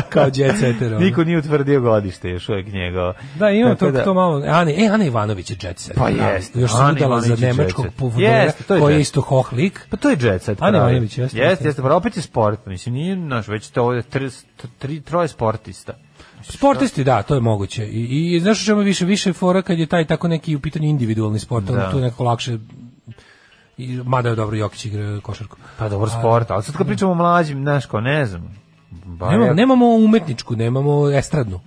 Speaker 6: Kao jet setter. ono.
Speaker 5: Niko nije utvrdio godište još uvijek njega.
Speaker 6: Da, imam
Speaker 5: Tako
Speaker 6: to,
Speaker 5: da-
Speaker 6: to malo. Ana, e, Ana Ivanović je jet set.
Speaker 5: Pa
Speaker 6: Da.
Speaker 5: jeste,
Speaker 6: Još se
Speaker 5: Ana
Speaker 6: udala za
Speaker 5: Ivanović je jet
Speaker 6: nemačkog
Speaker 5: set.
Speaker 6: puvodora,
Speaker 5: Jeste, to je
Speaker 6: koji je
Speaker 5: jet.
Speaker 6: isto hohlik.
Speaker 5: Pa to je jet set.
Speaker 6: Ana
Speaker 5: pravi.
Speaker 6: Ivanović, jeste,
Speaker 5: Jeste,
Speaker 6: jeste.
Speaker 5: jeste, pa opet je sport, mislim, nije, znaš, već to ovdje tri, tri, troje sportista.
Speaker 6: Sportisti, da, to je moguće. I, i znaš o čemu je više, više je fora kad je taj tako neki u pitanju individualni sport, onda
Speaker 5: Da.
Speaker 6: tu je nekako lakše i, mada je dobro Jokić igra košarku.
Speaker 5: Pa dobro sport, ali sad kad pričamo o mlađim, znaš ko, ne znam. Ba,
Speaker 6: Nemamo,
Speaker 5: ja-
Speaker 6: nemamo umetničku, nemamo estradnu.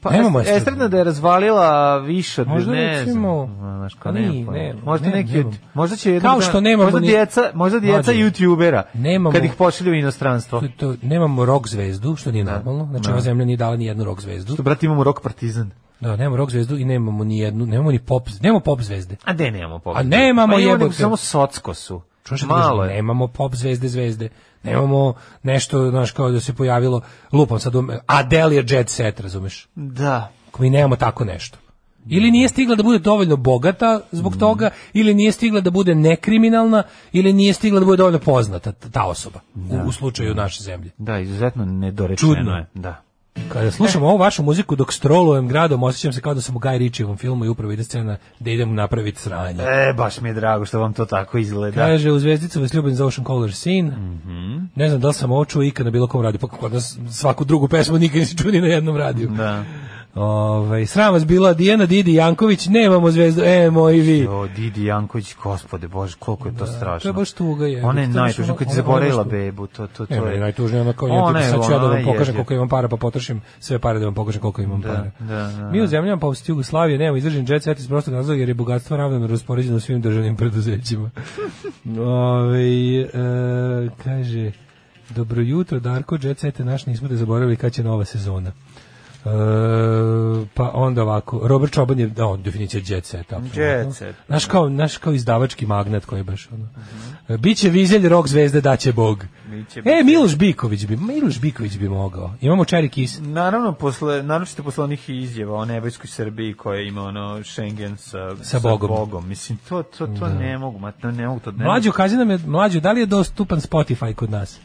Speaker 5: pa,
Speaker 6: nemamo
Speaker 5: est-
Speaker 6: estradnu.
Speaker 5: estradna da je razvalila više, od-
Speaker 6: Možda
Speaker 5: ne
Speaker 6: recimo- Pa
Speaker 5: znam. ono, Znaš ko,
Speaker 6: Ni,
Speaker 5: nemam pojma.
Speaker 6: nemam,
Speaker 5: možda
Speaker 6: nemam,
Speaker 5: neki, od-
Speaker 6: nemam.
Speaker 5: možda će jednog
Speaker 6: Kao što
Speaker 5: dana-
Speaker 6: nemamo
Speaker 5: možda
Speaker 6: ni-
Speaker 5: djeca, možda djeca
Speaker 6: Mlađe.
Speaker 5: youtubera,
Speaker 6: Nemamo-
Speaker 5: kad ih pošalju u inostranstvo.
Speaker 6: To, to, nemamo rock zvezdu, što nije normalno. Znači,
Speaker 5: Da.
Speaker 6: ova zemlja nije dala ni jednu rock zvezdu.
Speaker 5: To, brate, imamo rock partizan.
Speaker 6: Da, nemamo rock zvezdu i nemamo ni jednu, nemamo ni pop, nemamo pop zvezde.
Speaker 5: A de nemamo pobjede?
Speaker 6: A nemamo,
Speaker 5: Pa imamo
Speaker 6: jebote.
Speaker 5: nego Samo socko su.
Speaker 6: Čuješ šta ti
Speaker 5: Malo
Speaker 6: kažem?
Speaker 5: je.
Speaker 6: Nemamo pop zvezde zvezde. Nemamo nešto, znaš, kao da se pojavilo, lupam sad, um, Adele je jet set, razumeš?
Speaker 5: Da.
Speaker 6: Ako mi nemamo tako nešto. Ili nije stigla da bude dovoljno bogata
Speaker 5: Mm.
Speaker 6: zbog toga, ili nije stigla da bude nekriminalna, ili nije stigla da bude dovoljno poznata t- ta osoba u, u slučaju naše zemlje.
Speaker 5: Da, izuzetno nedorečeno
Speaker 6: Čudno.
Speaker 5: je. Da.
Speaker 6: Kada slušam ovu vašu muziku dok strolujem gradom, osjećam se kao da sam u Guy Ritchievom filmu i upravo ide scena da idem napraviti sranje.
Speaker 5: E, baš mi je drago što vam to tako izgleda.
Speaker 6: Kaže, u Zvezdicu vas ljubim za Ocean Color Scene.
Speaker 5: Mhm.
Speaker 6: Ne znam da li sam ovo čuo ikad na bilo kom radiju, pa kod nas svaku drugu pesmu nikad nisi čuo ni na jednom radiju.
Speaker 5: Da.
Speaker 6: Ovaj, sram vas bila Dijana Didi Janković, nemamo zvezdu, e moji vi.
Speaker 5: Jo, Didi Janković, gospode bože, koliko je to strašno.
Speaker 6: to je baš tuga, je.
Speaker 5: Ona je
Speaker 6: To je baš
Speaker 5: najtužnija
Speaker 6: ono-
Speaker 5: kad je
Speaker 6: ono-
Speaker 5: zaboravila
Speaker 6: ono što-
Speaker 5: bebu, to to to.
Speaker 6: Ne, meni
Speaker 5: je
Speaker 6: je najtužnije ono kao ja
Speaker 5: Ona
Speaker 6: tipa,
Speaker 5: je,
Speaker 6: sad ću ja da
Speaker 5: ona
Speaker 6: vam
Speaker 5: je,
Speaker 6: pokažem
Speaker 5: je.
Speaker 6: koliko imam para pa potrošim sve pare da vam pokažem koliko imam para.
Speaker 5: da, da.
Speaker 6: Mi u zemljama poput Jugoslavije nemamo izražen jet set iz prostog razloga jer je bogatstvo ravnomjerno raspoređeno u svim državnim preduzećima. Ovaj e, kaže Dobro jutro Darko, jet sete naš nismo da zaboravili kad će nova sezona. E, pa onda ovako, Robert Čoban je, da, on definicija jet seta. apsolutno.
Speaker 5: Jet set.
Speaker 6: Naš kao, naš kao izdavački magnat koji je baš ono. E, Biće vizelj rok zvezde daće Bog.
Speaker 5: Biće, biće.
Speaker 6: e, Miloš Biković bi, Miloš Biković bi mogao. Imamo Cherry Kiss.
Speaker 5: Naravno, posle, naročito posle onih izjava o nebojskoj Srbiji koja ima ono Schengen sa,
Speaker 6: Bogom.
Speaker 5: Mislim, to, to, to ne mogu, ma, to ne mogu to ne
Speaker 6: Mlađo, kaži nam je, mlađo, da li je dostupan Spotify kod nas?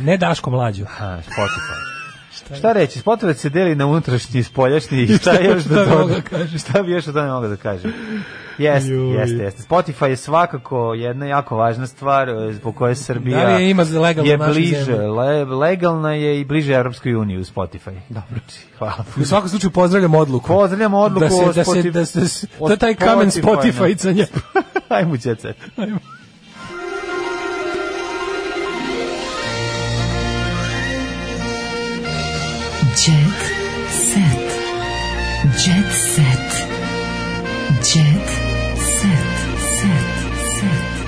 Speaker 6: Ne Daško mlađo.
Speaker 5: Ha, Spotify. Šta reći, Spotify se deli na unutrašnji i spoljašnji i šta još
Speaker 6: Šta
Speaker 5: da
Speaker 6: bi mogao
Speaker 5: dodam?
Speaker 6: da kažem?
Speaker 5: Šta bi još o tome mogao da kažem? Jeste,
Speaker 6: Joj.
Speaker 5: jeste, jeste. Spotify je svakako jedna jako važna stvar e, po kojoj Srbija
Speaker 6: Da li je ima legalno
Speaker 5: je
Speaker 6: u našoj
Speaker 5: bliže,
Speaker 6: zemlji?
Speaker 5: le, legalna je i bliže Europskoj uniji u Spotify. Dobro. Hvala.
Speaker 6: U svakom slučaju pozdravljam odluku.
Speaker 5: Pozdravljam odluku
Speaker 6: da se,
Speaker 5: o
Speaker 6: da se,
Speaker 5: Spotify-
Speaker 6: da se, da se,
Speaker 5: o
Speaker 6: to je taj kamen
Speaker 5: Spotify-na.
Speaker 6: Spotify-canja.
Speaker 5: Ajmo, Jet Set.
Speaker 2: Jet set. Jet set. Jet set. Set. Set.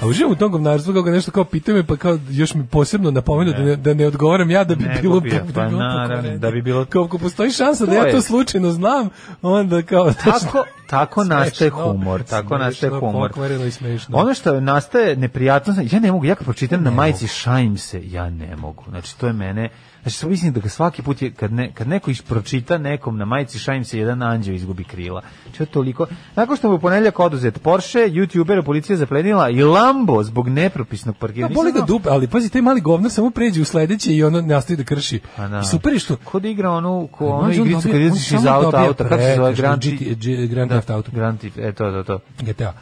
Speaker 6: A uživam u tom govnarstvu kako nešto kao pitaju me, pa kao još mi posebno napomenu da, ne, da ne odgovaram ja da bi
Speaker 5: Nego
Speaker 6: bilo...
Speaker 5: bi ja, pa
Speaker 6: bi bilo
Speaker 5: naravno,
Speaker 6: pokvarenje.
Speaker 5: da bi bilo-
Speaker 6: Kao ako postoji šansa da
Speaker 5: To
Speaker 6: ja
Speaker 5: je.
Speaker 6: to slučajno znam, onda kao...
Speaker 5: Tako, tako
Speaker 6: Smešno,
Speaker 5: nastaje humor, tako
Speaker 6: smešno,
Speaker 5: nastaje humor.
Speaker 6: Pokvareno i smešno.
Speaker 5: Ono što nastaje neprijatno, znači, ja ne mogu, ja kad pročitam na majici šajim se, ja ne mogu. Znači to je mene, znači to mislim da ga svaki put je, kad, ne, kad neko ispročita nekom na majici šajim se, jedan anđeo izgubi krila. Znači to je toliko. Nakon što mu je u ponedjeljak oduzet Porsche, youtubera policija zaplenila i Lambo zbog nepropisnog
Speaker 6: Ja,
Speaker 5: parkiranja.
Speaker 6: Pa boli ga dupe, ali pazi, taj mali govnar samo pređe u sledeće i ono nastavi da krši.
Speaker 5: Pa da.
Speaker 6: I super je što...
Speaker 5: Kod igra onu, ko
Speaker 6: Znaš,
Speaker 5: onu
Speaker 6: on
Speaker 5: igricu
Speaker 6: dobija-
Speaker 5: kad
Speaker 6: on
Speaker 5: izlaziš iz
Speaker 6: samo
Speaker 5: auta,
Speaker 6: dobija
Speaker 5: auta, kako se zove,
Speaker 6: prekršaj,
Speaker 5: Grand
Speaker 6: GT, G- Grand Theft Auto.
Speaker 5: Grand Theft, e, to, to, to.
Speaker 6: GTA.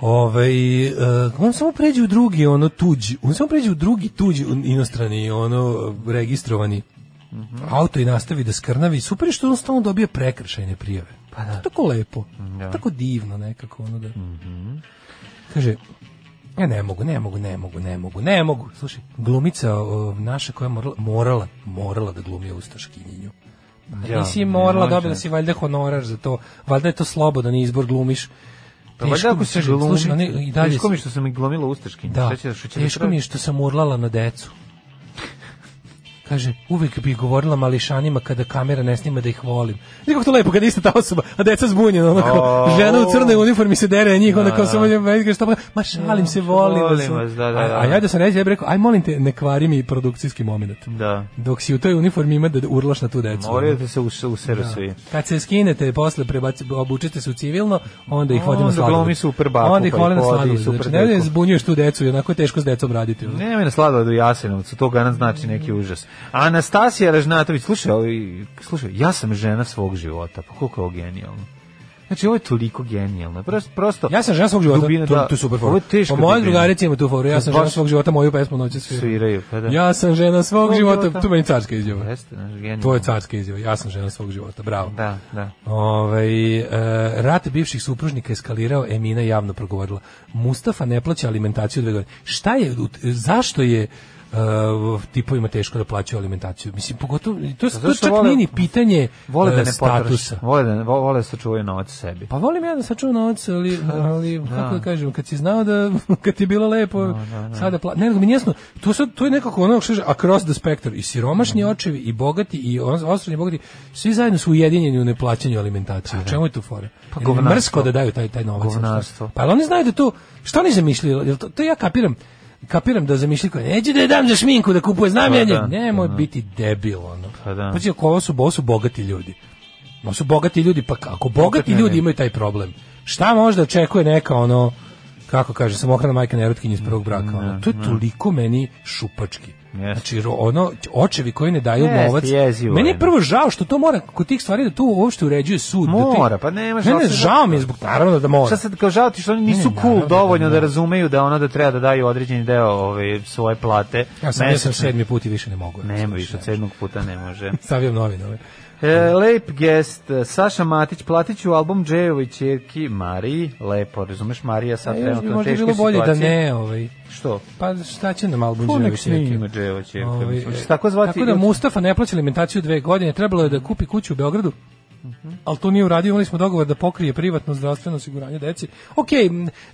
Speaker 6: Ove, Ovaj, e, on samo pređe u drugi ono tuđi, on samo pređe u drugi tuđi un- inostrani ono registrovani auto i nastavi da skrnavi. Super je što on stalno dobija prekršajne prijave. Pa da. Tako lepo, tako divno nekako ono da. Kaže, ja ne mogu, ne mogu, ne mogu, ne mogu, ne mogu. Slušaj, glumica o, naša koja je morala, morala, morala da glumi ustaškinjenju. Ja,
Speaker 5: Ja,
Speaker 6: Pa nisi morala,
Speaker 5: može.
Speaker 6: dobila si valjda honorar za to. Valjda je to slobodan izbor, glumiš.
Speaker 5: Pa valjda
Speaker 6: Teško
Speaker 5: ako
Speaker 6: mi,
Speaker 5: se
Speaker 6: kaže,
Speaker 5: glumi,
Speaker 6: slušaj, oni i dalje
Speaker 5: teško
Speaker 6: su-
Speaker 5: mi što sam i glomila ustaškinje.
Speaker 6: Da,
Speaker 5: Šta će, što će
Speaker 6: teško
Speaker 5: da
Speaker 6: mi je što sam urlala na decu. Kaže, uvek bih govorila mališanima kada kamera ne snima da ih volim. Znaš kako to lepo, kad je ista ta osoba, a deca zbunjena, ono kao,
Speaker 5: O.
Speaker 6: žena u crnoj uniformi se dere na njih, onda kao
Speaker 5: da.
Speaker 6: samo njima kaže, šta pa, ma šalim se, volim vas.
Speaker 5: Volim vas, da, da,
Speaker 6: A-
Speaker 5: da.
Speaker 6: A ja da sam reći, ja bih rekao, aj molim te, ne kvari mi produkcijski moment.
Speaker 5: Da.
Speaker 6: Dok si u toj uniformi ima da urlaš na tu decu.
Speaker 5: Moraju da se us, useru svi.
Speaker 6: Kad se skinete, posle prebaci, obučite se u civilno, onda ih vodimo
Speaker 5: Onda
Speaker 6: sladoled.
Speaker 5: glomi super baku,
Speaker 6: Onda ih
Speaker 5: pa
Speaker 6: voli
Speaker 5: ih
Speaker 6: na
Speaker 5: vodi
Speaker 6: sladoled.
Speaker 5: super
Speaker 6: Znači, ne
Speaker 5: deku.
Speaker 6: zbunjuješ tu decu, i onako je teško s decom raditi. ono.
Speaker 5: Ne, me nasladila do Jasenovcu, to garant znači neki
Speaker 6: Mm.
Speaker 5: užas. Anastasija Ražnatović, slušaj, ovi, slušaj, ja sam žena svog života, pa koliko je ovo genijalno. Znači, ovo je toliko genijalno. Prosto, prosto
Speaker 6: Ja sam žena svog života,
Speaker 5: dubina,
Speaker 6: to,
Speaker 5: da,
Speaker 6: to je super Pa
Speaker 5: Ovo
Speaker 6: fora.
Speaker 5: je teško.
Speaker 6: Po mojoj
Speaker 5: dubina.
Speaker 6: drugarici ima tu foru, ja sam
Speaker 5: Baš
Speaker 6: žena svog života, moju pesmu noće svira.
Speaker 5: Sviraju, pa da.
Speaker 6: Ja sam žena svog
Speaker 5: Svog
Speaker 6: života,
Speaker 5: života.
Speaker 6: to meni carska izjava.
Speaker 5: Jeste, znaš, genijalno.
Speaker 6: To je carska izjava, ja sam žena svog života, bravo.
Speaker 5: Da, da.
Speaker 6: Ovaj e, rat bivših supružnika eskalirao, Emina je javno progovorila. Mustafa ne plaća alimentaciju dve godine. Šta je, ut- zašto je e, tipovima teško da plaćaju alimentaciju? Mislim, pogotovo, to, to
Speaker 5: zato što
Speaker 6: čak
Speaker 5: Pa vole-
Speaker 6: nije ni pitanje
Speaker 5: Vole da
Speaker 6: e,
Speaker 5: ne potroše.
Speaker 6: statusa.
Speaker 5: Vole da, ne- vo- vole da sačuvaju novac sebi.
Speaker 6: Pa volim ja da sačuvam novac, ali, ali kako da kažem, kad si znao da, kad ti je bilo lepo, sada pla... Ne, nego mi nije jasno, to, sad, to je nekako ono što kaže, across the spectrum, i siromašni
Speaker 5: Mhm.
Speaker 6: očevi, i bogati, i os- osrednji bogati, svi zajedno su ujedinjeni u neplaćanju alimentacije. U čemu je tu fora? Pa
Speaker 5: govnarstvo.
Speaker 6: Mrsko da daju taj, taj novac. ili šta?
Speaker 5: Govnarstvo.
Speaker 6: Pa ali oni znaju da to, što oni zamišljaju, jel to, to ja kapiram, kapiram da zamišljaju, kao, neću da je dam za šminku da kupuje znamenje,
Speaker 5: Pa da,
Speaker 6: nemoj
Speaker 5: pa da.
Speaker 6: biti debil, ono.
Speaker 5: Pa da.
Speaker 6: Pazi, ako ovo su, ovo su bogati ljudi. Ovo su bogati ljudi, pa ako bogati ljudi imaju taj problem, šta možda očekuje neka ono, kako kaže, samohrana majka nerotkinja iz prvog braka, ono, to je toliko meni šupački.
Speaker 5: Jeste.
Speaker 6: Znači, ro- ono, očevi koji ne daju
Speaker 5: Jeste,
Speaker 6: novac,
Speaker 5: jezivo
Speaker 6: meni
Speaker 5: je.
Speaker 6: je prvo žao što to mora, kod tih stvari da tu uopšte uređuje sud. da ti-
Speaker 5: Mora, pa nemaš,
Speaker 6: Ne,
Speaker 5: ali
Speaker 6: ne,
Speaker 5: se-
Speaker 6: žao mi je zbog, naravno da mora.
Speaker 5: Šta sad kao žao ti što oni
Speaker 6: Ne,
Speaker 5: nisu
Speaker 6: Ono. ne,
Speaker 5: cool
Speaker 6: naravno da
Speaker 5: dovoljno
Speaker 6: ne.
Speaker 5: da razumeju da ona da treba da daju određeni deo ove svoje plate.
Speaker 6: Ja sam, ja sam
Speaker 5: mesečne.
Speaker 6: sedmi put i više ne mogu.
Speaker 5: Nema više, od sedmog puta ne može.
Speaker 6: Stavljam ovaj. novinove.
Speaker 5: E, lep gest, e, Saša Matić, platit ću album Džejovi čerki Mariji, lepo, razumeš, Marija sad
Speaker 6: E, još bi
Speaker 5: Pa, trenutno u
Speaker 6: možda
Speaker 5: teškoj
Speaker 6: bilo
Speaker 5: situaciji.
Speaker 6: bolje da ne, ovaj.
Speaker 5: Što?
Speaker 6: Pa šta će nam album
Speaker 5: Pa nek
Speaker 6: Đerović neki?
Speaker 5: snima Džejova čerka.
Speaker 6: Ovaj,
Speaker 5: mislim, će se tako zvati?
Speaker 6: Tako da Mustafa ne plaća alimentaciju dve godine, trebalo je da kupi kuću u Beogradu, ali to nije uradio, imali smo dogovor da pokrije privatno zdravstveno osiguranje deci. Ok,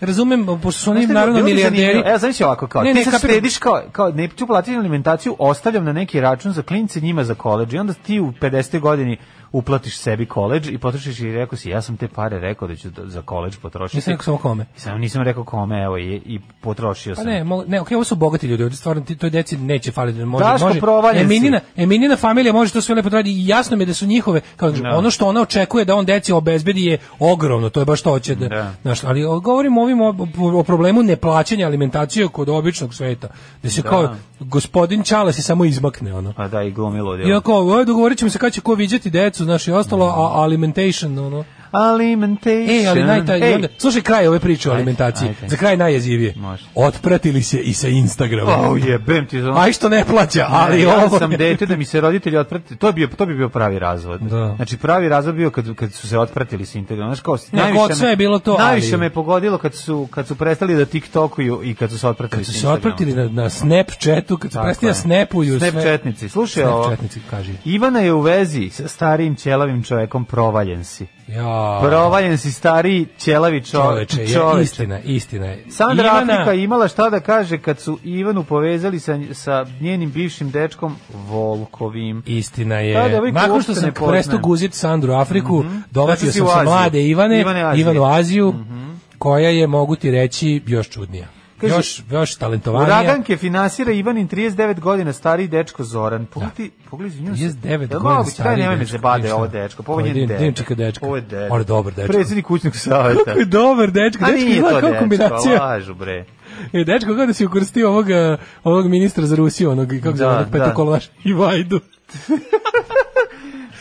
Speaker 6: razumem, pošto su oni
Speaker 5: Znaš šta,
Speaker 6: naravno
Speaker 5: bilo bi
Speaker 6: milijarderi.
Speaker 5: zanimljivo, E, Evo, znaš ovako, kao,
Speaker 6: Ne,
Speaker 5: ti
Speaker 6: ne,
Speaker 5: sad
Speaker 6: kapiram.
Speaker 5: štediš kao, kao, ne ću platiti alimentaciju, ostavljam na neki račun za klince, njima za koleđ i onda ti u 50. godini uplatiš sebi koleđ i potrošiš i rekao si, ja sam te pare rekao da ću da- za koleđ potrošiti.
Speaker 6: Nisam rekao samo kome.
Speaker 5: Samo nisam rekao kome, evo, i, i potrošio
Speaker 6: Pa
Speaker 5: sam.
Speaker 6: ne, mo- ne, okej, ovo su bogati ljudi, ovdje stvarno ti, toj deci neće faliti, može,
Speaker 5: Daško,
Speaker 6: može.
Speaker 5: provaljen si.
Speaker 6: Eminina, Eminina familija može to sve lepo da radi i jasno mi je da su njihove, kao kažem,
Speaker 5: Da.
Speaker 6: ono što ona očekuje da on deci obezbedi je ogromno, to je baš to hoće da,
Speaker 5: Da.
Speaker 6: znaš, ali o- govorimo ovim o, o problemu neplaćanja alimentacije kod običnog sveta, da se kao gospodin Čale se samo izmakne, ono.
Speaker 5: A da, i glomilo djelo.
Speaker 6: Iako, oj, dogovorit ćemo se kada će ko viđati decu, znaš, i ostalo, a alimentation, ono.
Speaker 5: Alimentation.
Speaker 6: E, ali najta,
Speaker 5: Ej,
Speaker 6: i onda, slušaj kraj ove priče o alimentaciji.
Speaker 5: ajde.
Speaker 6: Za kraj najjezivije.
Speaker 5: Može.
Speaker 6: Otpratili se i sa Instagrama.
Speaker 5: O, jebem ti za...
Speaker 6: Aj što ne plaća, ali
Speaker 5: Ne, ja
Speaker 6: ovo
Speaker 5: sam
Speaker 6: je-
Speaker 5: dete da mi se roditelji otpratili. To bi to bi bio pravi razvod.
Speaker 6: Da.
Speaker 5: Znači pravi razvod bio kad kad su se otpratili sa Instagrama. Znaš kao
Speaker 6: Ne,
Speaker 5: najviše
Speaker 6: kod
Speaker 5: me-
Speaker 6: sve je bilo to, ali-
Speaker 5: Najviše me pogodilo kad su kad su prestali da TikTokuju i kad su se otpratili
Speaker 6: Kad su
Speaker 5: sa
Speaker 6: se
Speaker 5: Instagrama.
Speaker 6: otpratili na, na Snapchatu, kad su
Speaker 5: Tako
Speaker 6: prestali da
Speaker 5: je.
Speaker 6: snapuju sve.
Speaker 5: Snapchatnici. Slušaj ovo.
Speaker 6: Snapchatnici, kaži.
Speaker 5: Ivana je u vezi sa starijim ćelavim čovekom provaljen si.
Speaker 6: Ja,
Speaker 5: Provaljen si stariji ćelavi čovek.
Speaker 6: čoveče, je,
Speaker 5: čoveče.
Speaker 6: istina, istina je.
Speaker 5: Sandra
Speaker 6: Ivana-
Speaker 5: Afrika je imala šta da kaže kad su Ivanu povezali sa, sa njenim bivšim dečkom Volkovim.
Speaker 6: Istina je.
Speaker 5: Da, da, ovaj
Speaker 6: Nakon
Speaker 5: uopšte
Speaker 6: što sam
Speaker 5: ne poznajem.
Speaker 6: prestao guzit Sandru Afriku, dovatio
Speaker 5: Došao si
Speaker 6: sam
Speaker 5: u
Speaker 6: se
Speaker 5: Aziju.
Speaker 6: mlade Ivane,
Speaker 5: Ivane Azije. Mhm.
Speaker 6: Ivanu Aziju, koja je, mogu ti reći, još čudnija. još, još talentovanija.
Speaker 5: Uraganke finansira Ivanin 39 godina stariji dečko Zoran. Pogledaj, pogledaj nju.
Speaker 6: 39
Speaker 5: Jel
Speaker 6: godina
Speaker 5: moguće? Daj,
Speaker 6: stariji
Speaker 5: Nemoj me
Speaker 6: dečko,
Speaker 5: zabade
Speaker 6: ništa.
Speaker 5: ovo dečko. Ovo
Speaker 6: Ovo
Speaker 5: je
Speaker 6: je
Speaker 5: njen
Speaker 6: din-
Speaker 5: dečko.
Speaker 6: dimčaka dečko.
Speaker 5: Ovo je dečko.
Speaker 6: Ovo je dobar dečko.
Speaker 5: Predsjednik kućnog savjeta.
Speaker 6: Kako je dobar dečko,
Speaker 5: A
Speaker 6: dečko
Speaker 5: nije to
Speaker 6: izgleda kao
Speaker 5: dečko,
Speaker 6: kombinacija.
Speaker 5: lažu bre.
Speaker 6: E, dečko, kako da si ukrstio ovog, eh, ovog ministra za Rusiju, onog, kako se
Speaker 5: Da,
Speaker 6: zove, onog
Speaker 5: da.
Speaker 6: petokolonaš, i Vajdu.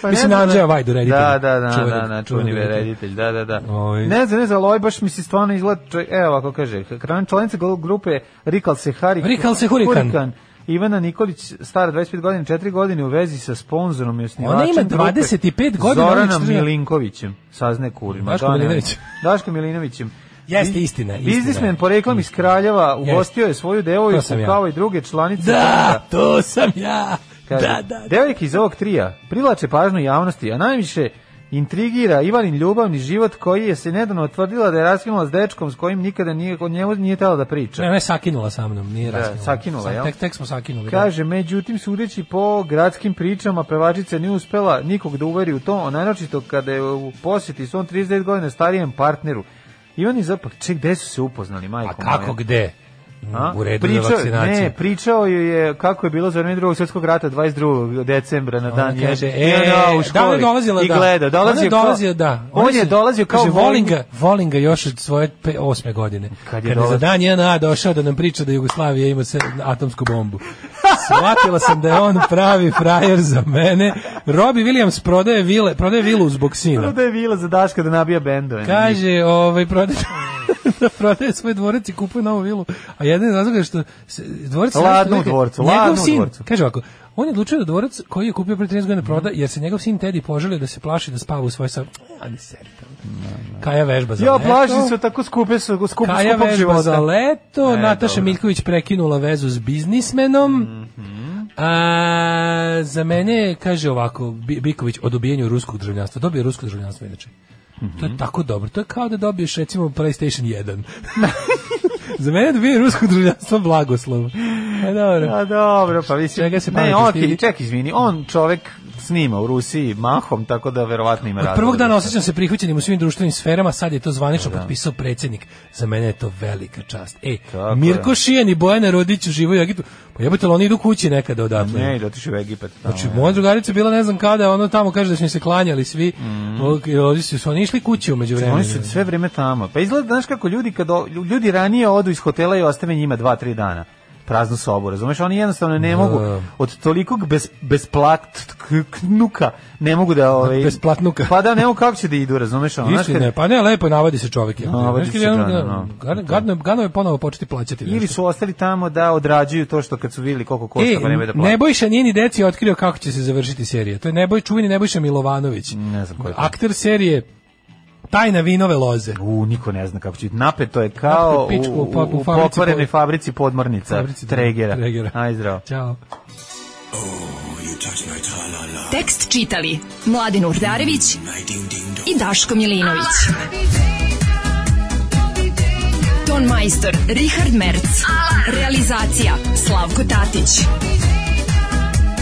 Speaker 5: Pa
Speaker 6: Mislim,
Speaker 5: ne znam,
Speaker 6: Andžeja
Speaker 5: ne-
Speaker 6: Vajdu, reditelj.
Speaker 5: Da, da, da,
Speaker 6: Čuvenog-
Speaker 5: da, da, čuveni
Speaker 6: čuvenog
Speaker 5: reditelj, da, da, da.
Speaker 6: Ovaj.
Speaker 5: Ne znam, ne znam, ali ovaj baš mi se stvarno izgleda, čovjek- evo ovako kaže, kran članica gl- grupe Rikal Sehari.
Speaker 6: Rikal se Hurikan.
Speaker 5: Ivana Nikolić, stara 25 godina, 4 godine u vezi sa sponzorom i osnivačem
Speaker 6: Ona ima
Speaker 5: grupe
Speaker 6: 25 godina,
Speaker 5: Zoranom
Speaker 6: ali četiri-
Speaker 5: Milinkovićem, sazne kurima.
Speaker 6: Daško
Speaker 5: Da, ne,
Speaker 6: Milinović.
Speaker 5: Daško Milinovićem.
Speaker 6: Jeste,
Speaker 5: Bi-
Speaker 6: istina, istina.
Speaker 5: Biznismen poreklom iz Kraljeva ugostio je svoju
Speaker 6: To
Speaker 5: devojku
Speaker 6: sam ja.
Speaker 5: kao i druge članice. grupe.
Speaker 6: Da, to sam ja.
Speaker 5: Kaže,
Speaker 6: Da, da, da.
Speaker 5: Devojke iz ovog trija privlače pažnju javnosti, a najviše intrigira Ivanin ljubavni život koji je se nedavno otvrdila da je raskinula s dečkom s kojim nikada nije, o njemu nije tela da priča.
Speaker 6: Ne, ona je sakinula sa mnom, nije
Speaker 5: Da,
Speaker 6: raskinula.
Speaker 5: sakinula,
Speaker 6: Sa-
Speaker 5: jel?
Speaker 6: Tek, tek smo sakinuli. da.
Speaker 5: Kaže, međutim, sudeći po gradskim pričama, pevačica nije uspela nikog da uveri u to, a najnočito kada je u posjeti svom 39 godina starijem partneru. Ivan i zapak, ček, gde su se upoznali,
Speaker 6: A
Speaker 5: majko
Speaker 6: kako,
Speaker 5: moja?
Speaker 6: gde?
Speaker 5: A?
Speaker 6: U redu
Speaker 5: pričao,
Speaker 6: je vakcinacija.
Speaker 5: Ne, pričao ju je kako je bilo za vreme drugog svjetskog rata 22. decembra na dan
Speaker 6: Ona kaže,
Speaker 5: je.
Speaker 6: e,
Speaker 5: I ona u školi.
Speaker 6: da, ona je dolazila,
Speaker 5: I
Speaker 6: da.
Speaker 5: gleda, dolazio,
Speaker 6: Ona je
Speaker 5: kao-
Speaker 6: dolazio, da.
Speaker 5: On,
Speaker 6: Ona
Speaker 5: je
Speaker 6: se-
Speaker 5: dolazio kao
Speaker 6: kaže, volim
Speaker 5: Voling.
Speaker 6: ga, volim ga još od svoje pe, osme godine.
Speaker 5: Kad
Speaker 6: Kad
Speaker 5: je
Speaker 6: je, za
Speaker 5: dolazio-
Speaker 6: dan JNA došao da nam priča da Jugoslavija ima se, atomsku bombu. Shvatila sam da je on pravi frajer za mene. Robbie Williams prodaje, vile, prodaje vilu zbog sina.
Speaker 5: Da je vila za Daška da nabija bendove.
Speaker 6: Kaže, ovaj prodaje da prodaje svoj dvorac i kupuje novu vilu. A jedan iz razloga je što se, dvorac
Speaker 5: Ladno
Speaker 6: raste
Speaker 5: u
Speaker 6: negde-
Speaker 5: dvorcu,
Speaker 6: njegov
Speaker 5: ladno u
Speaker 6: sin,
Speaker 5: dvorcu.
Speaker 6: Kaže ovako, on je odlučio da dvorac koji je kupio pre 13 godina proda,
Speaker 5: Mhm.
Speaker 6: jer se njegov sin Teddy poželio da se plaši da spava u svoj sam. A ne seri tamo. Kaja vežba za
Speaker 5: Ja
Speaker 6: leto.
Speaker 5: plašim se tako skupe su, skup, skupog
Speaker 6: Kaja vežba za
Speaker 5: života.
Speaker 6: leto,
Speaker 5: E,
Speaker 6: Nataša
Speaker 5: dobro.
Speaker 6: Miljković prekinula vezu s biznismenom.
Speaker 5: Mhm.
Speaker 6: A, za mene, kaže ovako, Bi- Biković, o dobijenju ruskog državljanstva. Dobio je rusko državljanstvo, inače.
Speaker 5: Mhm.
Speaker 6: To je tako dobro. To je kao da dobiješ, recimo, PlayStation 1. za mene dobije rusko državljanstvo blagoslov. E, dobro.
Speaker 5: A dobro, pa mislim.
Speaker 6: Čega se
Speaker 5: ne,
Speaker 6: pameti
Speaker 5: okej,
Speaker 6: stidi?
Speaker 5: ček, izvini. On čovek snima u Rusiji mahom, tako da verovatno ima razloga.
Speaker 6: Od prvog dana
Speaker 5: za-
Speaker 6: osjećam se prihvaćenim u svim društvenim sferama, sad je to zvanično potpisao predsjednik. Za mene je to velika čast. Ej,
Speaker 5: Tako
Speaker 6: Mirko
Speaker 5: je.
Speaker 6: Šijan i Bojana Rodić uživaju u Egiptu. Pa jebate, ali oni idu kući nekada odatle.
Speaker 5: Ne, da otišu u Egipat. tamo,
Speaker 6: Znači,
Speaker 5: ja.
Speaker 6: moja drugarica je bila ne znam kada, ono tamo kaže da su mi se klanjali svi, mm. ovdje su, su oni išli kući umeđu vremena.
Speaker 5: Mhm. Oni su sve vreme tamo. Pa izgleda, znaš kako ljudi, kad o- ljudi ranije odu iz hotela i ostave njima dva, tri dana praznu sobu, razumeš? Oni jednostavno ne mogu od tolikog bez, besplatnuka ne mogu da... Ovaj,
Speaker 6: Besplatnuka.
Speaker 5: Pa da, ne mogu kako će da idu, razumeš? Ono, znaš,
Speaker 6: Istina, je,
Speaker 5: kad,
Speaker 6: pa ne, lepo je, navadi se čovjek. jebote.
Speaker 5: Navadi
Speaker 6: Znaš kad
Speaker 5: se,
Speaker 6: jednom-
Speaker 5: da, da, da.
Speaker 6: gadno- Gadno, gadno je ponovo početi plaćati.
Speaker 5: ili
Speaker 6: nešto.
Speaker 5: su ostali tamo da odrađuju to što kad su vidjeli koliko košta,
Speaker 6: E,
Speaker 5: pa nemaju da plati.
Speaker 6: Nebojša njeni deci je otkrio kako će se završiti serija. To je Neboj, čuveni Nebojša Milovanović.
Speaker 5: Ne znam ko je to.
Speaker 6: Akter serije Tajna vinove loze.
Speaker 5: U, niko ne zna kako će. Napeto je kao
Speaker 6: Napeto je pičku
Speaker 5: u,
Speaker 6: u
Speaker 5: u,
Speaker 6: pa- u
Speaker 5: u
Speaker 6: fabrici
Speaker 5: pokvarenoj
Speaker 6: pod-
Speaker 5: fabrici podmornica
Speaker 6: Fabrici
Speaker 5: Tregera.
Speaker 6: Tregera.
Speaker 5: Aj, zdravo.
Speaker 6: Ćao.
Speaker 4: Tekst čitali Mladin Urdarević i Daško Milinović. Ton majstor Richard Merc. Realizacija Slavko Tatić.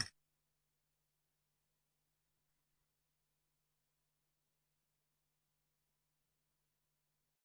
Speaker 4: 10.